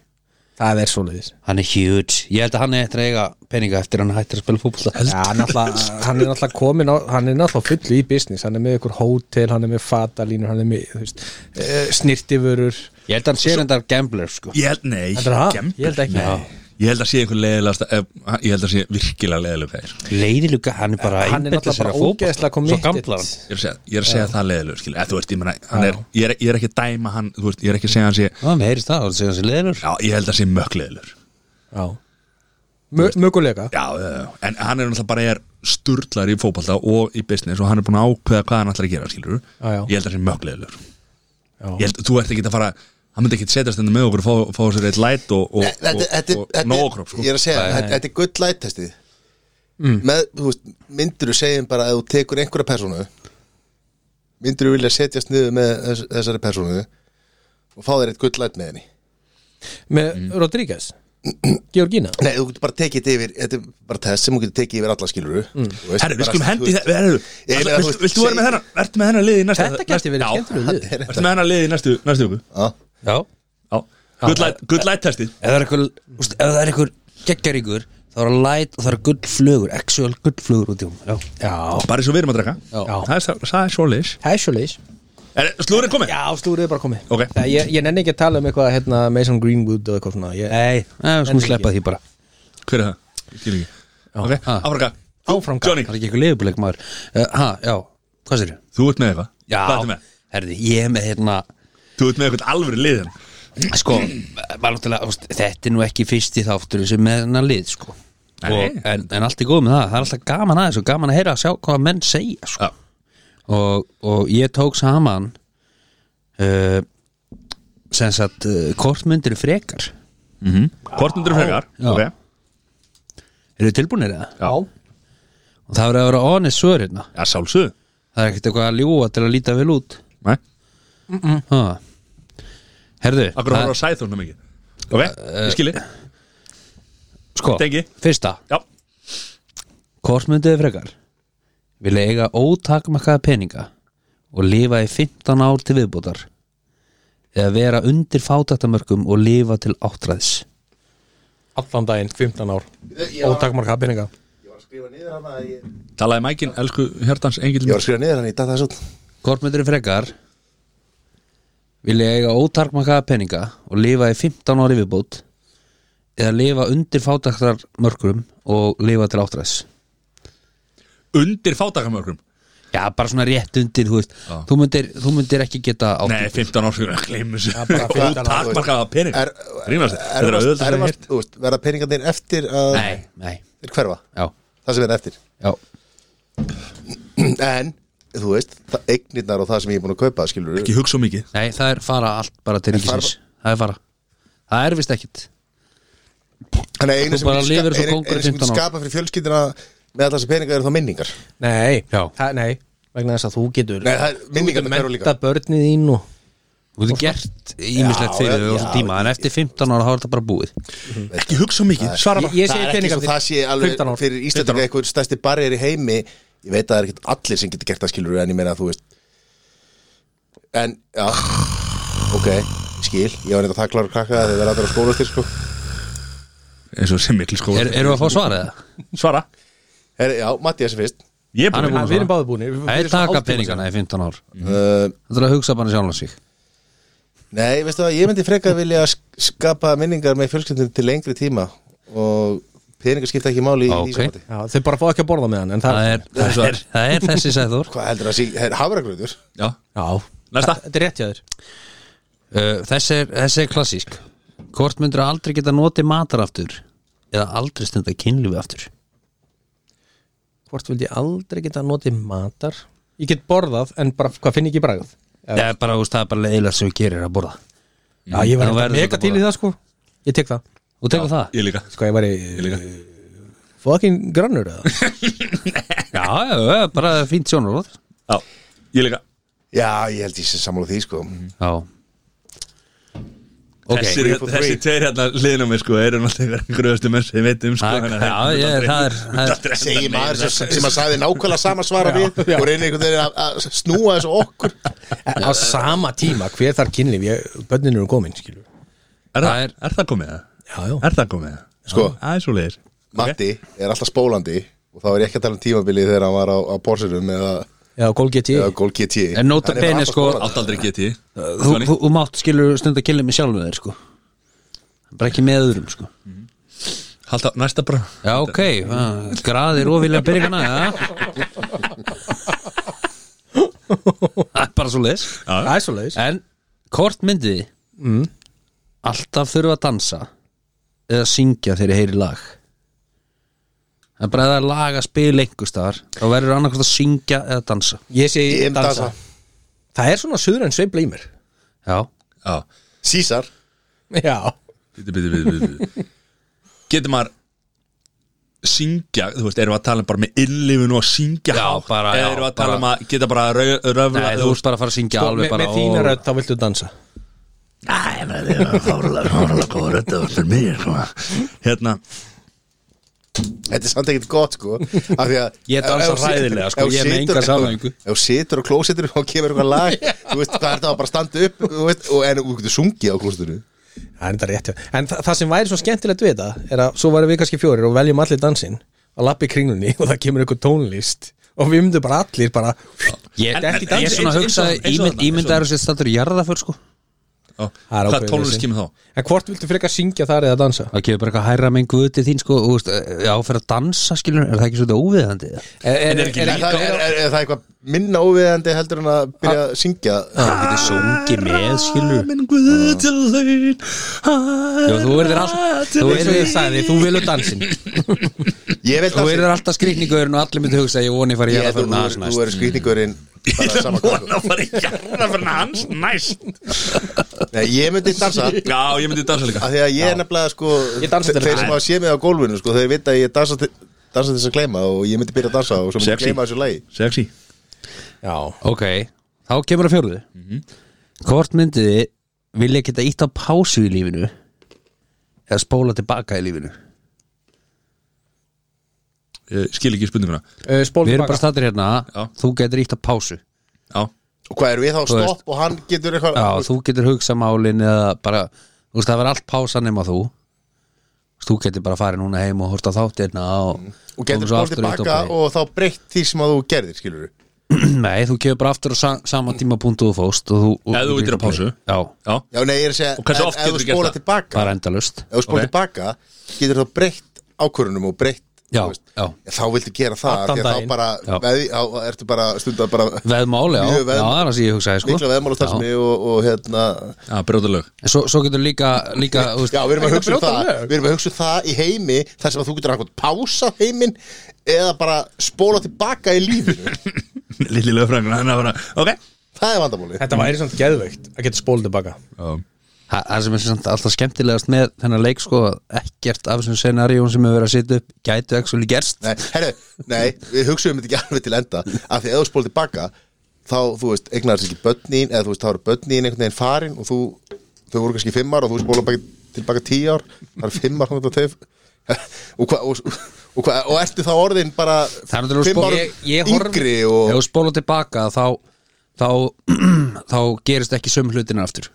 [SPEAKER 4] það er svoleiðis
[SPEAKER 3] Hann er huge Ég held að hann er eftir að eiga peninga eftir að hann hættir að spila fútbolta
[SPEAKER 4] Já, hann, alltaf, hann er náttúrulega komin á, hann er náttúrulega fullu í business hann er með ykkur hótel, hann er með fatalínur hann er með, þú veist, uh, snirtivörur
[SPEAKER 3] Ég held að hann sé endar gambler sko
[SPEAKER 2] Ég held, nei
[SPEAKER 4] Heldur það?
[SPEAKER 2] gembur.
[SPEAKER 4] Ég held ekki.
[SPEAKER 2] Nei. Ég held að sé einhver leðilegasta Ég held að sé virkilega leðileg fæðir
[SPEAKER 3] Leiðiluga, hann er bara að
[SPEAKER 4] Hann er
[SPEAKER 3] einbeita
[SPEAKER 4] náttúrulega
[SPEAKER 3] sér
[SPEAKER 4] bara
[SPEAKER 3] að fótbolta.
[SPEAKER 4] ógeðslega
[SPEAKER 3] Svo
[SPEAKER 4] committed.
[SPEAKER 3] gamblar hann
[SPEAKER 2] Ég er að segja, ég er að segja það leðileg skil Þú veist, ég meina hann er, ég, er, ég er ekki að dæma hann Þú veist, ég er ekki að segja hann sé
[SPEAKER 3] Já, hann heyrist það, hann segja hann sér leiðilur
[SPEAKER 2] Já, ég held að sé mökk leðilegur
[SPEAKER 4] Já Mö, Möguleika
[SPEAKER 2] Já, já, já, en hann er náttúrulega bara er sturlar í fótballta og í business og hann er búin að ákveða hvað hann ætlar að gera, skilur
[SPEAKER 4] Já, já.
[SPEAKER 2] Ég held að sé mögleðilegur
[SPEAKER 4] Já.
[SPEAKER 2] Ég held, þú ert ekki að fara hann myndi ekki að setjast henni með okkur og fá, fá sér eitt læt og, og,
[SPEAKER 1] Þetta-
[SPEAKER 2] og,
[SPEAKER 1] þetta-
[SPEAKER 2] og,
[SPEAKER 1] þetta-
[SPEAKER 2] og nógkróp, sko Mm.
[SPEAKER 1] Ég er að segja, þetta- þetta er gull lættestið með, þú veist, myndir þú segjum bara að þú tekur einhverja persónu myndir þú vilja setjast niður með þess, þessari persónu og fá þér eitt gull lætt með henni
[SPEAKER 4] Með Rodríguez Georgina
[SPEAKER 1] Nei, þú getur bara tekið þetta yfir þetta er bara test sem þú getur tekið yfir alla skiluru mm.
[SPEAKER 2] Herru, við skulum hendi það Herru,
[SPEAKER 1] Ég meina, þú
[SPEAKER 2] ætla- viltu
[SPEAKER 1] veist,
[SPEAKER 2] viltu vera með
[SPEAKER 1] seg-
[SPEAKER 2] hennar Ertu með hennar liði í næsta
[SPEAKER 4] Þetta gæti verið
[SPEAKER 2] næsta-
[SPEAKER 4] skemmtilegur liður.
[SPEAKER 2] Já, Ertu með hennar liði í næstu næstu okkur
[SPEAKER 1] Já,
[SPEAKER 3] Já,
[SPEAKER 2] Já, good light- good light testið
[SPEAKER 3] ef það er eitthvað, úst, ef það er eitthvað geggjaríkur það var light og það var gullflugur actual gullflugur út í hún já,
[SPEAKER 4] Já,
[SPEAKER 2] bara eins og við erum að drekka
[SPEAKER 4] Já.
[SPEAKER 2] það er, það er svo leis
[SPEAKER 4] það er svo leis
[SPEAKER 2] er slúrið komið?
[SPEAKER 4] Já, slúrið er bara komið
[SPEAKER 2] Ok.
[SPEAKER 4] Nei, Ég, ég nenni ekki að tala um eitthvað hérna, Mason Greenwood og eitthvað svona ég,
[SPEAKER 3] nei,
[SPEAKER 4] eh,
[SPEAKER 3] við skulum sleppa því bara
[SPEAKER 2] hver er það? ég skil ekki ok,
[SPEAKER 3] Ha.
[SPEAKER 2] áfraka
[SPEAKER 4] Áframgang.
[SPEAKER 2] Johnny,
[SPEAKER 3] það er ekki eitthvað leifubuleik maður uh, ha, já, hvað sér
[SPEAKER 2] þú ert með eitthvað Hvað ertu með?
[SPEAKER 3] herði, ég er með hérna
[SPEAKER 2] þú ert með eitthvað alvöru hérna. liðin
[SPEAKER 3] sko, var náttúrulega, þú veist, þetta er nú ekki fyrsti þáttur sem með hennar lið sko.
[SPEAKER 2] Nei.
[SPEAKER 3] og, en, en allt er góð með það það er alltaf gaman aðeins og gaman að heyra að sjá hvað menn segja sko.
[SPEAKER 2] Já.
[SPEAKER 3] og, og ég tók saman uh, sem sagt uh, kortmyndir frekar
[SPEAKER 2] hvort myndir frekar
[SPEAKER 3] Já.
[SPEAKER 2] ok,
[SPEAKER 3] eru þið tilbúinir eða?
[SPEAKER 2] já,
[SPEAKER 3] og það verður að vera honest svör hérna
[SPEAKER 2] já sálsöðu
[SPEAKER 3] það er ekkert eitthvað að ljúa til að líta vel út
[SPEAKER 2] nei, Mm.
[SPEAKER 3] ha. herðu
[SPEAKER 2] akkur
[SPEAKER 3] það-
[SPEAKER 2] horfður á sæðunum mikið ok, ég skilji,
[SPEAKER 3] sko,
[SPEAKER 2] Tengi.
[SPEAKER 3] fyrsta
[SPEAKER 2] já
[SPEAKER 3] Hvort mynduðu frekar? Vilja eiga ótakmarkaða peninga og lifa í 15 ár til viðbútar eða vera undir fátættamörkum og lifa til áttræðs
[SPEAKER 4] Allan daginn, 15 ár Ótakmar kapinninga
[SPEAKER 1] Ég var að skrifa niður hann að ég
[SPEAKER 2] talaði mækin, elsku hjartans engil
[SPEAKER 1] Ég var að skrifa niður hann í dag það er svo
[SPEAKER 3] Hvort mynduðu frekar? Vilja eiga ótakmarkaða peninga og lifa í 15 ár í viðbútt eða lifa undir fátættamörkum og lifa til áttræðs
[SPEAKER 2] undir fátakamörgum
[SPEAKER 3] Já, bara svona rétt undir, þú veist
[SPEAKER 2] Já.
[SPEAKER 3] þú myndir, þú myndir ekki geta
[SPEAKER 2] Nei,
[SPEAKER 3] áttræðs
[SPEAKER 2] 15 árs, ég glemur þessu
[SPEAKER 4] bara 15 ár,
[SPEAKER 2] Ótakmarkaða pening
[SPEAKER 1] sko. Er-
[SPEAKER 2] Rýmast, þetta er
[SPEAKER 1] Erfast,
[SPEAKER 2] auðvitað sem ég
[SPEAKER 1] erfast,
[SPEAKER 2] heyrt
[SPEAKER 1] þú veist, verða peningarnir eftir að
[SPEAKER 3] Nei, nei,
[SPEAKER 1] þeir hverfa,
[SPEAKER 3] já,
[SPEAKER 1] það sem er eftir
[SPEAKER 3] já
[SPEAKER 1] En, þú veist, það eignirnar og það sem ég er búin að kaupa, skilur
[SPEAKER 2] Ekki hugsa um mikið
[SPEAKER 3] Nei, það er fara allt bara til ríkisins Það er fara Það er vist ekkit
[SPEAKER 1] Þannig að einu
[SPEAKER 3] Þú
[SPEAKER 1] sem
[SPEAKER 3] bara
[SPEAKER 1] myndi
[SPEAKER 3] lifir
[SPEAKER 1] ska-
[SPEAKER 3] eins og
[SPEAKER 1] einu-
[SPEAKER 3] kóngur í
[SPEAKER 1] einu sem
[SPEAKER 3] 15
[SPEAKER 1] myndi
[SPEAKER 3] ár.
[SPEAKER 1] skapa fyrir fjölskyldina með allar sem peningar eru þá minningar
[SPEAKER 4] Nei,
[SPEAKER 3] Já.
[SPEAKER 4] það, nei vegna þess að þú getur
[SPEAKER 1] Nei, það er minningar með hverju líka
[SPEAKER 4] Þetta börnið þín og
[SPEAKER 3] Þú hefur gert ímislegt fyrir þau á
[SPEAKER 1] já,
[SPEAKER 3] þessum tíma En eftir 15 ára þá er þetta bara búið
[SPEAKER 2] Ekki hugsa um mikið, svara
[SPEAKER 4] Ég-
[SPEAKER 2] bara
[SPEAKER 4] ég-
[SPEAKER 1] Það
[SPEAKER 4] segi
[SPEAKER 1] er ekki svo
[SPEAKER 4] peningarnir.
[SPEAKER 1] það sé alveg
[SPEAKER 4] 15 ár.
[SPEAKER 1] fyrir Íslandinga eitthvað stærsti barriðir í heimi Ég veit að það er ekkert allir sem getur gert það skilur en ég meina að þú veist En, já, ok, ég skil Ég var neitt að það klára krakka þegar það er allir á skóla sko
[SPEAKER 2] Eins og sem mikil skóla
[SPEAKER 3] er, Erum við að fá svara eða?
[SPEAKER 2] Svara
[SPEAKER 1] Her, Já, Matti þessi fyrst
[SPEAKER 2] Ég er
[SPEAKER 3] Hann
[SPEAKER 2] búin
[SPEAKER 3] er búinn
[SPEAKER 2] að
[SPEAKER 3] að-
[SPEAKER 4] Við erum báði búinir
[SPEAKER 3] Það er taka peningana í 15 ár
[SPEAKER 1] uh,
[SPEAKER 3] Það er að hugsa bara sjálf sig
[SPEAKER 1] Nei, veistu það, ég myndi frekar vilja sk- skapa minningar með fjölskyldinu til lengri tíma og peningar skipta ekki máli í
[SPEAKER 3] Ok.
[SPEAKER 1] því sambandi
[SPEAKER 4] Já, þau bara fá ekki að borða með hann en það,
[SPEAKER 3] Það er, það er, það er þessi sæður
[SPEAKER 1] Hvað heldur það að sé, her, hafragröður?
[SPEAKER 2] Já,
[SPEAKER 4] Já,
[SPEAKER 2] næsta
[SPEAKER 4] þetta er rétt hjá þér
[SPEAKER 3] Uh, þessi er, þessi er klassísk Hvort myndir aldrei geta notið matar aftur eða aldrei stunda kynlífi aftur
[SPEAKER 4] Hvort vildi ég aldrei geta notið matar Ég get borðað en bara hvað finn ég ekki bragð Já,
[SPEAKER 3] Það er bara, þú veist, það er bara leiðilega sem við gerir að borða
[SPEAKER 4] já ég
[SPEAKER 3] Þá
[SPEAKER 4] var
[SPEAKER 3] verður
[SPEAKER 4] mega
[SPEAKER 3] þetta
[SPEAKER 4] til í
[SPEAKER 3] bara-
[SPEAKER 4] það sko Ég tek það
[SPEAKER 3] Og tekur það?
[SPEAKER 2] Ég líka
[SPEAKER 4] Sko ég var í eh, Fucking grannur eða
[SPEAKER 3] Já, já, já, bara fínt sjónaróð
[SPEAKER 2] Já, ég líka
[SPEAKER 1] Já, ég held ég sem sammála því, sko
[SPEAKER 3] Já Ok,
[SPEAKER 2] Þessir,
[SPEAKER 1] Three for
[SPEAKER 2] þessi
[SPEAKER 1] three.
[SPEAKER 2] tveir hérna liðnum við sko eru náttúrulega gröðustu menn sem ég veit um sko
[SPEAKER 3] Það-
[SPEAKER 2] þannig að
[SPEAKER 3] já,
[SPEAKER 2] þeir-
[SPEAKER 3] ég-
[SPEAKER 2] aldrei-
[SPEAKER 3] það er- það er-
[SPEAKER 2] aldrei-
[SPEAKER 1] Segir
[SPEAKER 2] Nei,
[SPEAKER 1] maður
[SPEAKER 2] það-
[SPEAKER 1] sem, sem að sagði nákvæmlega sama svara við og reynir einhvern veginn að- að snúa þessu okkur
[SPEAKER 4] Á sama tíma hver þar kynlíf ég, Bönnin eru komin skilur
[SPEAKER 2] Er
[SPEAKER 3] Það
[SPEAKER 2] það-
[SPEAKER 3] er-
[SPEAKER 2] er það komið það?
[SPEAKER 4] Já, já
[SPEAKER 2] Er það komið það?
[SPEAKER 1] Sko.
[SPEAKER 2] Það er svo leiðir
[SPEAKER 1] Matti er alltaf spólandi og þá er ég ekki að tala um tímabilið þegar hann var á, á Porsinum eða,
[SPEAKER 4] Já, gól get ég
[SPEAKER 1] eða Gól GT
[SPEAKER 3] En nota
[SPEAKER 1] Hann er bara
[SPEAKER 3] bene,
[SPEAKER 1] alltaf
[SPEAKER 3] sko,
[SPEAKER 1] spólandi.
[SPEAKER 2] Átt aldrei geti
[SPEAKER 3] þú, þú, þú mátt skilur stund að killa mig sjálf með þér sko bara ekki með öðrum sko
[SPEAKER 2] Halda næsta bara
[SPEAKER 3] já ok, ah, graðir ofilega byrjana ja. Það er bara svo leis
[SPEAKER 4] Það er svo leiðis
[SPEAKER 3] en hvort myndið mm. alltaf þurfa að dansa eða syngja þegar ég heyri lag en bara eða lag að spila einhverstaðar þá verður annarkvæmt að syngja eða dansa
[SPEAKER 4] Ég sé
[SPEAKER 1] Ég myndi dansa.
[SPEAKER 4] Það er svona söður en sveifla í mér
[SPEAKER 3] já,
[SPEAKER 2] Já
[SPEAKER 1] Cæsar
[SPEAKER 4] Já
[SPEAKER 2] Bíti, bíti, bíti, bíti Getur maður syngja, þú veist, erum við að tala um bara með innlifun og að syngja
[SPEAKER 3] Já,
[SPEAKER 2] hátt?
[SPEAKER 3] bara,
[SPEAKER 2] Eða
[SPEAKER 3] já,
[SPEAKER 2] erum við að tala um
[SPEAKER 3] bara-
[SPEAKER 2] að geta bara rau- röfla
[SPEAKER 3] Nei, þú ert bara að fara að syngja
[SPEAKER 4] Sko,
[SPEAKER 3] alveg
[SPEAKER 4] með,
[SPEAKER 3] bara
[SPEAKER 4] með þína
[SPEAKER 3] og-
[SPEAKER 4] rödd þá viltu dansa
[SPEAKER 2] Nei, það er fárlega góð rödd fyrir sko. mér svona. Hérna,
[SPEAKER 1] Þetta er samt ekkert gott sko af því að-
[SPEAKER 3] Ég dansa
[SPEAKER 1] ef- ef þú situr-
[SPEAKER 3] hræðilega, sko,
[SPEAKER 1] ef þú
[SPEAKER 3] ég er með
[SPEAKER 1] situr-
[SPEAKER 3] enga samhæfingu.
[SPEAKER 1] Ef þú situr á klósitinu og kemur eitthvað lag Þú veist, það er það bara að standa upp þú veist, og en þú getur sungið á klósitinu
[SPEAKER 4] Það er þetta rétt hjá En þa það sem væri svo skemmtilegt við þetta er að svo væri við kannski fjórir og veljum allir dansinn að lappa í kringlunni og það kemur eitthvað tónlist og við myndum bara allir bara
[SPEAKER 3] Ég,
[SPEAKER 2] En-
[SPEAKER 3] en,
[SPEAKER 2] en-
[SPEAKER 3] en, ég
[SPEAKER 2] eins-
[SPEAKER 3] svona
[SPEAKER 2] eins- eins
[SPEAKER 3] hugsa
[SPEAKER 2] og- eins og
[SPEAKER 3] ímynd,
[SPEAKER 2] þarna,
[SPEAKER 3] ímynd
[SPEAKER 2] eins og
[SPEAKER 3] er sér stattur jarðaför sko
[SPEAKER 2] Já.
[SPEAKER 4] Það er
[SPEAKER 2] Hvað
[SPEAKER 4] ákveðið
[SPEAKER 2] tónlist
[SPEAKER 4] vesen.
[SPEAKER 2] kemur þá?
[SPEAKER 4] En hvort viltu frekar syngja þar eða dansa?
[SPEAKER 3] Það kemur bara eitthvað hærra með guð til þín sko og þú veist, já, fyrir að dansa skilur er það ekki svolítið óviðandi eða?
[SPEAKER 4] Er, er, er,
[SPEAKER 1] Er það, er, er, er það eitthvað minna óviðandi heldur en að byrja að syngja
[SPEAKER 3] Þú getur sungið með skilur
[SPEAKER 2] Minn guð til þín
[SPEAKER 3] Já, þú verður alltaf
[SPEAKER 4] eins
[SPEAKER 3] þú
[SPEAKER 4] og
[SPEAKER 3] verður
[SPEAKER 4] ég sagði, þú vilur dansin
[SPEAKER 1] Ég vil
[SPEAKER 3] Þú
[SPEAKER 1] það
[SPEAKER 3] verður alltaf skrikningurinn og allir myndu hugsa að ég voni að fara í
[SPEAKER 1] Ég, þú,
[SPEAKER 3] jarðaför
[SPEAKER 1] þú, þú er skrýtingurinn bara sama hvað
[SPEAKER 2] Vona að fara í jarðarförna hans Næst
[SPEAKER 1] Nei, ég myndi dansa af
[SPEAKER 2] Já, ég myndi dansa líka
[SPEAKER 1] því að ég er nefnilega sko
[SPEAKER 4] Ég dansa til
[SPEAKER 1] þeir
[SPEAKER 4] þess.
[SPEAKER 1] sem hafa séð mig á gólfinu sko þeir vita að ég dansa til, dansa til þess að gleyma og ég myndi byrja að dansa og svo myndi
[SPEAKER 2] Sexy.
[SPEAKER 1] gleyma þessu lagi
[SPEAKER 2] Sexy
[SPEAKER 4] Já
[SPEAKER 2] sko.
[SPEAKER 3] Ok, þá kemur að fjóruðu
[SPEAKER 2] Mhm.
[SPEAKER 3] Hvort myndið þið vilja geta ítt á pásu í lífinu eða spóla tilbaka í lífinu
[SPEAKER 2] Ég Skil ekki spurninguna
[SPEAKER 4] uh, Spólum
[SPEAKER 3] Við erum
[SPEAKER 4] baka
[SPEAKER 3] bara stattur hérna,
[SPEAKER 2] Já.
[SPEAKER 3] þú getur ítt á pásu
[SPEAKER 2] Já
[SPEAKER 1] og hvað er við þá
[SPEAKER 3] Þú veist.
[SPEAKER 1] stopp og hann getur eitthvað
[SPEAKER 3] Já, þú getur hugsa málin eða bara, þú veist, það verður allt pása nema þú Þú getur bara farið núna heim og horta þáttirna og,
[SPEAKER 1] Mm. og getur
[SPEAKER 3] komið
[SPEAKER 1] bóð
[SPEAKER 3] svo aftur í
[SPEAKER 1] tilbaka
[SPEAKER 3] dópið.
[SPEAKER 1] og þá breytt því sem að þú gerðir skilur
[SPEAKER 3] Nei, þú kemur bara aftur á sa
[SPEAKER 1] Mm.
[SPEAKER 3] saman tíma punktu þú fóst og þú, og,
[SPEAKER 2] Ef þú veitir á pásu.
[SPEAKER 3] Já,
[SPEAKER 2] Já
[SPEAKER 1] Já, nei, ég er að segja,
[SPEAKER 2] Og hversu
[SPEAKER 1] en
[SPEAKER 2] oft
[SPEAKER 1] ef
[SPEAKER 2] getur
[SPEAKER 1] þú
[SPEAKER 2] þú gert
[SPEAKER 1] spóla
[SPEAKER 2] það?
[SPEAKER 1] tilbaka
[SPEAKER 3] bara endalust
[SPEAKER 1] ef þú spóla
[SPEAKER 2] Ok.
[SPEAKER 1] tilbaka, getur þú breytt ákvörunum og breytt
[SPEAKER 3] Já,
[SPEAKER 1] þú veist.
[SPEAKER 3] já.
[SPEAKER 1] þá viltu gera það
[SPEAKER 4] Allan
[SPEAKER 1] því að
[SPEAKER 4] daginn.
[SPEAKER 1] þá bara,
[SPEAKER 3] Já.
[SPEAKER 1] veði, þá ertu bara stundar bara
[SPEAKER 3] Veðmál, já,
[SPEAKER 1] Mjög veðmál.
[SPEAKER 3] já, það er það sem ég hugsaði sko.
[SPEAKER 1] mikla veðmálastarfsmi og, og hérna
[SPEAKER 2] Já, brjóðalög
[SPEAKER 3] En Svo, svo getur líka, líka þú veist,
[SPEAKER 1] Já, við erum að
[SPEAKER 4] Ekki
[SPEAKER 1] hugsa um
[SPEAKER 4] brjóta
[SPEAKER 1] það
[SPEAKER 4] lög.
[SPEAKER 1] Við erum að hugsa um það í heimi þar sem að þú getur eitthvað pása heiminn eða bara spóla tilbaka í lífinu
[SPEAKER 2] Lilli lögfræðingur Þannig að fara Ok
[SPEAKER 1] Það er vandamóli
[SPEAKER 4] Þetta væri samt geðveikt að geta spólum tilbaka
[SPEAKER 2] Já
[SPEAKER 3] það það sem er samt alltaf skemmtilegast með þennan leik sko, að ekkert af þessum scenaríum sem er verið að setja upp gætu ekki svolítið gerst
[SPEAKER 1] Nei, herru, nei, við hugsaum þetta ekki alveg til enda af því að ef þú spóla tilbaka þá, þú veist, eignar þess ekki börnin eða þú veist, þá eru börnin einhvern veginn farin og þú, þau voru kannski fimm ár og þú spóla baki, tilbaka tíu ár það eru fimm ár þannig að þau og, hva, og, og, hva, og ertu þá orðin bara
[SPEAKER 3] Það er náttúrulega
[SPEAKER 1] fimm
[SPEAKER 3] spóla-
[SPEAKER 1] árum
[SPEAKER 3] ég- ég horf-
[SPEAKER 1] yngri
[SPEAKER 3] Ef
[SPEAKER 1] og
[SPEAKER 3] þú spóla tilbaka þá þá, þá gerist ekki söm hlutin aftur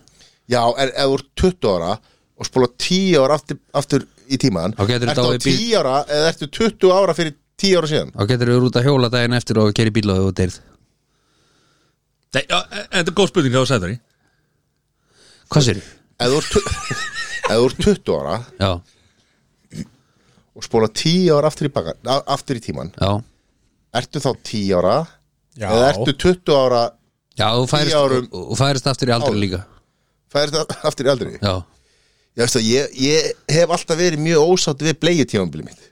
[SPEAKER 1] Já, en ef þú ert 20 ára og spóla 10 ára aftur, aftur í tíman
[SPEAKER 3] Þá getur
[SPEAKER 1] Ertu
[SPEAKER 3] þetta
[SPEAKER 1] á
[SPEAKER 3] orðið bíl.
[SPEAKER 1] 10 ára eða ertu 20 ára fyrir 10 ára síðan
[SPEAKER 3] þá getur þú út að hjóla daginn eftir og keri bíl og þú deyrð
[SPEAKER 2] Nei, já, en Þetta er góð spurning Hvað þú sagði það í
[SPEAKER 3] Hvað sér?
[SPEAKER 1] Ef þú ert tu- ef þú ert 20 ára
[SPEAKER 3] Já,
[SPEAKER 1] og spóla 10 ára aftur í, baka, a- aftur í tíman
[SPEAKER 3] já
[SPEAKER 1] Ertu þá 10 ára
[SPEAKER 4] Já.
[SPEAKER 1] eða ertu 20 ára
[SPEAKER 3] Já, þú færist,
[SPEAKER 1] árum-
[SPEAKER 3] og- og færist aftur í aldrei
[SPEAKER 1] Áður.
[SPEAKER 3] líka
[SPEAKER 1] færið aftur í aldri
[SPEAKER 3] Já,
[SPEAKER 1] ég, veist það, ég, ég hef alltaf verið mjög ósátt við bleið tímanbili mitt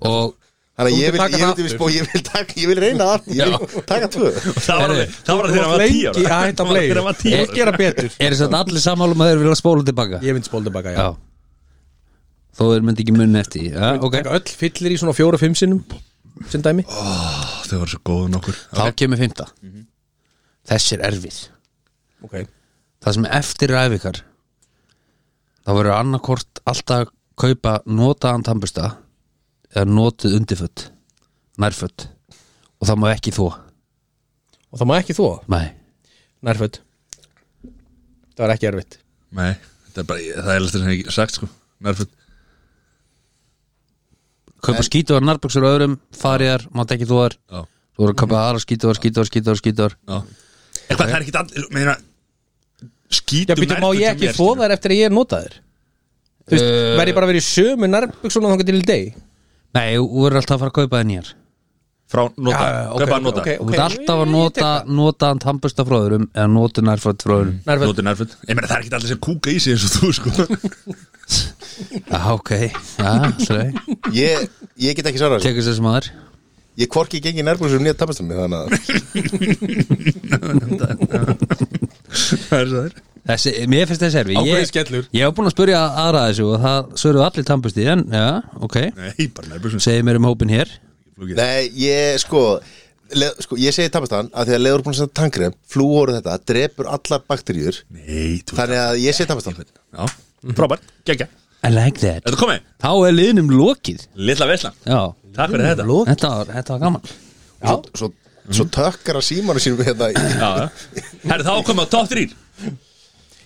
[SPEAKER 3] og
[SPEAKER 1] Þannig að
[SPEAKER 4] Þú
[SPEAKER 1] ég
[SPEAKER 4] myndir
[SPEAKER 1] vil,
[SPEAKER 4] taka
[SPEAKER 1] ég,
[SPEAKER 4] það
[SPEAKER 1] vil, spó, ég, vil taka, ég vil reyna það aftur, ég vil taka tvö
[SPEAKER 2] Það var alveg Það var alveg þegar
[SPEAKER 4] Þú
[SPEAKER 2] hann var tíu ára Það var Þegar
[SPEAKER 4] mátt lengi að hætta play
[SPEAKER 2] hann var tíu
[SPEAKER 4] Ég
[SPEAKER 2] ára
[SPEAKER 4] gera betur
[SPEAKER 3] er þess að allir sammálum að þeir vilja spóla tilbaka?
[SPEAKER 4] Ég mynd spólum tilbaka, já,
[SPEAKER 3] Já Þó þeir myndi ekki munni eftir því. Já, ok
[SPEAKER 4] Taka öll fyllir í svona fjóra-fimm sinnum sem dæmi
[SPEAKER 2] Ó, Þau voru svo góðu nokkur
[SPEAKER 3] Þá kemur fymta
[SPEAKER 1] Mhm.
[SPEAKER 3] Þessi er erfið
[SPEAKER 4] okay.
[SPEAKER 3] Það sem eftir ræf ykkar þá verður annarkort alltaf kaupa notaðan tambusta eða notuð undirföt nærföt og það má ekki þó
[SPEAKER 4] Og það má ekki þú
[SPEAKER 3] Nei,
[SPEAKER 4] nærföld Það var ekki erfitt
[SPEAKER 2] Nei Það er bara Það er alltaf sem ég hef sagt sko Nærfutt
[SPEAKER 3] kaupa en... skítuðar nærböksur öðrum fariðar, mátt ekki þóðar
[SPEAKER 2] Já
[SPEAKER 3] þú verður að kaupa
[SPEAKER 4] Mhm.
[SPEAKER 3] aðra skítuðar, skítuðar, skítuðar, skítuðar
[SPEAKER 2] Já Eitthvað það er ekki allir Meina
[SPEAKER 4] Já,
[SPEAKER 2] Skítum
[SPEAKER 4] býtum, má ég ekki þvo þær eftir að ég nota þær? Þú veist,
[SPEAKER 3] Eh.
[SPEAKER 4] verð ég bara að vera í sömu nærbuksunum þangar til í deg?
[SPEAKER 3] Nei, þú verður alltaf að fara að kaupa það nýjar
[SPEAKER 2] Frá nota
[SPEAKER 4] Já, ok,
[SPEAKER 2] Kaupa að nota
[SPEAKER 4] ok, ok.
[SPEAKER 3] Þú verður alltaf að
[SPEAKER 4] ég- ég tek
[SPEAKER 3] nota notaðan tambusta frá öðrum eða notuð nærföt frá öðrum
[SPEAKER 4] Nærföld.
[SPEAKER 2] Nota nærfutt Ég meina það er ekki allir sem kúka í sig eins og þú sko
[SPEAKER 3] Já, ok, já, alltaf
[SPEAKER 1] ég, ég get ekki svara þessu
[SPEAKER 3] Tekur þessum aður
[SPEAKER 1] Ég hvorki gengi nærbúrsum nýja tapastum þannig að
[SPEAKER 2] Það er svo þær
[SPEAKER 3] Þessi, mér finnst þessi erfi
[SPEAKER 4] Ákveðin
[SPEAKER 3] Ég-
[SPEAKER 4] skellur.
[SPEAKER 3] Ég hef búin að spurja aðra að þessu og það svöruðu allir tampusti en já, ok,
[SPEAKER 2] Nei, bara nærbjörnsum
[SPEAKER 3] segið mér um hópin hér
[SPEAKER 2] flugið
[SPEAKER 1] Nei, ég sko, leð, sko Ég segi tapastan að því að leður búin að setja tankrem Flúoru þetta, drepur allar bakteríur
[SPEAKER 2] Nei, þú
[SPEAKER 1] Þannig að ég segi tapastan
[SPEAKER 2] Já, frábært, geggja
[SPEAKER 3] I like that
[SPEAKER 2] Þetta komið,
[SPEAKER 3] Þá er liðnum lokið
[SPEAKER 2] litla veslan
[SPEAKER 3] Já,
[SPEAKER 2] Takk fyrir þetta
[SPEAKER 3] lokið. Þetta, var, þetta var gaman
[SPEAKER 1] Svo, svo, svo tökkar að símanu sínum við þetta hérna í-
[SPEAKER 2] já, já. Herri, þá komið á top 3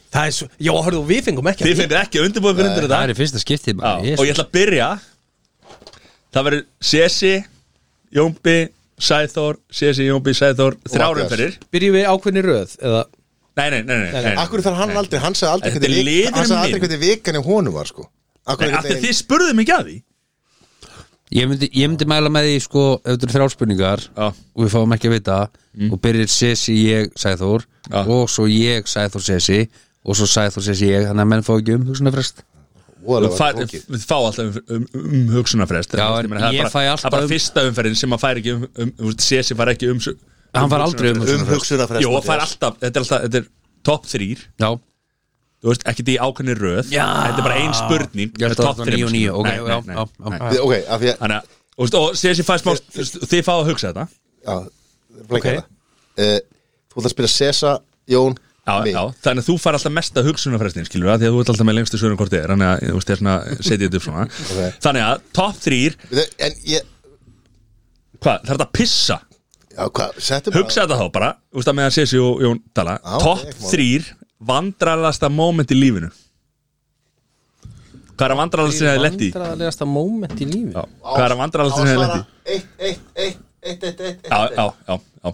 [SPEAKER 4] Það er svo, já, hörðu, við fengum ekki að
[SPEAKER 2] Þið finnir ekki að undirbúið ykkur undir þetta
[SPEAKER 3] Það er í fyrsta skiptið maður.
[SPEAKER 2] Já,
[SPEAKER 3] Jesús.
[SPEAKER 2] og ég ætla að byrja Það verður Sesi, Jómbi, Sæþór Sesi, Jómbi, Sæþór,
[SPEAKER 1] Matthías.
[SPEAKER 2] þrjárum fyrir
[SPEAKER 4] Byrjum við ákveðni röð eða
[SPEAKER 2] Nei, nei, nei, nei, nei, nei.
[SPEAKER 1] Akkur þarf hann aldrei, hann sagði aldrei
[SPEAKER 2] Þetta er
[SPEAKER 1] hvernig vik-
[SPEAKER 2] liðurinn
[SPEAKER 1] Hann sagði aldrei
[SPEAKER 2] minn.
[SPEAKER 1] hvernig vikan í honum var sko Akkur
[SPEAKER 2] nei af því að
[SPEAKER 1] einhvern
[SPEAKER 2] þið spurðuð mig ekki að því
[SPEAKER 3] Ég myndi, ég myndi mæla með því sko ef þetta eru þrjálspurningar
[SPEAKER 2] Já. Mm.
[SPEAKER 3] og við fáum ekki að vita og byrjir Sessi ég Sæþór
[SPEAKER 2] Já.
[SPEAKER 3] og svo ég Sæþór Sessi og svo Sæþór Sessi ég þannig að menn fá ekki um frest
[SPEAKER 2] Þú
[SPEAKER 1] voðalega var
[SPEAKER 2] fær-
[SPEAKER 1] þetta flókið.
[SPEAKER 2] Við fá alltaf um, um, um hugsunarfrest
[SPEAKER 3] Já,
[SPEAKER 2] Þú veist, meina, það er
[SPEAKER 3] ég
[SPEAKER 2] bara-
[SPEAKER 3] fæ
[SPEAKER 2] Það
[SPEAKER 3] alltaf
[SPEAKER 2] er bara
[SPEAKER 3] um-
[SPEAKER 2] fyrsta umferðin sem að fær ekki um, um, um Sesi fær ekki um, um
[SPEAKER 3] Hann fær aldrei um
[SPEAKER 1] Um hugsunarfrest
[SPEAKER 2] Jó, hann fær alltaf, þetta er alltaf Þetta er top 3
[SPEAKER 3] Já,
[SPEAKER 2] Þú veist, ekki því ákveðni röð
[SPEAKER 3] Já.
[SPEAKER 2] Þetta er bara ein spurning
[SPEAKER 3] ég held að
[SPEAKER 2] Topp
[SPEAKER 3] það var
[SPEAKER 2] þrem,
[SPEAKER 3] 9 og
[SPEAKER 2] sko. Nei,
[SPEAKER 3] 9 Ok, já,
[SPEAKER 2] nei, nei.
[SPEAKER 3] já, já
[SPEAKER 1] Ok, af því að
[SPEAKER 2] Þannig að, þú veist, og Sesi fær smá Þið fá að hugsa þetta
[SPEAKER 1] Já, flækja það Eh, Þú ætla að spila Sesa, Jón,
[SPEAKER 2] Já,
[SPEAKER 1] mig
[SPEAKER 2] já, þannig að þú fær alltaf mesta hugsunarfrestin skilur það, því að þú ert alltaf með lengstu svörum hvort þið er þannig að, þú veist, ég er svona, setja þetta upp svona
[SPEAKER 1] Ok.
[SPEAKER 2] þannig að, topp þrýr,
[SPEAKER 1] Við- En ég,
[SPEAKER 2] hvað, þarf þetta að pissa
[SPEAKER 1] já hvað, settum
[SPEAKER 2] hugsa þetta þá bara, þú veist að meðan Sessi og Jón tala,
[SPEAKER 1] Já, ok,
[SPEAKER 2] topp
[SPEAKER 1] ekki mál.
[SPEAKER 2] þrýr vandrarlegasta moment í lífinu hvað er að vandrarlegasta sem þið lendi?
[SPEAKER 4] Vandræðalegasta moment í lífi
[SPEAKER 2] Já, hvað er að vandrarlegasta sem þið lendi?
[SPEAKER 1] Eitt, eitt, eitt, eitt, eitt, eitt
[SPEAKER 2] Já, já, já, já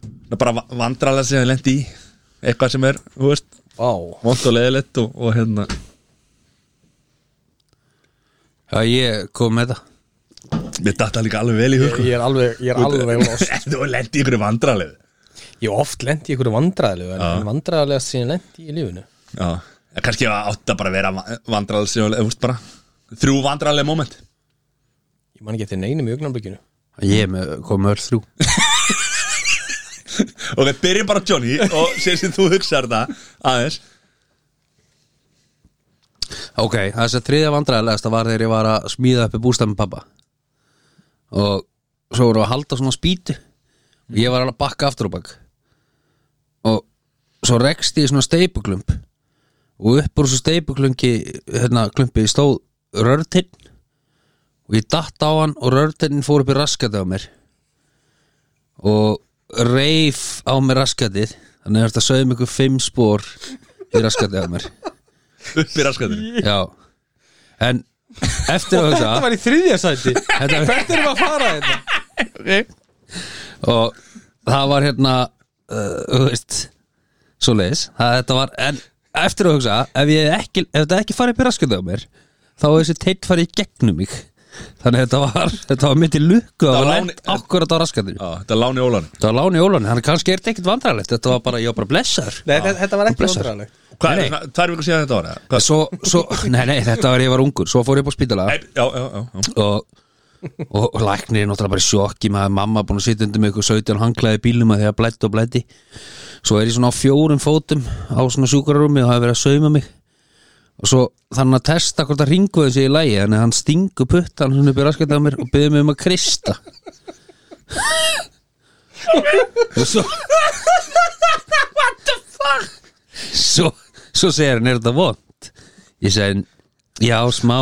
[SPEAKER 2] Það er bara vandrarlegasta sem þið lendi í eitthvað sem er, þú veist,
[SPEAKER 4] Vá
[SPEAKER 2] vond og leðilegt og, og hérna
[SPEAKER 3] Já, ég kom með það
[SPEAKER 2] Mér datta líka alveg vel í hug sko.
[SPEAKER 4] Ég er alveg, ég er alveg lost
[SPEAKER 2] Þú lendi ykkur vandralegu
[SPEAKER 4] Ég oft lendi í ykkur vandræðalegu
[SPEAKER 2] Já.
[SPEAKER 4] En vandræðalegast sem ég lendi í lífinu
[SPEAKER 2] Já, En kannski átt að bara vera vandralegu sem þú veist bara Þrjú vandralegu moment
[SPEAKER 4] Ég man ekki eftir neinum í augnarblikinu
[SPEAKER 3] Ég er með, kom með öll þrjú
[SPEAKER 2] Og við byrjum bara á Johnny og sér sem þú hugsar það aðeins
[SPEAKER 3] Ok, þess að þriðja vandræðilegasta var þegar ég var að smíða uppi bústæð með pappa og svo voru að halda svona spýtu og ég var alveg að bakka aftur og bakk og svo rekst ég í svona steipuklump og upp úr þessu steipuklungi hérna klumpi stóð rörtinn og ég datt á hann og rörtinn fór upp í raskatið á mér og reif á mér raskatið þannig að þetta sögum ykkur fimm spór í raskatið á mér
[SPEAKER 2] upp í raskatunni
[SPEAKER 3] Já En eftir
[SPEAKER 4] Þetta
[SPEAKER 3] að hugsa
[SPEAKER 4] var í þriðja sæti
[SPEAKER 3] Þetta-
[SPEAKER 4] Hvert erum við að fara hérna? þetta?
[SPEAKER 3] Og það var hérna uh, Þú veist Svo leiðis Þetta var En eftir að hugsa Ef, ég ekki, ef þetta ekki farið upp í rasköldu á mér Þá er þessi teitt farið í gegnum mig Þannig að þetta var Þetta var mitt í lukku
[SPEAKER 2] var
[SPEAKER 3] Það var
[SPEAKER 2] lán-
[SPEAKER 3] lent akkurat á rasköldu
[SPEAKER 2] Já, þetta er láni óláni
[SPEAKER 3] Þetta var lán í ólan Þannig kannski er þetta ekkit vandrarlegt Þetta var bara, ég var bara blessaður
[SPEAKER 4] Nei, þetta- þetta var
[SPEAKER 3] Þú
[SPEAKER 4] ekki
[SPEAKER 3] blessar.
[SPEAKER 4] vandræðalegt
[SPEAKER 2] Hvað
[SPEAKER 3] Nei,
[SPEAKER 2] er það? Tvær vikur síðan þetta var eða? Hvað?
[SPEAKER 3] Svo, svo, nei, nei, þetta var ég var ungur Svo fór ég upp á spítala
[SPEAKER 2] Nei, Já, já, já, já.
[SPEAKER 3] og, og, og læknir er náttúrulega bara í sjokki með að mamma búin að sitja undir með ykkur 17 hanglaði bílum að því að blætti og blætti svo er ég svona á fjórum fótum á svona sjúkrarúmi og hafa verið að sauma mig og svo þannig að testa hvort það ringu þessi í lægi þannig að hann stingu puttan hann upp í raskætt á mér og byrði mig um að krista og svo what the fuck svo, svo segir hann er þetta vond ég segi já smá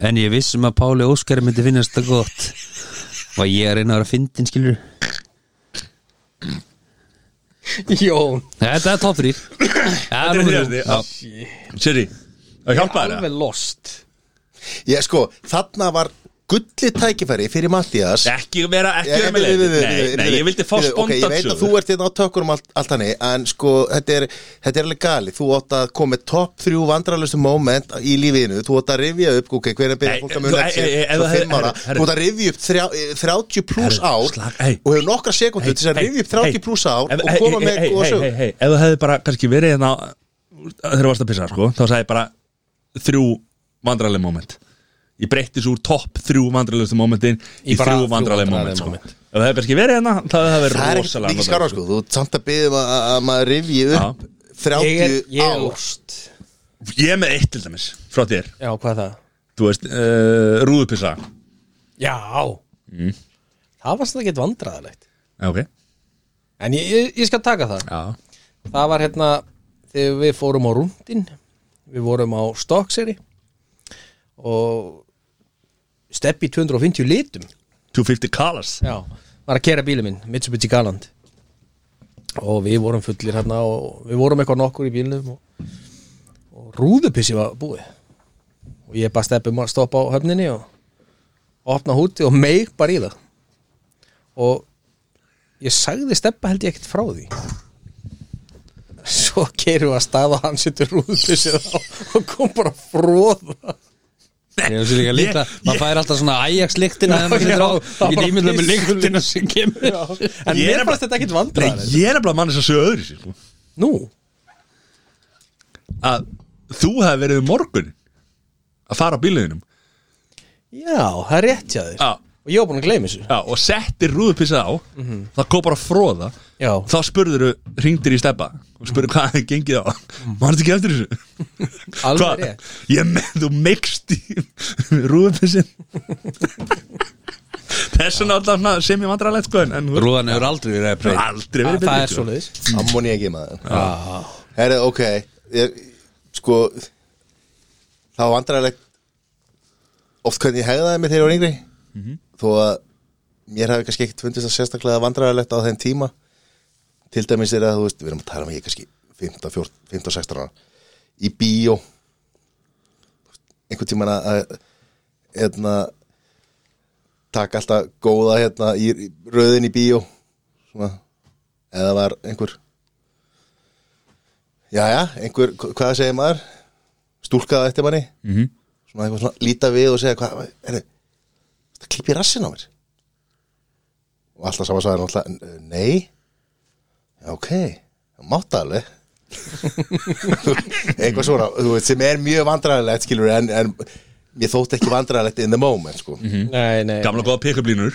[SPEAKER 3] en ég vissum að Páli Óskar myndi finnast það gott og ég er einn að vera fyndin skilur
[SPEAKER 4] Jón
[SPEAKER 3] þetta er top 3
[SPEAKER 2] Þetta er hérna. þrjóðni Siri, það hjálpa þér eða?
[SPEAKER 4] Alveg lost
[SPEAKER 1] Ég sko, þarna var gulli tækifæri fyrir Mattias
[SPEAKER 2] Ekki vera, ekki
[SPEAKER 1] Ég-
[SPEAKER 2] vera með
[SPEAKER 1] við- við-
[SPEAKER 2] leiði
[SPEAKER 1] við-
[SPEAKER 2] Nei,
[SPEAKER 1] við-
[SPEAKER 2] nei,
[SPEAKER 1] við-
[SPEAKER 2] ég vildi fá
[SPEAKER 1] við- ok, Ég veit að þú
[SPEAKER 2] spontansögur
[SPEAKER 1] ert hérna á tökunum allt, allt hannig En sko, þetta er, þetta er alveg gali Þú átt að koma með topp þrjú vandralustu moment í lífinu Þú átt að rifja upp, ok, hvernig byrja
[SPEAKER 2] Nei,
[SPEAKER 1] fólk að
[SPEAKER 2] þú-
[SPEAKER 1] muna
[SPEAKER 2] ei,
[SPEAKER 1] eftir
[SPEAKER 2] ei, ei, ef
[SPEAKER 1] sér Svo
[SPEAKER 2] það-
[SPEAKER 1] fimm ára
[SPEAKER 2] herru, herru.
[SPEAKER 1] Þú átt að rifja upp þrjá- eh, 30 pluss
[SPEAKER 2] Herru,
[SPEAKER 1] ár
[SPEAKER 2] slag, ei.
[SPEAKER 1] Og hefur nokkra sekundur til þess að rifja upp 30 pluss ár Og koma með góða
[SPEAKER 2] góða sög
[SPEAKER 1] sög
[SPEAKER 2] Ef það hefði bara kannski verið hérna þegar þú varst að pissa sko, þá sagði ég bara þrjú vandraleg moment ég breytti svo úr topp þrjú vandralegustu momentin í,
[SPEAKER 4] Í bara
[SPEAKER 2] þrjú
[SPEAKER 4] þrjú
[SPEAKER 2] vandraleg
[SPEAKER 4] vandræðaleg
[SPEAKER 2] moment sko.
[SPEAKER 4] moment.
[SPEAKER 2] ef það hefði kannski verið hérna þá hefði það verið
[SPEAKER 1] Það er ekki
[SPEAKER 2] rosalega
[SPEAKER 1] mikið skára sko, þú ert samt að byggja að, að maður rifji upp 30
[SPEAKER 4] Ég er, ég er
[SPEAKER 1] ár
[SPEAKER 4] lost
[SPEAKER 2] sko. ég er með eitt til dæmis frá þér
[SPEAKER 4] Já, hvað er það?
[SPEAKER 2] þú veist, uh, rúðupissa
[SPEAKER 4] Já Mm. Það var svona ekkert vandræðalegt
[SPEAKER 2] ok,
[SPEAKER 4] En ég, ég, ég skal taka það
[SPEAKER 2] já
[SPEAKER 4] Það var hérna þegar við fórum á rúndin Við vorum á Stokkseri Og Steppi 250 litum
[SPEAKER 2] 250 colors
[SPEAKER 4] Já Var að kera bílum minn, Mitsubishi Galant og við vorum fullir hérna og við vorum eitthvað nokkur í bílnum og, og rúðupissi var búið og ég bara steppi að stoppa á höfninni og opna húti og meik bara í það og ég sagði steppa held ég ekkert frá því svo keirum við að staða hann setur rúðupissi á og kom bara að fróða
[SPEAKER 3] Ég hef sér líka líka, maður fær alltaf svona Ajax-lyktina
[SPEAKER 4] Já,
[SPEAKER 3] þegar maður setur á
[SPEAKER 4] já, það
[SPEAKER 3] Ég
[SPEAKER 4] bara
[SPEAKER 3] nýmið það með
[SPEAKER 4] pissulyktin.
[SPEAKER 3] lyktina sem kemur
[SPEAKER 4] en
[SPEAKER 2] Ég er
[SPEAKER 4] mér
[SPEAKER 2] bara-
[SPEAKER 4] fannst þetta ekkert vandræðar
[SPEAKER 2] Nei, ég er nefnilega mann þess að segja öðru sér sko.
[SPEAKER 4] nú,
[SPEAKER 2] að þú hefði verið um morgun að fara á bílöðinum
[SPEAKER 4] já, það er rétt hjá þér
[SPEAKER 2] Já.
[SPEAKER 4] og ég var búin að gleyma þessu
[SPEAKER 2] Já, og settir rúðupissað á það kom bara að fróða
[SPEAKER 4] Já.
[SPEAKER 2] þá spurður þú, ringdir í steppa og spurður hvað hefði gengið á mannst ekki eftir þessu
[SPEAKER 4] Alveg
[SPEAKER 2] Hvað?
[SPEAKER 4] rétt.
[SPEAKER 2] ég með þú mikst í rúðupissin þessu náttúrulega sem ég vandrarlegt sko en, en þú-
[SPEAKER 3] Rúðan hefur aldrei verið að breyta
[SPEAKER 2] aldrei verið
[SPEAKER 4] það
[SPEAKER 2] betri,
[SPEAKER 4] er
[SPEAKER 2] sko.
[SPEAKER 4] svoleiðis
[SPEAKER 1] Ammoni ekki maður Herrið, ok ég, Sko Það var vandrarlegt Oft hvernig ég hegðaði mér þegar ég var yngri Þó að mér hafi kannski ekkert fundist að sérstaklega vandrarlegt á þeim tíma Til dæmis er að, þú veist, við erum að tala um að ég er kannski 15, 14, 15, 16 ára Í bíó Einhvern tímann að- að Hérna Takk alltaf góða hérna í í röðin í bíó Svona Eða var einhver Jæja, einhver, hva- hvað segir maður? Stúlkaða eftir manni -hmm. Svona eitthvað svona líta við og segja hvað, er það klippi rassin á mér Og alltaf saman sagði hann alltaf Nei Já, ok, það mátta alveg Eitthvað svona, þú veit, sem er mjög vandræðilegt skilur en, en mér þótti ekki vandræðilegt in the moment, sko mm -hmm.
[SPEAKER 4] nei, nei,
[SPEAKER 2] gamla góða pekablínur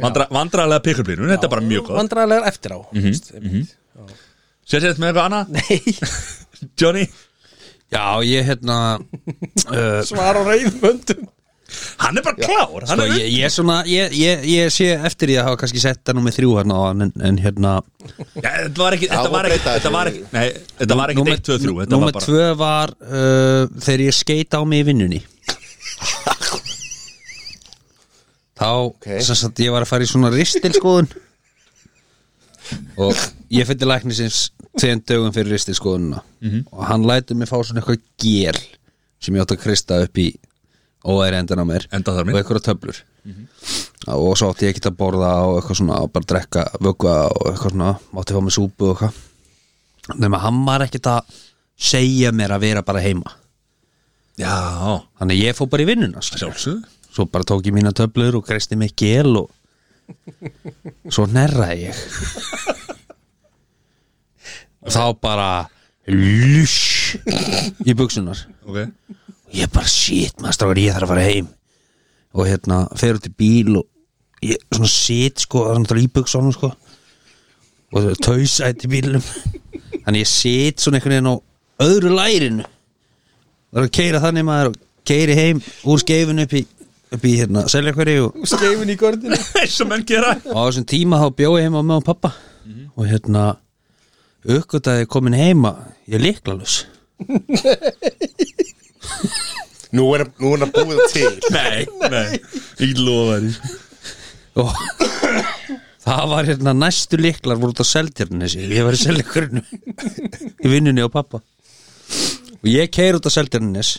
[SPEAKER 2] Vandra, vandrarlega pekablínur, þetta er bara mjög góð
[SPEAKER 4] vandræðilegar eftir á mm
[SPEAKER 2] sér sér með eitthvað annað, Johnny
[SPEAKER 3] Já, ég hérna uh,
[SPEAKER 4] svara reyðmöndum
[SPEAKER 2] hann er bara klár, hann
[SPEAKER 3] sko,
[SPEAKER 2] er
[SPEAKER 3] ég, ég, svona, ég, ég, ég sé eftir ég að hafa kannski sett það nú með þrjú hérna á hann en, en hérna
[SPEAKER 2] Já, þetta var ekki,
[SPEAKER 1] má
[SPEAKER 2] þetta var ekki,
[SPEAKER 1] breyta
[SPEAKER 2] þetta var ekki,
[SPEAKER 1] þessu.
[SPEAKER 2] nei, þetta var ekki 1, 2, 3, þetta var
[SPEAKER 3] Númer
[SPEAKER 2] bara
[SPEAKER 3] tvö var uh, þegar ég skeit á mig í vinnunni Þá, sem sagt, ég var að fara í svona ristilskoðun og ég fyrir læknisins tveim dögum fyrir ristilskoðunina og hann lætur mig fá svona eitthvað gél sem ég átti að krista upp í óæri endan á mér
[SPEAKER 2] Enda þar mér.
[SPEAKER 3] og eitthvað töflur og svo átti ég ekki að borða og eitthvað svona og bara drekka vöggva og eitthvað svona átti að fá mig súpu og eitthvað nema hann var ekkert að segja mér að vera bara heima
[SPEAKER 2] Já,
[SPEAKER 3] þannig að ég fór bara í vinnuna sko. skilur.
[SPEAKER 2] sjálfsögðu
[SPEAKER 3] svo bara tók ég mína töflur og kreisti mig gél og svo nerraði ég þá bara lush í buksunar
[SPEAKER 2] Ok,
[SPEAKER 3] ég bara shit maður strákar ég þarf að fara heim og hérna fer út í bíl og ég svona sit sko það er náttúrulega í buksónum sko og það er tausætt í bílnum þannig ég sit svona einhvern veginn á öðru lærinu það er að keira þannig maður og keiri heim úr skeifinu upp í, upp í hérna selja hverju og
[SPEAKER 4] skeifin í gördinu
[SPEAKER 2] eins og menn gera
[SPEAKER 3] og á þessum tíma þá bjóði heima með og pappa og hérna aukvitaði komin heima ég er líklalus
[SPEAKER 1] nú, er, nú er það búið til
[SPEAKER 2] Nei, nei, ég lofa því
[SPEAKER 3] og það var hérna næstu liklar voru út á seldjarnesi ég var í seldjarnu í vinnunni á pappa og ég keir út á seldjarnes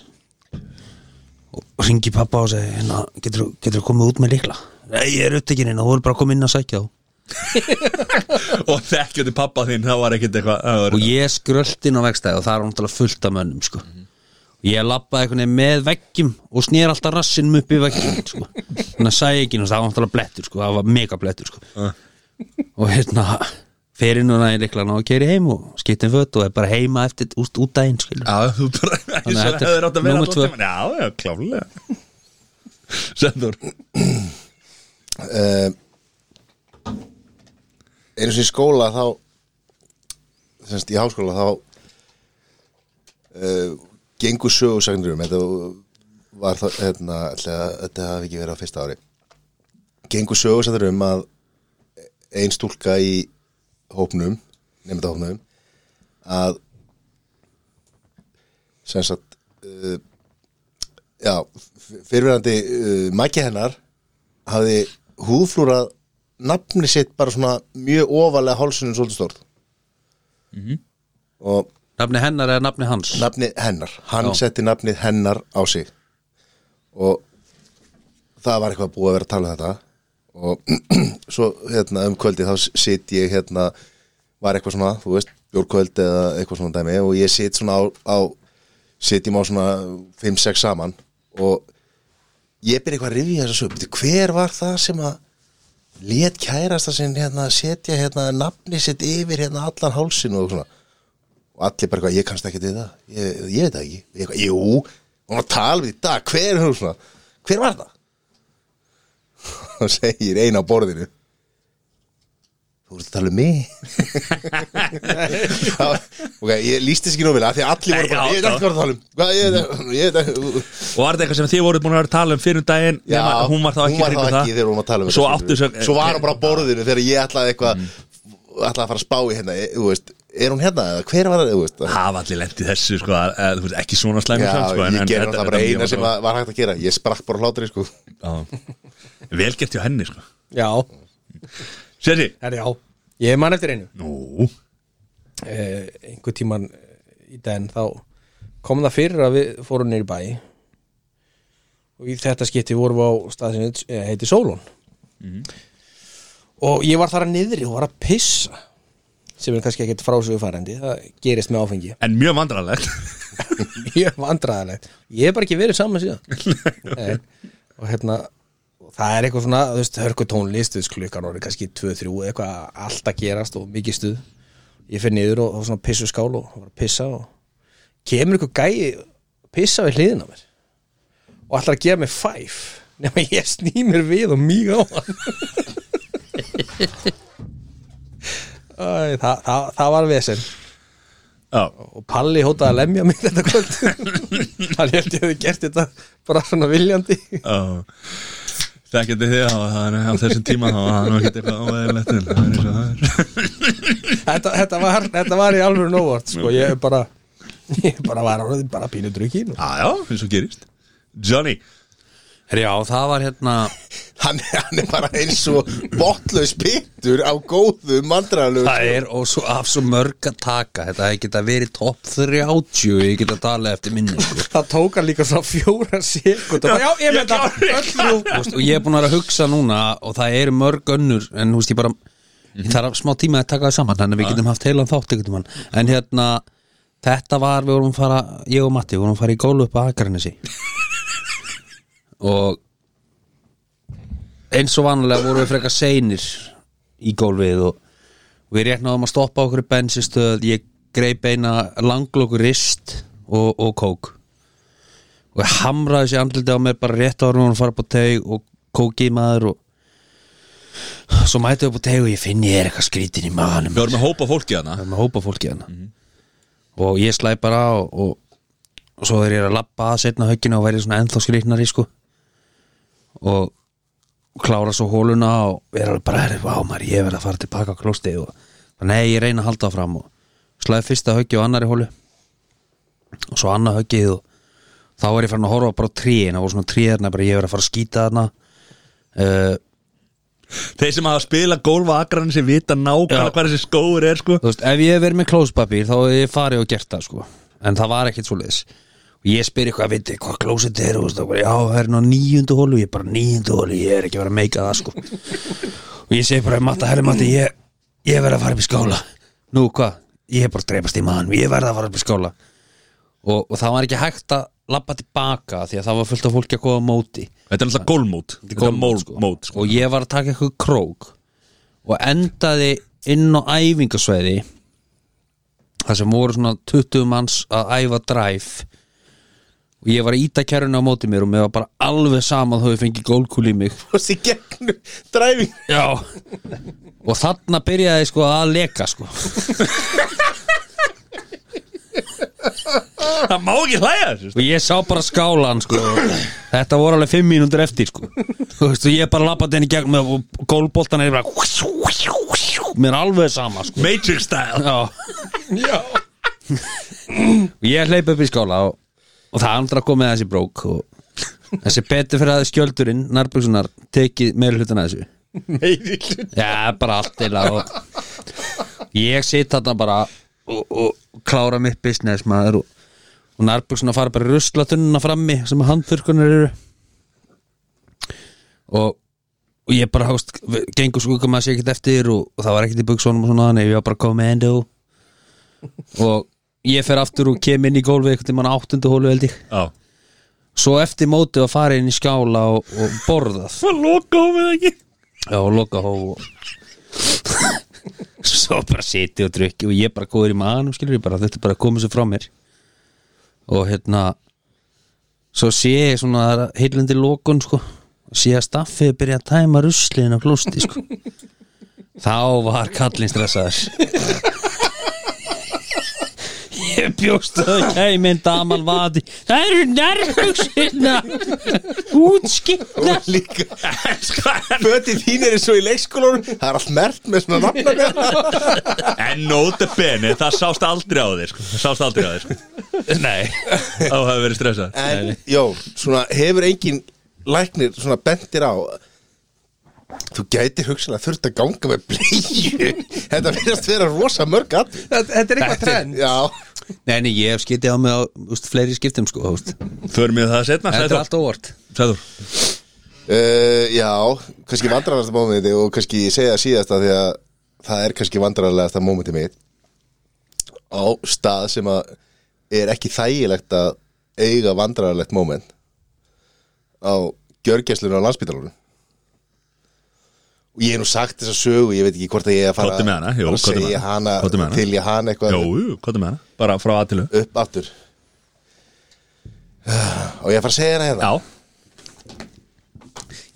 [SPEAKER 3] og ringi pappa og segi hérna, getur þú komið út með likla nei, ég er upptekininn og þú voru bara að koma inn að sækja þá
[SPEAKER 2] Og þekkjandi pappa þinn, það var ekkit eitthvað það var-
[SPEAKER 3] og ég skrölt inn á vegstæði og það er náttúrulega fullt af mönnum sko. og ég lappaði einhvern veginn með veggjum og snér alltaf rassinum upp í veggjum sko. þannig að sæði ekki, það var náttúrulega blettur sko. það var mega blettur sko. og hérna fer inn og næði líklega og keri heim og skiptum fött og er bara heima eftir út, út daginn skilur.
[SPEAKER 2] Já, þú bara, eins og
[SPEAKER 3] að þetta er
[SPEAKER 2] hefur átt að vera
[SPEAKER 3] númer
[SPEAKER 2] allan
[SPEAKER 3] tvö.
[SPEAKER 2] tímann. Já, já, klálega Sendur
[SPEAKER 1] uh, einu sem í skóla þá semst í háskóla þá uh, gengur sögursagnir um þetta var þá hérna, ætli að- þetta hafi ekki verið á fyrsta ári gengur sögursagnir um að ein stúlka í hópnum nefnda hópnum að sem sagt uh, eh, já, f- fyrirverandi uh, mæki hennar hafði húðflúrað nafni sitt bara svona mjög ofalega hálsunum svolítið stórt og
[SPEAKER 3] Nafni hennar eða nafni hans
[SPEAKER 1] nafnið hennar hann setti nafnið hennar á sig og það var eitthvað búið að vera að tala um þetta og svo hérna um kvöldi þá sitt ég hérna var eitthvað svona, þú veist, bjórkvöld eða eitthvað svona dæmi og ég sitt svona á, á sitjum á svona 5-6 saman og ég byrja eitthvað að rifja þess að sögum hver var það sem að lét kærasta sinn hérna setja hérna nafni sitt yfir hérna allan hálsinn og svona og allir bara eitthvað, ég kannast ekki til það ég, ég veit það ekki, ég, eitthvað, jú hún var að tala við í dag, hver hún svona hver var það? og segir eina á borðinu þú voru að tala um mig Það var- ok, ég líst þess ekki nú vel að því að allir voru bara,
[SPEAKER 2] Nei, já,
[SPEAKER 1] ég veit ekki hvað það tala um Hvað, ég- ég veit ekki
[SPEAKER 2] Og var þetta eitthvað sem þið voruð búin að vera að tala um fyrir um daginn
[SPEAKER 1] Já,
[SPEAKER 2] nema hún var þá ekki, í kringum það.
[SPEAKER 1] þegar hún var að tala um
[SPEAKER 2] Svo
[SPEAKER 1] þetta,
[SPEAKER 2] áttu Eh,
[SPEAKER 1] skilur við.
[SPEAKER 2] Mm. þess-
[SPEAKER 1] Svo var hún bara á borðinu þegar ég ætlaði eitthvað ætlaði að fara að spá í hérna ég- þú veist, Er hún hérna eða hver var það? þú veist?
[SPEAKER 2] Eh, hafa allir lendið þessu sko, að, að, þú veist, ekki svona slæmi
[SPEAKER 1] Já,
[SPEAKER 2] sko,
[SPEAKER 1] ég gerði
[SPEAKER 2] þetta-
[SPEAKER 1] það bara
[SPEAKER 2] þetta-
[SPEAKER 1] eina sem var, var hægt að gera Ég sprakk bara á hlátri sko
[SPEAKER 2] Já. vel gert hjá henni sko.
[SPEAKER 4] Já,
[SPEAKER 2] Sérri
[SPEAKER 4] herri, já Ég man eftir einu
[SPEAKER 2] Nú,
[SPEAKER 4] eh, einhver tíman í den þá kom það fyrir að við fórum niður í bæ og í þetta skipti vorum við á stað sem heit- eh, heitir Sólun og ég var þar að niðri og var að pissa sem er kannski ekkert frásögufærandi það gerist með áfengi
[SPEAKER 2] en mjög vandrarlegt
[SPEAKER 4] mjög vandræðalegt ég hef bara ekki verið saman síðan en, og hérna og það er eitthvað svona, þú veist, hörku tónlist þú veist, klukkan orðið kannski 2-3 eitthvað allt að gerast og mikið stuð ég fer niður og, og svona pissu skál og var að pissa og kemur eitthvað gæi pissa við hliðina á mér og ætlar að gefa mér fæf nema ég sný mér við og mýg á hann Æ, það, það, það var vesinn
[SPEAKER 2] Já,
[SPEAKER 4] og Palli hótaði að lemja mig þetta kvöld hann held ég hefði gert þetta bara svona viljandi
[SPEAKER 2] já Þekkjandi þig á, þannig á þessum tíma þá var það nú ekkert eitthvað óæðilegt en það er eins og það er
[SPEAKER 4] þetta, þetta, var, þetta var í alveg nóvart sko, ég bara ég bara var orðið bara pínu drukkin
[SPEAKER 2] Já, já, eins og gerist Johnny,
[SPEAKER 3] Herri, Já, það var hérna
[SPEAKER 1] hann, hann er bara eins og botlaus pittur á góðu mandræðalög
[SPEAKER 3] Það er og svo af svo mörg að taka Þetta hefði geta verið topp 30 Ég geta talað eftir minni sko.
[SPEAKER 4] það tók hann líka svona fjóra sekund já, ég með það öll þrjú
[SPEAKER 3] Þú veist, Og ég er búin að vera að hugsa núna Og það eru mörg önnur En þú veist, ég bara
[SPEAKER 4] Mhm.
[SPEAKER 3] Ég þarf smá tíma að taka það saman Þannig að við getum haft heilan þátt einhvern mann En hérna Þetta var, við vorum fara Ég og Matti, við vorum fara í gólu upp að Akarnesi Og eins og vanlega vorum við frekar seinir í gólfið og og við rétt náðum að stoppa okkur í bensinstöð ég greip eina langlokur rist og, og kók og ég hamraði sér andliti á mér bara rétt ára og hún fara upp á teg og kóki í maður og svo mæti ég upp á teg og ég finn ég er eitthvað skrítin í maðanum
[SPEAKER 2] við vorum með hópa fólki hana
[SPEAKER 3] það er með hópa fólki hana og ég slæ bara á og, og svo er ég að labba að setna högginu og væri svona ennþá skrýtnari sko og klára svo hóluna og er alveg bara erið, vá maður, ég verð að fara tilbaka á klósti og bara, nei, ég reyna að halda fram og slæði fyrsta höggi og annari hólu og svo annað höggið og þá er ég farin að horfa bara á tríin og svona tríðarna, bara ég verð að fara að skýta þarna uh,
[SPEAKER 2] Þeir sem hafa spilað gólfa akran sem vita nákvæmlega
[SPEAKER 3] Já.
[SPEAKER 2] hvað þessi skóur er sko
[SPEAKER 3] þú veist, ef ég hef verið með klóspapír þá hef ég farið og gert það sko en það var ekkert svoleiðis og ég spyr eitthvað, veit þið hvað klósett er og þú veist, þá bara, já, það er ná nýjundu hólu ég er bara nýjundu hólu, ég er ekki að vera að meika það sko og ég segi bara, matta, herri matta ég, ég verð að fara upp í skála nú, hvað, ég er bara að dreipast í mann ég verð að fara upp í skála og, og það var ekki hægt að labba tilbaka því að það var fullt af fólki að koma á móti
[SPEAKER 2] Þetta er alltaf gólmót Þetta er
[SPEAKER 3] Golfmót, sko.
[SPEAKER 2] gólmót sko.
[SPEAKER 3] og ég var að taka eitthvað krók og endaði inn á æfingasvæði þar sem voru svona 20 manns að æfa drive og ég var að íta kæruna á móti mér og mér var bara alveg sama að þau hefði fengið gólkúli í mig
[SPEAKER 1] í gegnum dræfing
[SPEAKER 3] Já Og þarna byrjaði sko að leka sko
[SPEAKER 2] Það má ekki hlæja þessu sko.
[SPEAKER 3] Og ég sá bara skálan sko Þetta voru alveg fimm mínútur eftir sko Þú veist og ég bara lappaði henni gegn með og gólboltan er bara Mér er alveg sama sko
[SPEAKER 2] Matrix style
[SPEAKER 3] Já Og Ég hleyp upp í skála og, og það andra komið að þessi brók og þessi betur fyrir að skjöldurinn nærbjöksunar tekið meira hlutin að þessu
[SPEAKER 4] meiri hlut
[SPEAKER 3] Já, bara allt eila og ég sitt þarna bara og, og klára mitt business maður og, og nærbúksuna fara bara ruslatunnuna frammi sem handþurkunar eru og, og ég bara hást gengur skugga maður sér ekkert eftir og, og það var ekkert í buksónum og svona þannig ég var bara commando og ég fer aftur og kem inn í gólfið eitthvað tímann áttundu hólu held ég
[SPEAKER 2] Já
[SPEAKER 3] svo eftir mótið að fara inn í skjála og, og borðað
[SPEAKER 2] Það loka hófið ekki
[SPEAKER 3] Já, og loka hóf og... Svo bara siti og drukki og ég bara góður í maðanum skilur ég bara þetta er bara að koma sér frá mér og hérna svo sé ég svona það er heilandi lokun sko sé að staffið byrja að tæma ruslin á klósti sko þá var kallinn stressaður ég bjóst að það kæmi en damal vati það eru hérna. nærbuksina útskipna
[SPEAKER 1] Líka Fötið þín er eins og í leikskólanum Það er allt mert með svona nafna með
[SPEAKER 2] En nota bene, það sást aldrei á þér sko. Það Sást aldrei á þér sko. Nei, þá hefur verið stressað
[SPEAKER 1] En, já, svona hefur engin læknir svona bentir á Þú gæti hugsanlega þurft að ganga með bleju Þetta verðast vera rosa mörg að
[SPEAKER 4] Þetta þetta er eitthvað
[SPEAKER 3] Þetta er-
[SPEAKER 4] trend
[SPEAKER 1] Já,
[SPEAKER 3] Nei, nei, ég hef skitið á mig á úst, fleiri skiptum sko, úst.
[SPEAKER 2] Förum við það setna,
[SPEAKER 3] Þetta er
[SPEAKER 2] Sæður
[SPEAKER 3] allt óvart
[SPEAKER 2] Sæður
[SPEAKER 1] uh, já kannski vandrarlegasta mómenti og kannski ég segja síðasta því að það er kannski vandrarlegasta mómenti mitt á stað sem að er ekki þægilegt að eiga vandrarlegt móment á gjörgæslunum á landsbytarlunum og ég hef nú sagt þessa sögu ég veit ekki hvort að ég er að fara
[SPEAKER 2] Komdu með hana, jú,
[SPEAKER 1] fara að
[SPEAKER 2] komdu með
[SPEAKER 1] segja
[SPEAKER 2] hana.
[SPEAKER 1] hana,
[SPEAKER 2] Komdu með hana.
[SPEAKER 1] til ég hana eitthvað
[SPEAKER 2] Jú, jú, hvað er með hana? Bara frá aðtilu
[SPEAKER 1] upp aftur og ég að fara að segja hana hérna
[SPEAKER 2] Já,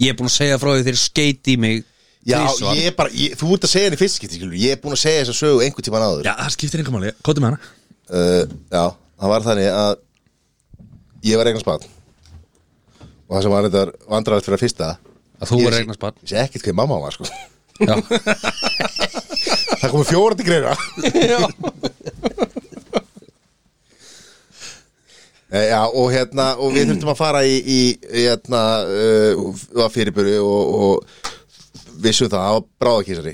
[SPEAKER 3] Ég er búin að segja frá því þeir skeiti í mig
[SPEAKER 1] Já,
[SPEAKER 3] tvisvar.
[SPEAKER 1] ég bara, ég, þú ert að segja henni fyrst skipti, skilur, ég er búin að segja þess að sögu einhvern tíma náður
[SPEAKER 2] já, það skiptir einhver máli Hvað er með hana?
[SPEAKER 1] uh, Já, það var þannig að ég var eignast barn og það sem var þetta vandræðast fyrir að fyrsta
[SPEAKER 3] Að þú
[SPEAKER 1] Ég
[SPEAKER 3] er
[SPEAKER 1] sé-
[SPEAKER 3] eignast barn
[SPEAKER 1] ég sé ekkert hver mamma var, sko
[SPEAKER 3] Já.
[SPEAKER 1] Það komið fjórandi greina Eh, Já, og hérna, og við þurftum að fara í, í hérna, uh, var fyrirbyrju og, og vissum það, það var bráðakísari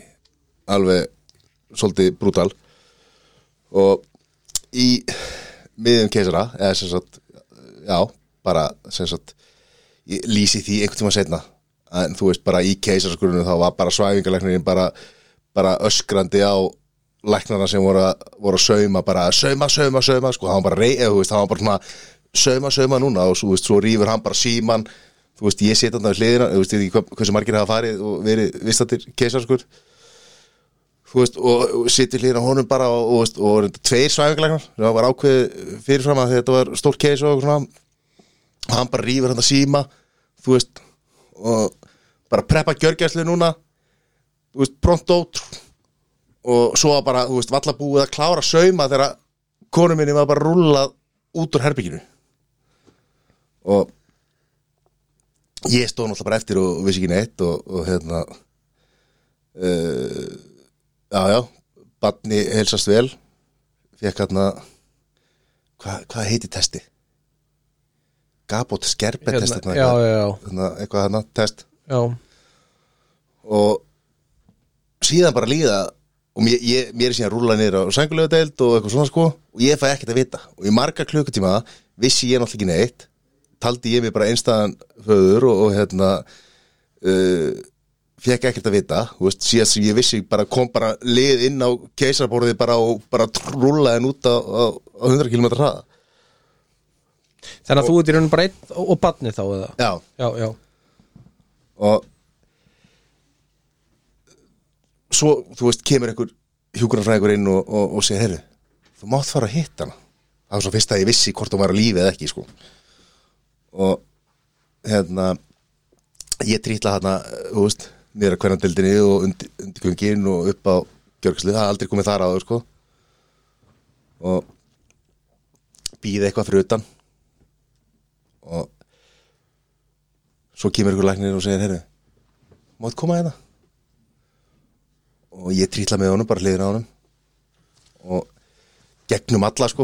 [SPEAKER 1] alveg svolítið brútal og í miðum keisara eða sem sagt, já, bara sem sagt, ég lýsi því einhvern tíma setna, en þú veist bara í keisaraskurinu þá var bara svæfingarleiknirinn bara, bara öskrandi á læknarna sem voru, að- voru að sauma bara sauma, sauma, sauma, sko, það var bara rey, eða, þú veist, það var bara svona sauma, sauma núna og svo, þú veist, svo rýfur hann bara síman þú veist, ég setja þarna við hliðina, þú veist, ég veit ekki hva- hversu margir hafa farið og verið vistatir keisaraskur þú veist, og, og sittir hlýðin á honum bara og, og, veist, og reynda, tveir svæfingarlegnar það var ákveðið fyrirfram að þetta var stór case og svona og hann bara rýfur hann að síma þú veist, og bara preppa gjörgæslu núna þú veist, pront ótt og svo var bara, þú veist, valla búið að klára sauma þegar konu minni var bara rúllað út úr herbygginu og ég stóð náttúrulega bara eftir og, og vissi ekki neitt og, og hérna eh, já, já, barni helsast vel fekk hérna hvað hva heiti testi? Gabot skerpetest
[SPEAKER 4] Hérna, Já, já, já,
[SPEAKER 1] hérna, eitthvað hérna, test
[SPEAKER 4] já.
[SPEAKER 1] og síðan bara líða og mér, ég, mér er síðan rúla niður á sængulegu og eitthvað svona sko og ég fæ ekkert að vita og í marga klukkutíma vissi ég náttúrulega ekki neitt taldi ég mig bara einstæðan höður og, og hérna uh, fekk ekkert að vita þú veist, síðan sem ég vissi bara kom bara lið inn á keisarborðið bara og bara rúlaði henn út á, á, á 100 km hraða
[SPEAKER 4] Þannig að þú ert í raunum bara einn og, og badni þá eða
[SPEAKER 1] já,
[SPEAKER 4] Já, já,
[SPEAKER 1] og svo, þú veist, kemur einhver hjúkurafræðingur inn og, og, og segir, heyrðu, þú mátt fara að hitta hana það var svo fyrst að ég vissi hvort hún var á lífi eða ekki, sko og hérna ég trýtla hérna, þú veist niður að hverjum dildinni og undir, undir gungin og upp á gjörgslu, það er aldrei komið þar áður, sko og býði eitthvað fyrir utan og svo kemur ykkur læknir og segir, herru, mátt koma hérna og ég trýtla með honum, bara hliðin á honum og gegnum alla sko,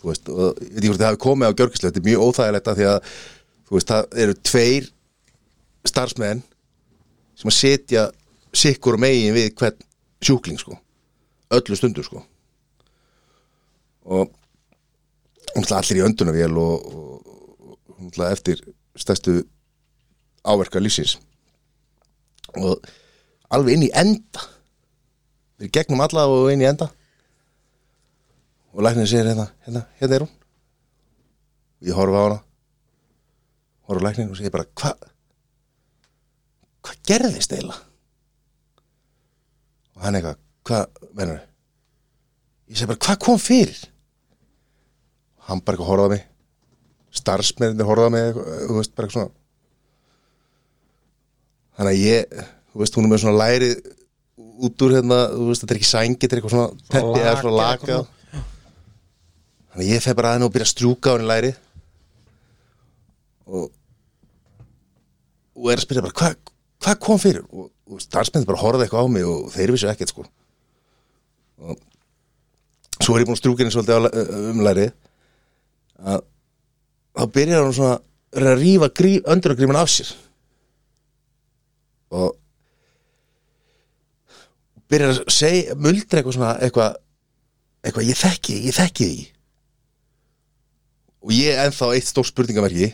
[SPEAKER 1] þú veist og ég veit ekki hvort þið hafi komið á gjörgislu, þetta er mjög óþægilegt af því að, þú veist, það eru tveir starfsmenn sem að setja sikkur megin við hvern sjúkling sko öllu stundu sko og og náttúrulega allir í öndunavél og, og, og náttúrulega eftir stærstu áverka lífsins og alveg inn í enda við gegnum alla og inn í enda og læknir segir hérna, hérna, hérna er hún ég horfa á hana horfa á læknir og segir bara hvað hvað gerðist eiginlega og hann eitthvað hvað, mennur ég segi bara hvað kom fyrir hann bara eitthvað horfaði á mig starfsmenni horfaði á mig eitthvað, þú veist, bara eitthvað svona þannig að ég þú veist, hún er með svona læri út úr hérna, þú veist, þetta er ekki sængi þetta er eitthvað svona teppi eða svona
[SPEAKER 4] lak
[SPEAKER 1] laka
[SPEAKER 4] eða
[SPEAKER 1] þannig að ég fer bara að henni og byrja að strjúka á henni læri og og er að spyrja bara hvað hva kom fyrir og, og starfsmenni bara horfaði eitthvað á mig og þeir vissu ekkert sko og svo er ég búin að strjúka henni svolítið á, la- um lærið að þá byrjar hann svona er að rífa grí, önduragríman af sér og byrjar að segja, muldra eitthvað svona eitthvað, eitthvað ég þekki, þig, ég þekki því og ég ennþá eitt stór spurningamerki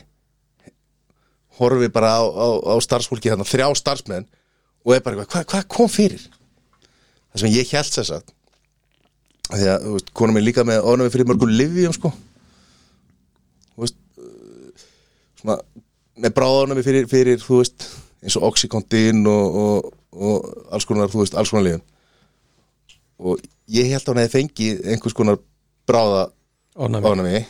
[SPEAKER 1] horfi bara á, á, á starfsfólki þarna, þrjá starfsmenn og er bara eitthvað, hvað hva kom fyrir það sem ég held þess að því að, þú veist, konum er líka með ofnum fyrir mörgum livjum, sko þú veist uh, svona, með bráðanami fyrir, fyrir þú veist, eins og Oxycontin og, og, og alls konar þú veist, alls konar liðum og ég held að hann hefði fengið einhvers konar bráða
[SPEAKER 4] Ofnæmi.
[SPEAKER 1] ofnami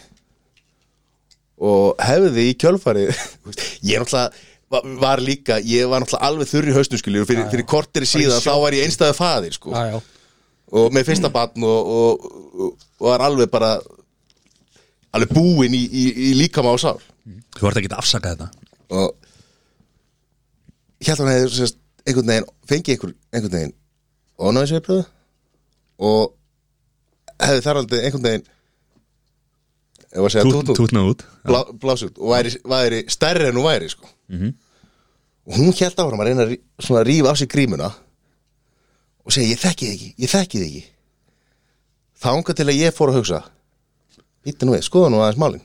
[SPEAKER 1] og hefði í kjölfari þú veist, ég er náttúrulega var- var líka, ég var náttúrulega alveg þurr í hausnum skilur, fyrir, fyrir korteri síðan þá var ég einstæðu faðir sko
[SPEAKER 4] já, já,
[SPEAKER 1] og með fyrsta batn og, og, og, og var alveg bara alveg búinn í, í, í líkama á sál
[SPEAKER 2] Þú ert ekki að afsaka þetta
[SPEAKER 1] og hérna hann hefði sérst, einhvern veginn fengið einhver, einhvern veginn ónáðisveiflöðu og hefði þar aldrei einhvern veginn ef að segja
[SPEAKER 2] Tút-
[SPEAKER 1] tútú
[SPEAKER 2] Tútna út
[SPEAKER 1] blá, blásut og væri, væri stærri en hún væri sko. og hún held áfram að reyna að rí- svona að rífa af sér grímuna og segja ég þekki þig ekki, ég þekki þig ekki þanga til að ég fór að hugsa býtti nú við, skoða nú aðeins málin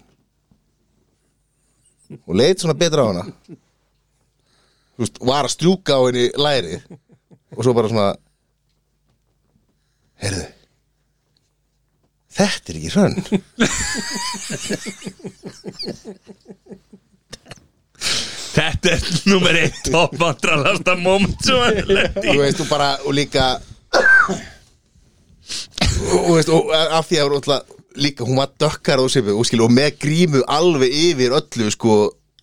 [SPEAKER 1] og leit svona betra á hana Þú veist, var að strjúka á henni læri og svo bara svona heyrðu þetta er ekki hrönn
[SPEAKER 2] Þetta er nummer eitt top vandralasta moment sem hann lendi
[SPEAKER 1] þú veist, og bara, og líka og þú veist, og af því að hún alltaf, líka, hún var dökkar á svipu og skilur, og með grímu alveg yfir öllu, sko,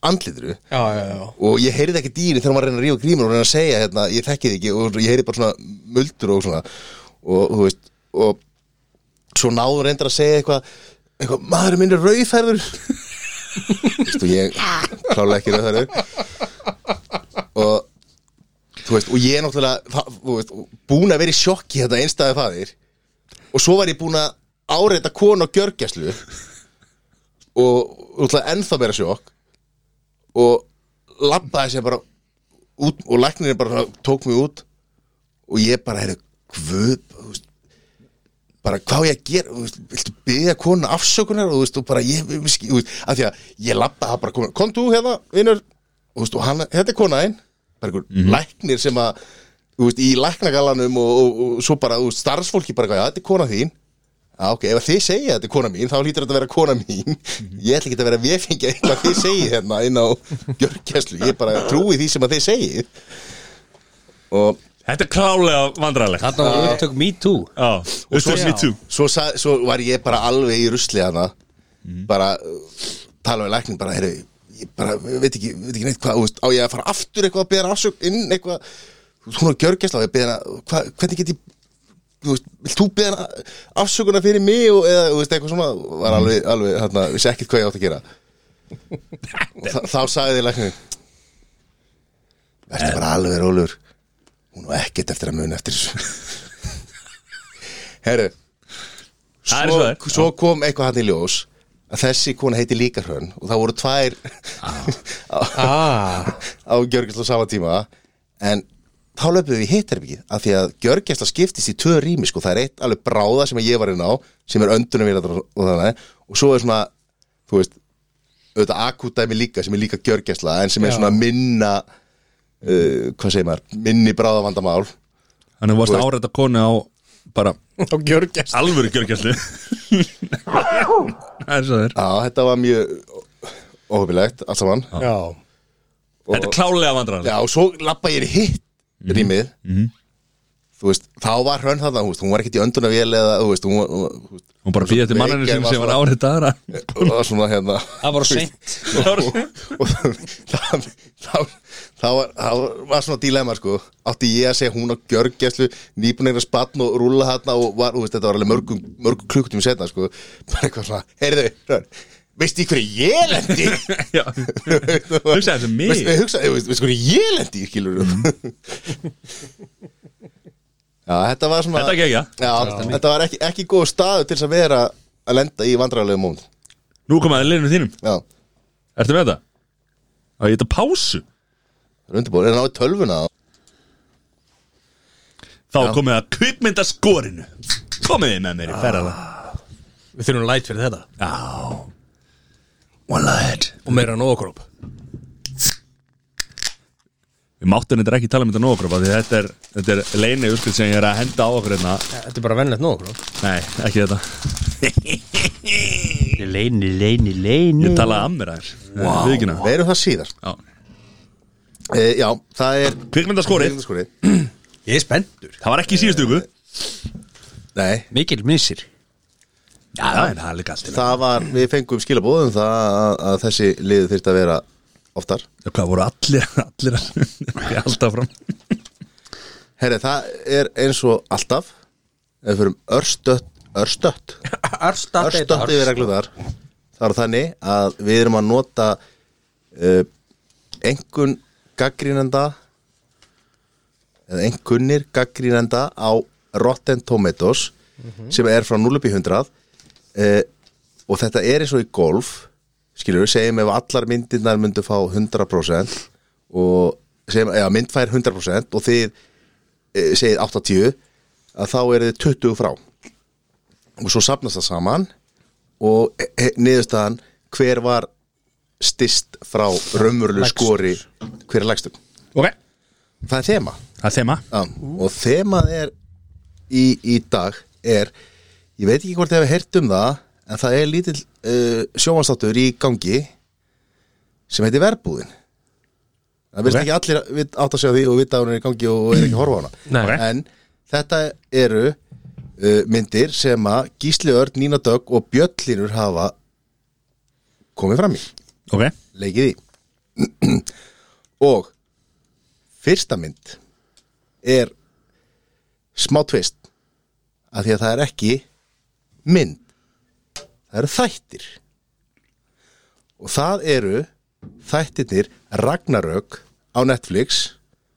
[SPEAKER 1] andlitru
[SPEAKER 4] já, já, já.
[SPEAKER 1] og ég heyrði ekki dýri þegar hún var að reyna að rífa grímur og reyna að segja, hérna, ég þekki þig ekki og ég heyrði bara svona muldur og svona og, þú veist, og svo náður reyndar að segja eitthvað eitthvað, maður minn er rauðferður veistu, ég klálega ekki rauðferður og þú veist, og ég er náttúrulega það- þú veist, búin að vera í sjokki þetta einstæði faðir og svo var ég búin að áreita konu á gjörgjæslu og náttúrulega ennþá meira sjokk og labbaði sér bara út og læknirinn bara svona tók mig út og ég bara, heyrðu, guð þú veist, bara hvað á ég að gera þú veist, viltu byggja konu afsökunar og, þú veist, og bara ég, ég miski, þú veist, af því að ég labba það bara komin, kom þú hérna vinnur, og, þú veist, og hann, þetta er kona einn bara einhver læknir sem að þú veist, í læknagalanum og, og, og, svo bara þú veist, starfsfólki bara, já, þetta er kona þín Já, ok, ef að þið segja að þetta er kona mín, þá hlýtur þetta að vera kona mín Ég ætla ekki að vera vefingja eitthvað þið segið hérna inn á gjörgjæslu Ég bara trúi því sem að þið segið Og
[SPEAKER 2] Þetta er klálega vandralegt
[SPEAKER 3] Þarna var upptök me too
[SPEAKER 2] Já, Þetta er me too
[SPEAKER 1] svo, sa, svo var ég bara alveg í rusli hana bara uh, tala við lækning bara, heyrðu, ég bara ég veit ekki, veit ekki neitt hvað, þú veist, á ég að fara aftur eitthvað að beða afsök inn eitthvað Þú veist, hún er gjörgjæsla og ég beða hana hva, hvernig get ég þú veist, vilt þú beða hana afsökunar fyrir mig og, eða, þú veist, eitthvað svona var alveg, alveg hérna, vissi ekkert hvað ég átt að gera og þá, þá sagði þið lækning verður bara alveg rólur hún var ekkert eftir að muna eftir þessu herru
[SPEAKER 2] Það er svo
[SPEAKER 1] svo,
[SPEAKER 2] það er.
[SPEAKER 1] svo kom eitthvað hann í ljós að þessi kona heiti líka hrönn og það voru tvær á,
[SPEAKER 4] Ah,
[SPEAKER 1] á Gjörgislu sama tíma en þá löpum við í hitterbyggið af því að gjörgæsla skiptist í tvö rými sko, það er eitt alveg bráða sem ég var inn á sem er öndunum við og þannig og svo er svona, þú veist auðvitað akúdæmi líka sem er líka gjörgæsla en sem er
[SPEAKER 4] Já.
[SPEAKER 1] svona minna uh, hvað segir maður, minni bráðavandamál
[SPEAKER 2] Þannig að varst að áreita konu á bara
[SPEAKER 4] á gjörgjast
[SPEAKER 2] alvöru gjörgjæslu Það er svo þér
[SPEAKER 1] Já, þetta var mjög óhefilegt allt saman
[SPEAKER 4] já,
[SPEAKER 1] og,
[SPEAKER 2] Þetta er klálega vandrar
[SPEAKER 1] Já, og svo lappa ég í hitt rýmið Þú veist, þá var hrönn þarna, þú veist, hún var ekkert í önduna vél eða, þú veist, hún var, hún var-
[SPEAKER 2] Hún bara býði eftir manninu
[SPEAKER 1] Veikir
[SPEAKER 2] sinu sem
[SPEAKER 1] var
[SPEAKER 2] var
[SPEAKER 1] svo-
[SPEAKER 2] áreita aðra
[SPEAKER 1] hún var svona hérna
[SPEAKER 3] það var seint
[SPEAKER 2] Það var-
[SPEAKER 1] og það þá- þá var- þá var svona dilemma sko átti ég að segja hún á gjörgjæslu nýpunegna spann og rúla þarna og var, þú veist, þetta var alveg mörgum, mörgum klukkutum setna sko, bara eitthvað svona, heyrðu Rörn, veist í hverju ég lendi
[SPEAKER 2] Já. Hugsaðu þessi mig.
[SPEAKER 1] veist, hugsa, veist, veist hverju ég lendi skilur já, þetta var svona
[SPEAKER 2] Mm. Þetta er gegja.
[SPEAKER 1] já, þetta var ekki, ekki góð staðu til þess að vera að lenda í vandræðulegu mónd
[SPEAKER 2] Nú komaði liðinu þínum
[SPEAKER 1] já,
[SPEAKER 2] Ertu með þetta? Það er þetta pásu
[SPEAKER 1] undirbúin, er náðu tölvuna á
[SPEAKER 2] Þá er komið að kvikmynda skorinu Komiði með mér í ferðala
[SPEAKER 4] við þurfum light fyrir þetta
[SPEAKER 2] Já One light
[SPEAKER 4] og meira en ókróp
[SPEAKER 2] Við máttum þetta ekki tala um þetta nóg okkur Því þetta er, þetta er leini úrskrið sem ég er að henda á okkur hérna
[SPEAKER 4] þetta er bara vennlegt nókróp
[SPEAKER 2] Nei, ekki þetta
[SPEAKER 3] leini, leini, leini
[SPEAKER 2] Ég talaði að mér aðeins Wow Víkina.
[SPEAKER 1] við erum það síðar
[SPEAKER 2] Já
[SPEAKER 1] e, já, það er
[SPEAKER 2] Kvikmyndaskorið
[SPEAKER 1] Skori.
[SPEAKER 4] ég er spenntur
[SPEAKER 2] Það var ekki í síðustu ykkur
[SPEAKER 1] Nei,
[SPEAKER 3] mikil missir
[SPEAKER 2] Já, en það er líka allt í lagi.
[SPEAKER 1] það var, við fengum skilabóðum það að, að þessi lið þyrst að vera oftar
[SPEAKER 2] Já, Hvað voru allir, allir Ég held áfram
[SPEAKER 1] Herri, það er eins og alltaf ef við fyrir örstött örstött,
[SPEAKER 4] Arsta
[SPEAKER 1] örstött yfir reglunar það er þannig að við erum að nota uh, engun gaggrínenda eða engunnir gaggrínenda á Rotten Tomatoes sem er frá 0 upp í 100 uh, og þetta er eins og í golf skilur við, segjum ef allar myndirnar myndu fá 100% og segjum, já, mynd fær 100% og þið eh, segið 80 að þá eru þið 20 frá og svo sapnast það saman og eh, eh, niðurstaðan hver var stist frá raumurlu skori hver er lægstum
[SPEAKER 2] Ok
[SPEAKER 1] það er þema
[SPEAKER 2] Það er þema
[SPEAKER 1] Já, og þemað er í, í dag er ég veit ekki hvort þið hefur heyrt um það en það er lítill uh, sjómanstáttur í gangi sem heitir verbúðin það veist
[SPEAKER 2] Ok.
[SPEAKER 1] ekki allir að- vit- átt að segja því og vita að hún er í gangi og er ekki að horfa á hana
[SPEAKER 2] Nei.
[SPEAKER 1] en þetta eru uh, myndir sem að Gísli Örn, Nína Dögg og Björn Hlynur hafa komið fram í
[SPEAKER 2] Ok
[SPEAKER 1] leikið í og fyrsta mynd er smá tvist af því að það er ekki mynd það eru þættir og það eru þættirnir Ragnarök á Netflix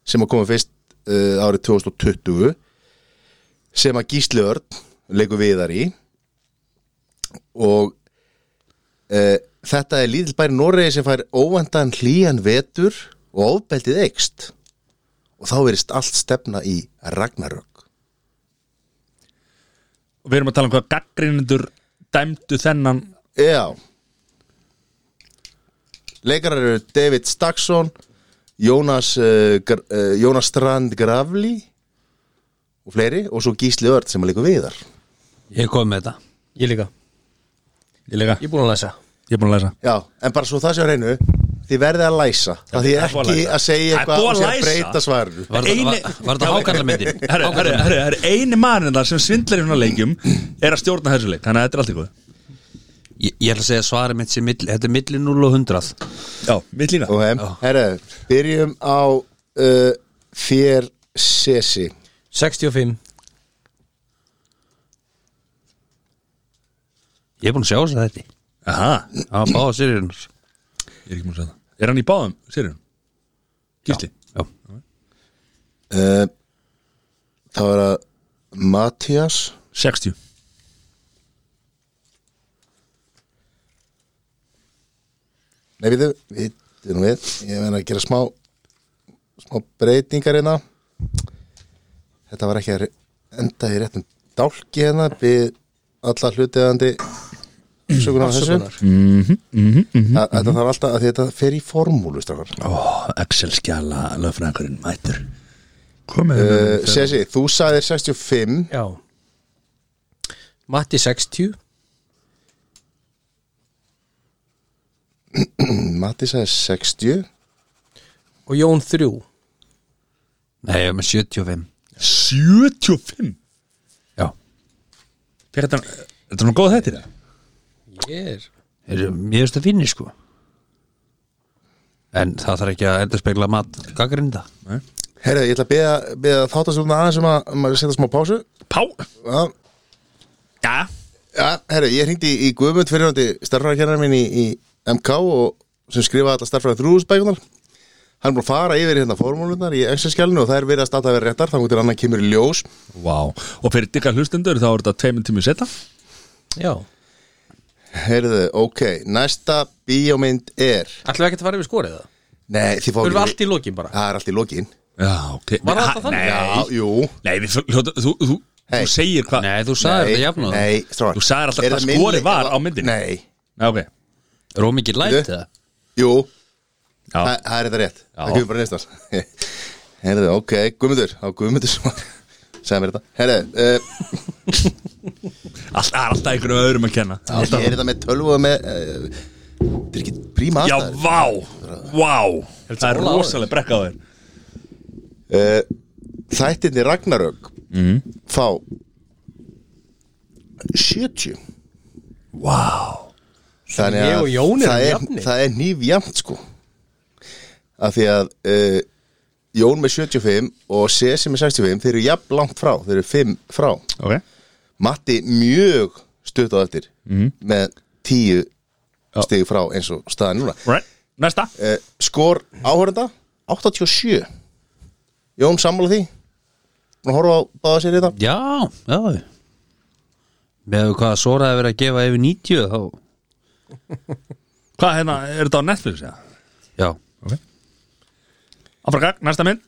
[SPEAKER 1] sem að koma fyrst uh, árið 2020 sem að Gísli Örn leikur viðar í og uh, þetta er lítill bæri Noregi sem fær óvendan hlýjan vetur og ofbeldið eikst og þá verist allt stefna í Ragnarök
[SPEAKER 2] Og Við erum að tala um hvað gaggrinundur dæmdu þennan
[SPEAKER 1] Já Leikarar eru David Staksson Jónas uh, Gr- uh, Jónas Strand Grafli og fleiri og svo Gísli Örd sem að leikur viðar
[SPEAKER 3] ég kom með þetta
[SPEAKER 4] ég líka
[SPEAKER 2] Ég líka
[SPEAKER 4] ég er búin að læsa
[SPEAKER 2] Ég er búin að læsa
[SPEAKER 1] Já, en bara svo það sé á reynu þið verðið að læsa það því
[SPEAKER 2] það er
[SPEAKER 1] ekki
[SPEAKER 2] búið
[SPEAKER 1] að,
[SPEAKER 2] að læsa.
[SPEAKER 1] segja
[SPEAKER 2] Það er
[SPEAKER 1] eitthvað og
[SPEAKER 2] búið að
[SPEAKER 1] sé að
[SPEAKER 2] læsa.
[SPEAKER 1] breyta svarinu
[SPEAKER 3] var
[SPEAKER 2] Eini-
[SPEAKER 3] þetta- var þetta hákarlamyndin
[SPEAKER 2] Herru, herru, herru, herru, eini maðurinn þar sem svindlar í svona leikjum er að stjórna þessu leik, þannig að þetta er allt í góð
[SPEAKER 3] ég, ég ætla að segja svarið mitt sem milli, þetta er milli 0 og 100
[SPEAKER 2] Já, mitt líka
[SPEAKER 1] Ok, herru, byrjum á uh, þér sesi
[SPEAKER 4] 65
[SPEAKER 3] ég er búin að sjá þess að þetta
[SPEAKER 2] Aha,
[SPEAKER 3] á báða sérjunars
[SPEAKER 2] ég er ekki múin að segja það Er hann í báðum, sér hann? Gísli?
[SPEAKER 3] já,
[SPEAKER 1] uh, þá er að Mattias
[SPEAKER 2] 60
[SPEAKER 1] Nei, við, við, við, við, ég verður að gera smá smá breytingar hérna þetta var ekki að re- enda í réttum dálki hérna við alla hlutiðandi sögunar þessu
[SPEAKER 4] Afsökunar.
[SPEAKER 1] Að- að þetta þarf alltaf að því þetta fer í formúlu strafar
[SPEAKER 2] Ó, Axel Skjala, löfnækurinn mætur Komið uh,
[SPEAKER 1] uh, Sessi, þú sagðir 65
[SPEAKER 4] Já Matti 60
[SPEAKER 1] Matti sagði 60
[SPEAKER 4] og Jón 3
[SPEAKER 3] Nei, ég er með 75
[SPEAKER 2] 75
[SPEAKER 3] Já,
[SPEAKER 2] Fyrir þetta, þetta er nú góð þetta
[SPEAKER 4] Ég er
[SPEAKER 3] er, ég veist það finni sko En það þarf ekki að endurspegla mat gaggrinda
[SPEAKER 1] Herðu, ég ætla að beða, beða þáttastjórna aðeins um að, um að setja smá pásu
[SPEAKER 2] Pá,
[SPEAKER 1] Já,
[SPEAKER 2] já
[SPEAKER 1] ja, herru, ég hringdi í, í Guðmund fyrirhandi starfræðarkennar minn í, í MK og sem skrifaði alla starfræðar þrúðsbækunar Hann er búin að fara yfir hérna formúlunar í exerskjálinu og það er verið að stata að vera réttar þannig til annan kemur í ljós
[SPEAKER 2] Vá, og fyrir dikkar hlustendur þá er þetta tveimund tími seta
[SPEAKER 4] Já
[SPEAKER 1] Herðu, ok, næsta bíómynd er
[SPEAKER 4] Ætlum við ekki að fara yfir skorið það?
[SPEAKER 1] Nei, þið fá
[SPEAKER 4] Þurfum við allt í lokin bara
[SPEAKER 1] Það er allt í lokin
[SPEAKER 2] Já, ok
[SPEAKER 4] Var þetta þannig?
[SPEAKER 1] Já,
[SPEAKER 2] Nei,
[SPEAKER 1] jú
[SPEAKER 2] nei við, hljóta, þú, þú,
[SPEAKER 1] Hey.
[SPEAKER 2] þú segir hvað
[SPEAKER 3] Nei, þú sagði
[SPEAKER 1] Nei,
[SPEAKER 3] það jafn og
[SPEAKER 1] Nei, strákar.
[SPEAKER 2] Þú sagðir alltaf
[SPEAKER 1] Er
[SPEAKER 2] hvað
[SPEAKER 1] það
[SPEAKER 2] skorið
[SPEAKER 1] minni-
[SPEAKER 2] var á myndinni.
[SPEAKER 1] Nei,
[SPEAKER 2] Já, ok
[SPEAKER 3] Róm ekki læti
[SPEAKER 1] Bíddu.
[SPEAKER 3] það
[SPEAKER 1] jú,
[SPEAKER 2] Já,
[SPEAKER 1] það það er þetta rétt Það
[SPEAKER 2] Já.
[SPEAKER 1] kemur bara neistans Herðu, ok, Guðmundur Á Guðmundur sem Segð mér þetta Herðu, uh,
[SPEAKER 2] allt, það er alltaf einhverjum öðrum að kenna
[SPEAKER 1] ég er þetta með tölvu og með uh, Þetta er ekki príma
[SPEAKER 2] Já,
[SPEAKER 1] aðstæður
[SPEAKER 2] vá, vá Það er
[SPEAKER 4] róla á
[SPEAKER 2] rosalega brekka á þér
[SPEAKER 1] uh, Þættinni Ragnarök
[SPEAKER 4] Mhm.
[SPEAKER 1] mm. Fá 70
[SPEAKER 2] Vá
[SPEAKER 1] Þannig
[SPEAKER 4] Ég
[SPEAKER 1] að
[SPEAKER 4] og Jón erum
[SPEAKER 1] það er,
[SPEAKER 4] jafnir.
[SPEAKER 1] það er nýfjamt sko Af því að uh, Jón með 75 og Sesi með 65 Þeir eru jafn langt frá, þeir eru 5 frá
[SPEAKER 2] Ok
[SPEAKER 1] Matti mjög stutt á eftir Með 10 stig frá eins og staðan núna
[SPEAKER 2] Alright, næsta
[SPEAKER 1] uh, Skor áhörenda 87 Jón sammála því Búin að horfa á báða sér þetta
[SPEAKER 3] Já, já Með hvað Sora hefur verið að gefa yfir 90 þá
[SPEAKER 2] Hvað hérna, er þetta á Netflix? Ja?
[SPEAKER 3] Já,
[SPEAKER 2] Afrakak, næsta mynd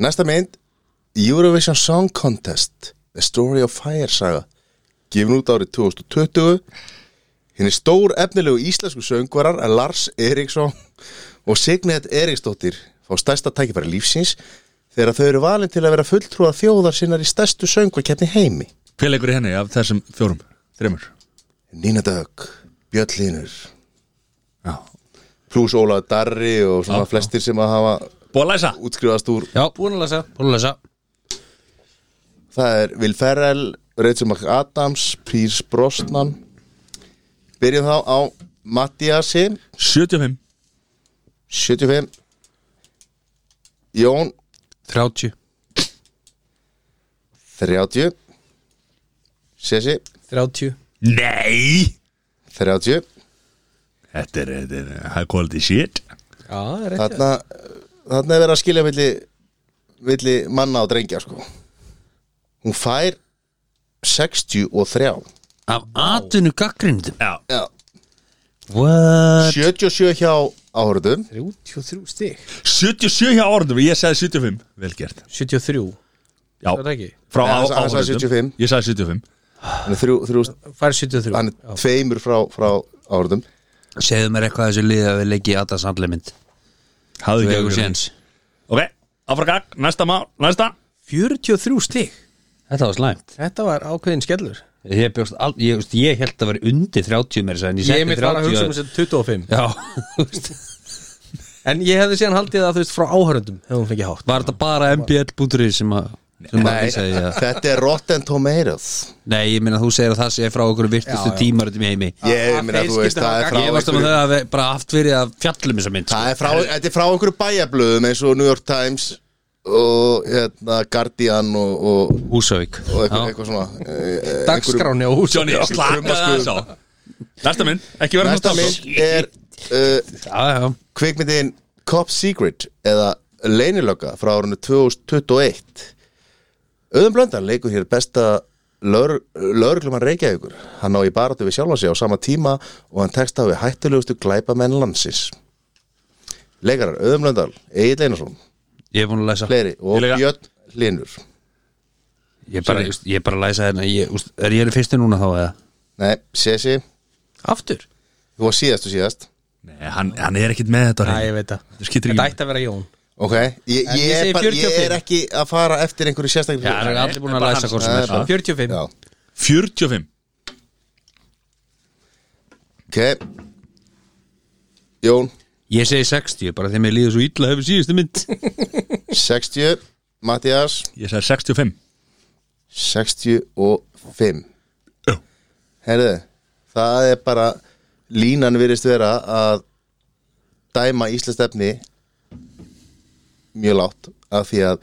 [SPEAKER 1] Næsta mynd Eurovision Song Contest The Story of Fire saga gefin út árið 2020 hinn er stór efnilegu íslensku söngvarar að Lars Eriksson og Signet Eriksdóttir fá stærsta tækifæri lífsins þegar þau eru valin til að vera fulltrúar þjóðar sinnar í stærstu söngvarkeppni heimi
[SPEAKER 2] Hver leikur í henni af þessum fjórum, þreymur
[SPEAKER 1] Nína Dögg, Björn Línur
[SPEAKER 2] Já
[SPEAKER 1] pluss Ólaður Darri og svona
[SPEAKER 2] Já, já.
[SPEAKER 1] flestir sem að hafa
[SPEAKER 2] Búið að læsa
[SPEAKER 1] útskrifast úr
[SPEAKER 3] já Búin að lesa Búin að lesa
[SPEAKER 1] Það er Will Ferrell, Rachel McAdams, Pírs Brosnan Byrjum þá á Mattiasi,
[SPEAKER 2] 75
[SPEAKER 1] 75 Jón,
[SPEAKER 3] 30
[SPEAKER 1] 30 Sessi,
[SPEAKER 4] 30
[SPEAKER 2] Nei
[SPEAKER 1] 30
[SPEAKER 2] Þetta er, þetta er high quality shit
[SPEAKER 4] Já, það er rétt
[SPEAKER 1] Þarna, þarna er verið að skilja milli, milli manna og drengja sko. Hún fær 63
[SPEAKER 3] Af atvinnu gaggrindum
[SPEAKER 2] Já,
[SPEAKER 1] Já,
[SPEAKER 3] What?
[SPEAKER 1] 77 hjá áhörðum
[SPEAKER 4] 33 stig
[SPEAKER 2] 77 hjá orðum, ég sagði 75 Vel gert
[SPEAKER 4] 73
[SPEAKER 2] Já,
[SPEAKER 4] Það er ekki
[SPEAKER 2] frá
[SPEAKER 1] Nei,
[SPEAKER 2] á,
[SPEAKER 1] hann sagði- hann sagði
[SPEAKER 2] áhorfendum.
[SPEAKER 1] 75.
[SPEAKER 2] Ég sagði 75
[SPEAKER 1] Hann er, þrjú, þrjú,
[SPEAKER 4] Fær 73
[SPEAKER 1] hann
[SPEAKER 4] Já.
[SPEAKER 1] er tveimur frá, frá áhörðum
[SPEAKER 3] Segðu mér eitthvað að þessu liði að við leggja í Adas handlemynd
[SPEAKER 2] Hafði
[SPEAKER 3] Þú
[SPEAKER 2] ekki
[SPEAKER 3] hefur
[SPEAKER 2] okkur
[SPEAKER 3] séns
[SPEAKER 2] Ok, afrakak, næsta má, næsta
[SPEAKER 4] 43 stig
[SPEAKER 3] Þetta var slæmt
[SPEAKER 4] Þetta var ákveðin skellur
[SPEAKER 3] Ég, bjóst, al, ég, veist, ég held að vera undir 30 mér en
[SPEAKER 4] Ég
[SPEAKER 3] ég setti
[SPEAKER 4] mitt var að
[SPEAKER 3] 30
[SPEAKER 4] hugsa um þessi 25
[SPEAKER 3] Já, þú veist
[SPEAKER 4] En ég hefði síðan haldið það þú veist frá áhörundum Hefði hún fengið hátt
[SPEAKER 3] Var þetta bara mbl.ri sem að sem að
[SPEAKER 1] Nei,
[SPEAKER 3] lýsa því að
[SPEAKER 1] þetta er Rotten Tomatoes
[SPEAKER 3] Nei, ég meina þú segir að það sé frá okkur virtustu tímarutum í heimi
[SPEAKER 1] Ég
[SPEAKER 4] að
[SPEAKER 1] meina,
[SPEAKER 4] þeir
[SPEAKER 1] þú veist,
[SPEAKER 4] skyldu
[SPEAKER 1] það
[SPEAKER 4] hafa
[SPEAKER 1] er frá
[SPEAKER 3] Ég varst um að
[SPEAKER 1] einhverju-
[SPEAKER 3] þau hafi bara haft verið að fjallum þessa mynd sko.
[SPEAKER 1] Það er frá, þetta er frá einhverju bæjablöðum eins og New York Times og hérna, Guardian og, og,
[SPEAKER 3] Húsavík
[SPEAKER 1] og eitthvað,
[SPEAKER 3] Já.
[SPEAKER 1] eitthvað svona eh, eh, einhverju-
[SPEAKER 4] Dagskráni á hús
[SPEAKER 2] Johnny, slaka þess á Næsta mynd, ekki vera
[SPEAKER 1] Næsta
[SPEAKER 2] nostalgísk.
[SPEAKER 1] mynd er uh,
[SPEAKER 3] Já, já
[SPEAKER 1] kvikmyndin Cop Secret eða Leinilöka frá árunni 2021 Öðum Blöndal leikur hér besta lauruglumann Reykjavíkur Hann ná í baráttu við sjálfan sig á sama tíma og hann tekst á við hættulegustu glæpamenn landsins Leikarar Öðum Blöndal, Egil Einarsson
[SPEAKER 3] Ég er búin að lesa
[SPEAKER 1] fleiri og
[SPEAKER 2] Ég leika.
[SPEAKER 1] Björn Linur
[SPEAKER 3] Ég bara, just, ég bara læsa hérna ég, úst, Er ég fyrstu núna þá eða?
[SPEAKER 1] Nei, Sessi,
[SPEAKER 4] Aftur?
[SPEAKER 1] þú var síðast og síðast
[SPEAKER 2] Nei, hann, hann er ekkit með þetta á
[SPEAKER 4] Næ,
[SPEAKER 2] hreinu.
[SPEAKER 4] ég veit það
[SPEAKER 2] Þetta skýtur ekki
[SPEAKER 4] Þetta
[SPEAKER 2] máli.
[SPEAKER 4] ætti að vera Jón
[SPEAKER 1] Ok, ég,
[SPEAKER 4] En
[SPEAKER 1] ég,
[SPEAKER 4] ég
[SPEAKER 1] er
[SPEAKER 4] segi
[SPEAKER 1] bara, ég
[SPEAKER 4] 45.
[SPEAKER 1] er ekki að fara eftir einhverju sérstaklega
[SPEAKER 3] Það er allir búin að
[SPEAKER 2] bara
[SPEAKER 3] læsa
[SPEAKER 2] hans.
[SPEAKER 3] hvort sem
[SPEAKER 1] Það
[SPEAKER 3] er
[SPEAKER 1] er bara-
[SPEAKER 4] 45
[SPEAKER 1] Já,
[SPEAKER 2] 45
[SPEAKER 1] ok Jón,
[SPEAKER 3] Ég segi 60 bara þegar mér líður svo illa hefur síðustu mynd
[SPEAKER 1] 60 Mattias,
[SPEAKER 2] Ég sagði 65
[SPEAKER 1] 65
[SPEAKER 2] Já.
[SPEAKER 1] Herðu, það er bara línan virðist vera að dæma Íslands efni mjög látt af því að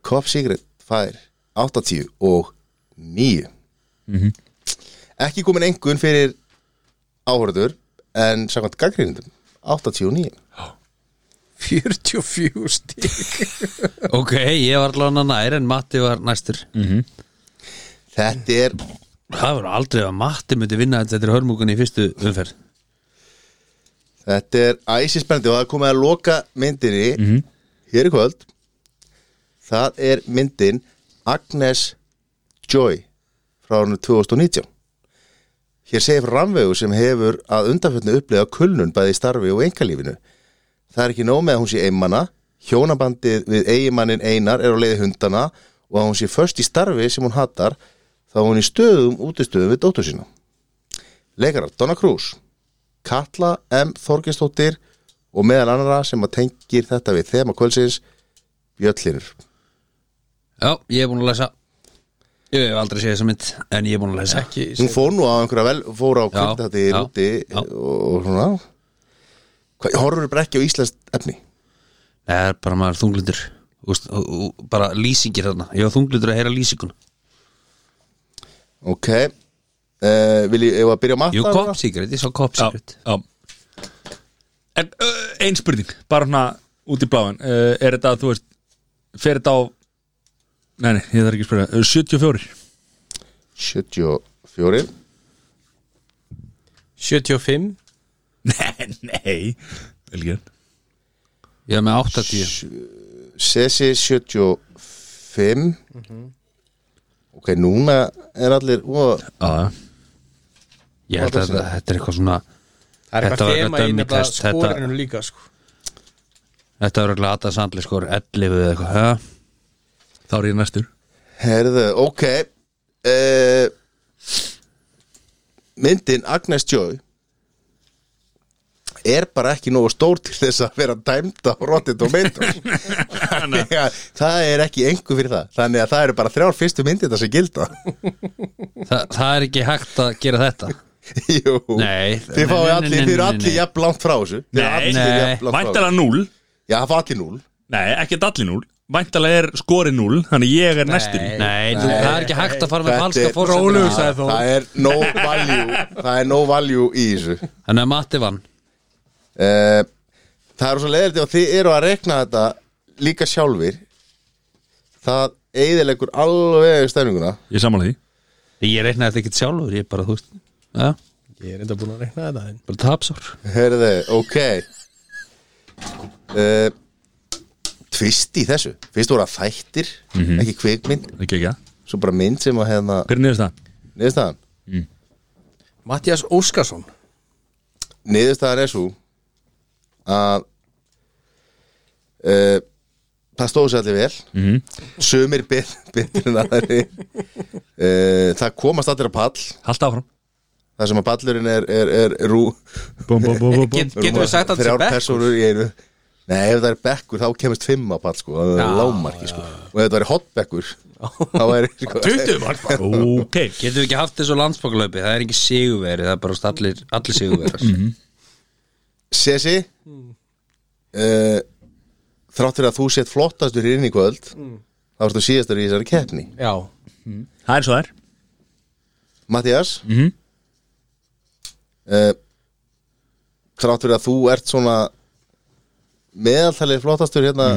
[SPEAKER 1] Kopp Sigrid fær 80 og 9 ekki komin engun fyrir áhörður en samkvæmt gaggrindum 89
[SPEAKER 4] 44 stík
[SPEAKER 3] Ok, ég var allan að nær en Matti var næstur
[SPEAKER 1] Mm. þetta er
[SPEAKER 3] Það var aldrei að Matti myndi vinna þetta er hörmungunni í fyrstu umferð
[SPEAKER 1] Þetta er æsispennandi og það er komið að loka myndinni hér í kvöld Það er myndin Agnes Joy frá hann 2019 Hér segir Ramvegu sem hefur að undanfjörni upplega kulnun bæði í starfi og einkalífinu Það er ekki nóg með að hún sé einmana Hjónabandið við eigimannin einar er á leiði hundana og að hún sé först í starfi sem hún hattar þá er hún í stöðum útistöðum við dóttur sína Leikarar Donna Cruz Katla M. Þorgestóttir og meðal annara sem að tengir þetta við þema kvöldsins Bjöllinur
[SPEAKER 3] Já, ég er búin að læsa Ég hef aldrei séð þessa mynd en ég er búin að læsa
[SPEAKER 4] Ekki
[SPEAKER 1] hún fór nú á einhverja vel fór á kvöldhætti í
[SPEAKER 3] já,
[SPEAKER 1] rúti
[SPEAKER 3] já.
[SPEAKER 1] og svona Hva, horfur bara ekki á Íslands efni
[SPEAKER 3] Nei, það er bara maður þunglindur úst, og, og, bara lýsingir þarna Ég var þunglindur að heyra lýsingun
[SPEAKER 1] ok uh, vil ég, ég að byrja á matta
[SPEAKER 3] Jú, Cop Secret, ég sá Cop
[SPEAKER 2] Já,
[SPEAKER 3] Secret
[SPEAKER 2] já. En uh, ein spurning Bara hana út í bláin uh, Er þetta, þú veist Fer þetta á Nei, nei, ég þarf ekki að spyrja uh, 74
[SPEAKER 1] 74
[SPEAKER 4] 75
[SPEAKER 2] Nei, nei Vel gert
[SPEAKER 3] Ég var með 80
[SPEAKER 1] Sessi 75
[SPEAKER 3] Mhm.
[SPEAKER 1] ok, núna er allir og,
[SPEAKER 2] Já,
[SPEAKER 3] Ég held að þetta er eitthvað svona
[SPEAKER 4] Það er
[SPEAKER 3] Þetta
[SPEAKER 4] eitthvað þema
[SPEAKER 3] var eitthvað
[SPEAKER 4] í
[SPEAKER 3] dummy
[SPEAKER 4] nefnilega
[SPEAKER 3] test, þetta-
[SPEAKER 4] skorinu líka sko
[SPEAKER 3] Þetta var glata sandli skor 11 eða eitthvað ha?
[SPEAKER 2] þá er ég næstur
[SPEAKER 1] Herðu, ok uh, Myndin Agnes Joy er bara ekki nógu stór til þess að vera dæmd á Rotten Tomatoes Þannig að það er ekki engu fyrir það þannig að það eru bara þrjár fyrstu myndir það sem gilda
[SPEAKER 3] Þa, Það er ekki hægt að gera þetta
[SPEAKER 1] Jú,
[SPEAKER 3] Nei.
[SPEAKER 1] þið fáið
[SPEAKER 3] Nei, nei,
[SPEAKER 1] allir
[SPEAKER 3] nei,
[SPEAKER 1] þið eru
[SPEAKER 3] nei,
[SPEAKER 1] allir
[SPEAKER 3] nei.
[SPEAKER 1] jafn langt frá þessu Þið eru
[SPEAKER 2] Nei.
[SPEAKER 1] allir
[SPEAKER 3] Nei.
[SPEAKER 1] jafn langt frá þessu.
[SPEAKER 2] Væntalega 0
[SPEAKER 1] Já, það var allir núl
[SPEAKER 2] Nei, ekki allir 0 Væntalega er skori 0 Þannig ég er næstur í.
[SPEAKER 3] Nei, þú, það er ekki hægt að fara með
[SPEAKER 1] Þetta
[SPEAKER 3] falska
[SPEAKER 1] er-
[SPEAKER 3] fórsendur
[SPEAKER 4] Rólegur, sagði Þór.
[SPEAKER 1] Það er no value Það er no value í þessu
[SPEAKER 3] Þannig að Matti vann
[SPEAKER 1] Eh, Það eru svo leiðilegt og þið eru að rekna þetta líka sjálfir Það eiðilegur alveg stefninguna
[SPEAKER 2] Ég samanlega því
[SPEAKER 3] Ég reiknaði þetta ekkert sjálfur, ég bara, þú veist ja,
[SPEAKER 4] Ég er enda búin að rekna þetta en
[SPEAKER 3] bara tapsár
[SPEAKER 1] Herði, ok uh, Tvist í þessu Fyrst voru að þættir, ekki kvikmynd
[SPEAKER 2] Ekki ekki að
[SPEAKER 1] Svo bara mynd sem að hefna
[SPEAKER 2] Hver er niðurstaðan?
[SPEAKER 1] Niðurstaðan
[SPEAKER 4] Mattias Óskarsson
[SPEAKER 1] Niðurstaðan er svo Að uh, Það stóðu sér allir vel
[SPEAKER 2] Mhm.
[SPEAKER 1] Sumir bet- betur en aðri uh, Það komast allir að pall
[SPEAKER 2] Halda áfram
[SPEAKER 1] Það sem að ballurinn er, er, er rú,
[SPEAKER 2] bum, bum, bum, bum,
[SPEAKER 4] Get,
[SPEAKER 2] bum.
[SPEAKER 4] Getum við sagt að þetta
[SPEAKER 1] þrjár
[SPEAKER 4] er bekk
[SPEAKER 1] persónur í einu Nei, ef það er bekkur þá kemist fimm á ball sko, það er lámarki sko og ef það er hotbekkur þá er sko,
[SPEAKER 2] 20 mann Ok
[SPEAKER 3] Getum við ekki haft þessu landsbóklaupi, það er ekki sigurveri Það er bara úst, allir, allir sigurverar
[SPEAKER 1] Sessi
[SPEAKER 4] Mm.
[SPEAKER 1] uh, þrátt fyrir að þú sett flottastur inn í kvöld
[SPEAKER 4] Mm.
[SPEAKER 1] þá ertu síðastur í þessari keppni
[SPEAKER 4] Já,
[SPEAKER 2] Það er svo þær
[SPEAKER 1] Mattias
[SPEAKER 2] Mhm.
[SPEAKER 1] uh, þrátt fyrir að þú ert svona meðaltalið flottastur hérna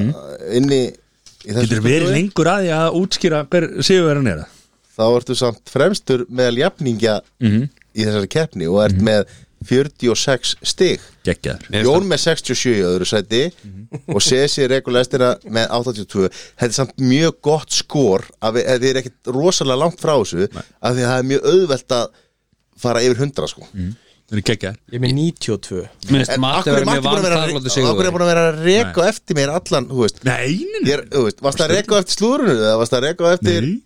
[SPEAKER 1] inni í þessu
[SPEAKER 2] Mhm. Getur verið
[SPEAKER 1] stúdíói,
[SPEAKER 2] lengur að því að útskýra hver sigurverðan er það?
[SPEAKER 1] þá ertu samt fremstur meðal jafningja
[SPEAKER 2] Mhm.
[SPEAKER 1] í þessari keppni og ert með 46 stig
[SPEAKER 2] geggjaður
[SPEAKER 1] Jón með 67 í öðru sæti og Sesi regulestina með 82 þetta er samt mjög gott skor að við, þið er ekkit rosalega langt frá þessu af því að það er mjög auðvelt að fara yfir 100 sko
[SPEAKER 2] Það er geggjaður
[SPEAKER 4] Ég er með 92
[SPEAKER 3] minnst
[SPEAKER 1] en
[SPEAKER 3] Matti
[SPEAKER 1] akkur er
[SPEAKER 3] verið
[SPEAKER 1] Matti
[SPEAKER 3] mjög
[SPEAKER 1] búin að vera
[SPEAKER 3] vantaglóti
[SPEAKER 1] akkur er
[SPEAKER 3] sigur
[SPEAKER 1] búin að vera að reka á eftir mér allan, þú veist
[SPEAKER 2] Nei, nei,
[SPEAKER 1] Ég er, þú veist, varst það að reka á eftir slúrunu eða varst það að reka á eftir
[SPEAKER 2] nei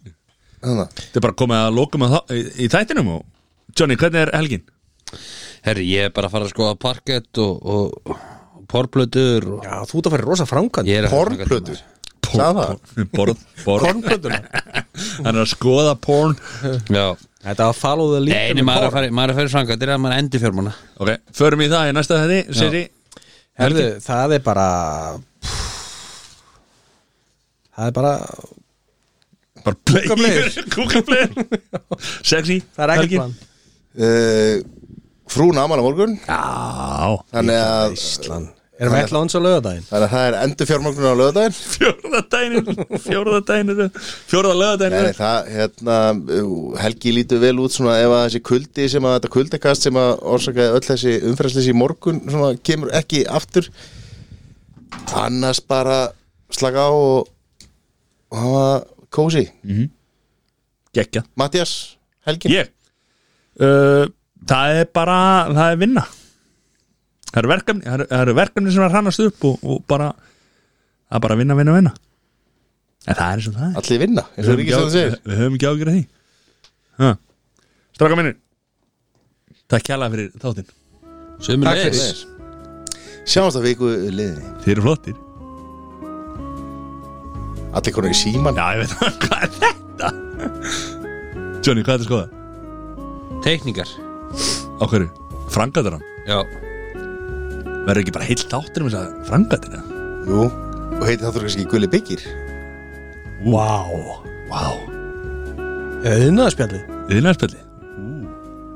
[SPEAKER 1] Þarna.
[SPEAKER 2] Þetta er bara komið að lokum að þá, í, í þættinum og Johnny, hvernig er helgin?
[SPEAKER 3] herri ég er bara að fara að skoða parkett og, og, og porplötur og
[SPEAKER 4] Já, þú ert að fara í rosa frangan
[SPEAKER 3] ég er að-
[SPEAKER 1] pornplötur Sagði það?
[SPEAKER 2] Borð, borð
[SPEAKER 4] Pornplötuna
[SPEAKER 2] Hann er að skoða porn
[SPEAKER 3] já
[SPEAKER 4] Þetta að follow the leader
[SPEAKER 3] Nei, nei, maður er að fara- maður er að fara í frangatir að maður endi fjármána
[SPEAKER 2] Ok, förum í það í næsta þætti, Siri
[SPEAKER 4] Herðu, það er bara Það er bara
[SPEAKER 2] Bara player, kúkaplayer Sexy,
[SPEAKER 4] Það er ekkert plan
[SPEAKER 1] Eh, Frún ámala morgun
[SPEAKER 2] Já,
[SPEAKER 1] Þannig að,
[SPEAKER 4] Ísland Erum við ætla hans á lögadaginn?
[SPEAKER 1] þannig að það er endur fjármögnun á lögadaginn
[SPEAKER 2] fjórða dænin Fjórða dænin, fjórða
[SPEAKER 1] Nei,
[SPEAKER 2] lögadænin
[SPEAKER 1] það, hérna, ú, Helgi lítur vel út svona ef að þessi kuldi sem að þetta kuldakast sem að orsakaði öll þessi umfæðsleysi í morgun svona kemur ekki aftur annars bara slaka á og, og hafa kósi
[SPEAKER 2] Geggja
[SPEAKER 1] Mattias, Helgi
[SPEAKER 2] Mm. Ég uh, Það er bara, það er vinna Það eru verkefni, það eru- það eru verkefni sem er að hrannast upp og, og bara, það er bara vinna, vinna, vinna En það er eins og það er
[SPEAKER 1] allir vinna, eins
[SPEAKER 2] Við
[SPEAKER 1] og
[SPEAKER 2] höfum ekki
[SPEAKER 1] Ríkistjóðan
[SPEAKER 2] áhyggjur-
[SPEAKER 1] segir
[SPEAKER 2] við höfum ekki ágjur að því ha. Straka minni Takk kjærlega fyrir þáttinn
[SPEAKER 3] Sumur
[SPEAKER 4] Takk fyrir.
[SPEAKER 1] Sjáumst að viku liðinni
[SPEAKER 2] Þið eru flottir
[SPEAKER 1] Allir konar í síman
[SPEAKER 2] Já, ég veit það, hvað er þetta? Johnny, hvað er þetta skoða?
[SPEAKER 3] Teikningar
[SPEAKER 2] Á hverju? Frangatur hann?
[SPEAKER 3] Já
[SPEAKER 2] Verður ekki bara heilt þáttir um þess að frangatur hann?
[SPEAKER 1] Jú, og heiti þáttur kannski Gulli Byggir
[SPEAKER 2] Vá Vá
[SPEAKER 4] Öðnaðarspjallið
[SPEAKER 2] Yðnaðarspjalli